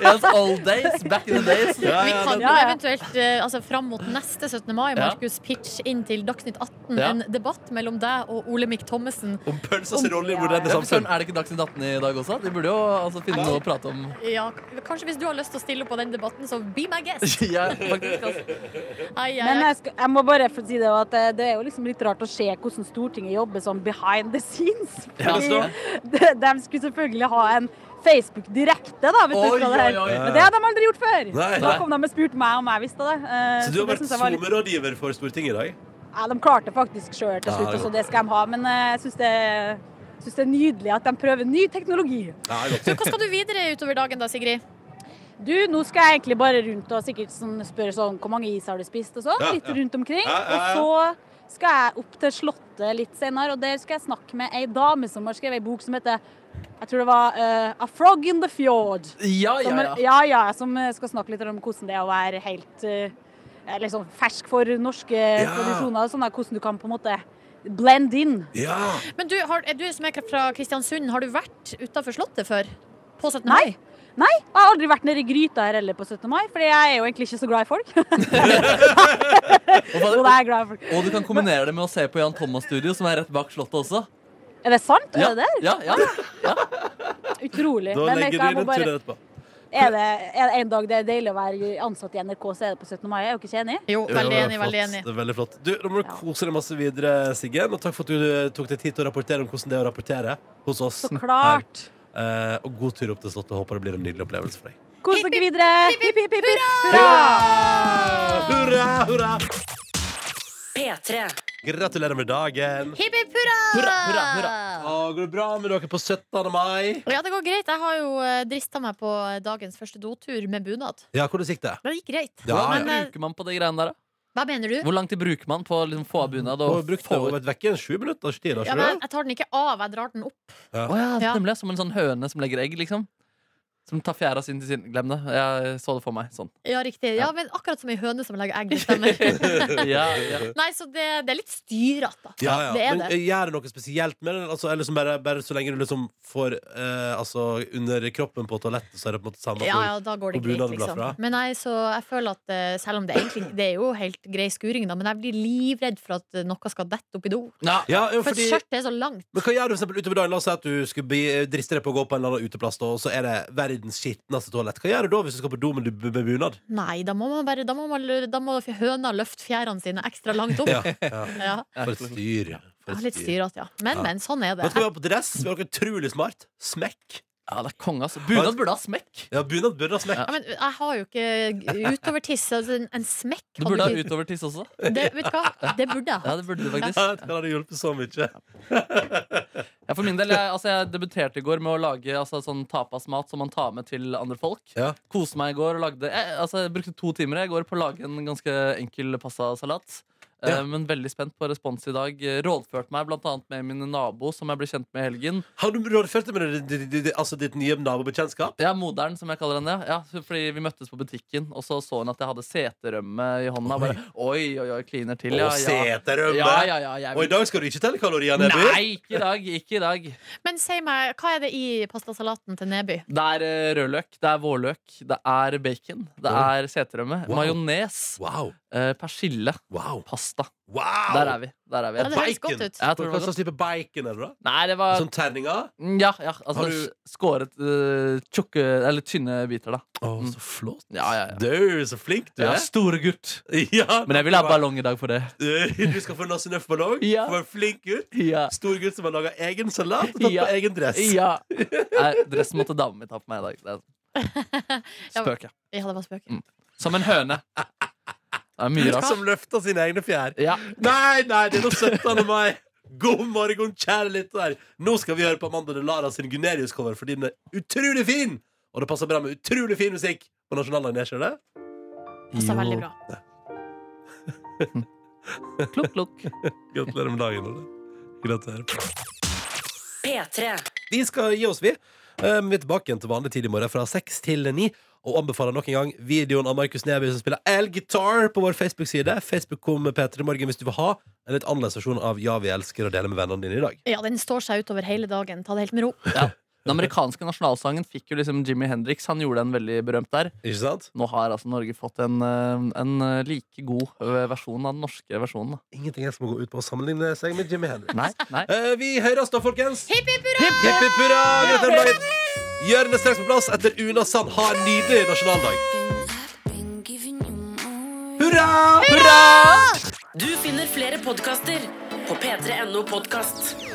Speaker 13: yes, old days, back in the days.
Speaker 3: Vi kan jo eventuelt eh, altså, fram mot neste 17. mai,
Speaker 13: Ja.
Speaker 3: Markus, pitch inn til Dagsnytt 18
Speaker 13: Ja.
Speaker 3: en debatt mellom deg og Ole Mikk Thommessen.
Speaker 2: Om pølsas
Speaker 3: Om-
Speaker 2: rolle i
Speaker 3: Ja.
Speaker 13: Ja,
Speaker 2: moderne
Speaker 13: for
Speaker 19: liksom.
Speaker 13: søren,
Speaker 2: samfunn.
Speaker 13: er det ikke Dagsnytt 18 i dag også? De burde jo altså, finne noe å prate om.
Speaker 3: Ja, kanskje hvis du har lyst til å stille opp på den debatten, så be my guest.
Speaker 13: Ja, faktisk, altså.
Speaker 3: Ai, ai,
Speaker 17: Men
Speaker 3: ai.
Speaker 17: jeg, skal, jeg må bare få si det at eh, det er jo liksom litt rart å se hvordan Stortinget jobber sånn behind the scenes.
Speaker 14: Ja,
Speaker 17: Fordi
Speaker 14: så.
Speaker 17: de, de skulle selvfølgelig ha en Facebook direkte, da. Hvis
Speaker 14: Oi,
Speaker 17: du husker det her.
Speaker 14: oi, oi.
Speaker 17: Men det hadde de aldri gjort før.
Speaker 2: Nei.
Speaker 17: Da kom de og spurte meg om jeg visste det. Eh,
Speaker 2: Så du
Speaker 17: det
Speaker 2: har vært
Speaker 17: synes jeg var litt-
Speaker 2: SoMe-rådgiver for Stortinget i dag?
Speaker 17: Ja, de klarte faktisk sjøl til
Speaker 2: Ja,
Speaker 17: slutt,
Speaker 2: jo.
Speaker 17: og så det skal de ha. Men eh, jeg syns det, jeg synes det er nydelig at de prøver ny teknologi.
Speaker 3: Så hva skal du videre utover dagen da, Sigrid?
Speaker 17: Du, nå skal jeg egentlig bare rundt og sikkert sånn, spørre sånn hvor mange is har du spist og sånn.
Speaker 3: Ja,
Speaker 17: litt
Speaker 3: ja.
Speaker 17: rundt omkring.
Speaker 3: Ja, ja, ja.
Speaker 17: Og så skal jeg opp til Slottet litt senere, og der skal jeg snakke med ei dame som har skrevet ei bok som heter jeg tror det var eh, A Frog in the Fjord.
Speaker 13: Ja, ja,
Speaker 17: som,
Speaker 13: ja.
Speaker 17: ja, ja, Som eh, skal snakke litt om hvordan det er å være helt eh, eh, liksom fersk for norske tradisjoner. og Sånn, da, hvordan du kan på en måte blend in.
Speaker 3: Men du, har, er du som er fra Kristiansund, har du vært utafor Slottet før? På 17. mai?
Speaker 17: Nei. Nei, jeg har aldri vært nede i gryta her heller på 17. mai, fordi jeg er jo egentlig ikke så glad i folk.
Speaker 13: Og, fader,
Speaker 17: Jo, det er jeg glad for.
Speaker 13: og du kan kombinere det med å se på Jan Thomas Studio, som er rett bak Slottet også.
Speaker 17: Er det sant?
Speaker 19: Ja,
Speaker 17: Er det der?
Speaker 19: ja, ja,
Speaker 17: Utrolig.
Speaker 19: Da
Speaker 17: Men
Speaker 19: legger
Speaker 17: jeg-
Speaker 19: du
Speaker 17: jeg
Speaker 19: inn
Speaker 17: må
Speaker 19: en
Speaker 17: bare-
Speaker 19: tur etterpå.
Speaker 17: Er det, er det en dag det er deilig å være ansatt i NRK, så er det på 17. mai? Er dere ikke enig?
Speaker 2: Jo,
Speaker 3: Jo,
Speaker 2: det var flott. Det er veldig flott. Du, Nå må du kose deg masse videre, Siggen. Og takk for at du eh, tok deg tid til å rapportere om hvordan det er å rapportere hos oss.
Speaker 17: Så klart.
Speaker 2: Her. Eh, og god tur opp til Slottet. Håper det blir en nydelig opplevelse for deg.
Speaker 17: Kos dere videre! Hipp, hipp, hipp, hipp.
Speaker 2: Ah, Hurra, hurra!
Speaker 14: P3.
Speaker 2: Gratulerer med dagen.
Speaker 3: Hipp hipp hurra!
Speaker 2: Å, går det bra med dere på 17. mai?
Speaker 3: Ja, det går greit. Jeg har jo eh, drista meg på dagens første dotur med bunad.
Speaker 2: Ja, hvordan gikk det?
Speaker 3: Men det gikk greit.
Speaker 4: Hvor lang
Speaker 3: Men, eh,
Speaker 4: tid bruker man på de greiene der, da?
Speaker 3: hva mener du?
Speaker 4: Hvor lang tid bruker man på å liksom, få av bunad?
Speaker 2: Du har brukt det over et vekke sju minutters tid.
Speaker 3: Ja, men jeg tar den ikke av, jeg drar den opp.
Speaker 2: Ja.
Speaker 3: Ja.
Speaker 4: Nemlig som en sånn høne som legger egg, liksom. Som tar fjæra sin til siden. Glem det. Jeg så det for meg sånn.
Speaker 3: Ja, riktig. Ja, men akkurat som ei høne som lager egg. Det stemmer.
Speaker 4: Ja, ja.
Speaker 3: Nei, så det, det er litt styrete, da.
Speaker 2: Ja, ja.
Speaker 3: Det er
Speaker 2: Men
Speaker 3: det.
Speaker 2: eh, gjør det noe spesielt med den? Altså, eller som bare, bare så lenge du liksom får eh, altså, under kroppen på toalettet, så er det på en måte samme
Speaker 3: Ja,
Speaker 2: hvor-
Speaker 3: ja, da går
Speaker 2: hvor
Speaker 3: det greit,
Speaker 2: bunaden blar
Speaker 3: liksom.
Speaker 2: fra?
Speaker 3: Men nei, så jeg føler at eh, selv om det egentlig Det er jo helt grei skuring, da, men jeg blir livredd for at eh, noe skal dette opp i do.
Speaker 2: Ja, jo,
Speaker 3: For
Speaker 2: fordi-
Speaker 3: skjørtet er så langt.
Speaker 2: Men hva gjør du for eksempel utover dagen? La oss si at du skulle bli- driste deg på å gå på en eller annen uteplass, da, og så er det verdens skitneste toalett. Hva gjør du da hvis du skal på do med, med bunad?
Speaker 3: Nei, da må man bare Da må, man, da må høna løfte fjærene sine ekstra langt opp.
Speaker 2: Ja,
Speaker 3: Ja.
Speaker 2: For et styr. For
Speaker 3: Ja,
Speaker 2: et
Speaker 3: litt styrete, ja. Men,
Speaker 2: Ja.
Speaker 3: men, sånn er det.
Speaker 2: Men skal vi ha på dress? Vi har noe utrolig smart. Smekk.
Speaker 4: Ja, det er konge, altså. Bunad burde ha smekk.
Speaker 2: Ja, bunad burde ha smekk.
Speaker 3: Ja, men jeg har jo ikke utovertiss. Altså en, en smekk
Speaker 4: Du
Speaker 3: hadde
Speaker 4: burde ha
Speaker 3: ikke-
Speaker 4: utovertiss også.
Speaker 3: Det, vet du hva? Det burde jeg ha.
Speaker 4: Ja, det burde du faktisk.
Speaker 2: Ja, det hadde hjulpet så mye.
Speaker 4: Ja, for min del, jeg, altså, jeg debuterte i går med å lage altså, sånn tapasmat som man tar med til andre folk.
Speaker 2: Ja.
Speaker 4: Koste meg i går og lagde jeg, altså, jeg brukte to timer jeg, i går på å lage en ganske enkel pastasalat. Eh,
Speaker 2: Ja.
Speaker 4: Men veldig spent på respons i dag. Eh, Rådført meg bl.a. med min nabo, som jeg ble kjent med i helgen.
Speaker 2: Har du rådført deg med det- det- det- det- altså, ditt nye nabobekjentskap?
Speaker 4: Ja, moderen, som jeg kaller henne. Ja, Ja, fordi vi møttes på butikken, og så så hun at jeg hadde seterømme i hånda. Bare, oi, oi, oi, kliner til. Ja,
Speaker 2: Å,
Speaker 4: ja.
Speaker 2: seterømme!
Speaker 4: Ja, ja, ja, jeg
Speaker 2: Og i
Speaker 4: vil-
Speaker 2: dag skal du ikke telle kalorier, Neby?
Speaker 4: Nei, ikke i dag. Ikke i dag.
Speaker 3: Men si meg, hva er det i pastasalaten til Neby?
Speaker 4: Det er eh, rødløk, det er vårløk, det er bacon, det
Speaker 2: Oi.
Speaker 4: er seterømme,
Speaker 2: Wow.
Speaker 4: majones, eh, persille, pasta. Der er vi. Der er vi.
Speaker 2: Og bacon.
Speaker 4: Ja, jeg tror det
Speaker 2: Hva
Speaker 4: var
Speaker 2: slags
Speaker 4: godt.
Speaker 2: type bacon er det, da?
Speaker 4: Nei, det var
Speaker 2: Sånn terninger?
Speaker 4: Ja, ja altså
Speaker 2: Har du-
Speaker 4: skåret eh, tjukke, eller tynne biter, da. Mm.
Speaker 2: Å, så flott.
Speaker 4: Ja, ja, ja.
Speaker 2: Du, så flink du
Speaker 4: Ja,
Speaker 2: er.
Speaker 4: store gutt.
Speaker 2: Ja,
Speaker 4: Men jeg vil ha ballong i dag for det.
Speaker 2: Du skal få Lasse Nøff-ballong.
Speaker 4: Ja.
Speaker 2: Du var en flink gutt. Stor gutt som har laga egen salat og tatt
Speaker 4: Ja.
Speaker 2: på egen dress.
Speaker 4: Ja. Nei, dressen måtte dama mi ta på meg i dag. Det er spøk, ja.
Speaker 3: Ja, det var spøk.
Speaker 4: Mm. Som en høne. Det er mye rart.
Speaker 2: Som løfta sine egne fjær.
Speaker 4: Ja.
Speaker 2: Nei, nei, det er nå 17. mai. God morgen, kjære lytter. Nå skal vi høre på Amanda de Lara sin Gunerius-cover, fordi den er utrolig fin! Og det passer bra med utrolig fin musikk på nasjonaldagen. Jeg ser det.
Speaker 3: Passer veldig bra.
Speaker 4: Klokk, klokk.
Speaker 2: Gratulerer med dagen, Olle. Gratulerer.
Speaker 14: P3.
Speaker 2: Vi skal gi oss, vi. Eh, Vi er tilbake igjen til vanlig tid i morgen fra seks til ni. Og anbefaler nok en gang videoen av Markus Neby som spiller Elgitar på vår Facebook-side. Facebook kom Peter i morgen hvis du vil ha en litt annerledes versjon av Ja, vi elsker å dele med vennene dine i dag.
Speaker 3: Ja, den står seg utover hele dagen. Ta det helt med ro.
Speaker 4: Ja. Den amerikanske nasjonalsangen fikk jo liksom Jimmy Hendrix. Han gjorde en veldig berømt der.
Speaker 2: Ikke sant?
Speaker 4: Nå har altså Norge fått en, eh, en eh, like god eh, versjon av den norske versjonen. da.
Speaker 2: Ingenting er som å gå ut på å sammenligne seg med Jimmy Henry.
Speaker 4: Nei, nei.
Speaker 2: Eh, Vi høres da, folkens. Hipp, hipp hurra! Hipp, hipp hurra! Gratulerer med dagen. Jørgen er straks på plass etter Una Sand. Ha en nydelig nasjonaldag. Hurra! Hurra!
Speaker 14: Du finner flere podkaster på p3.no podkast.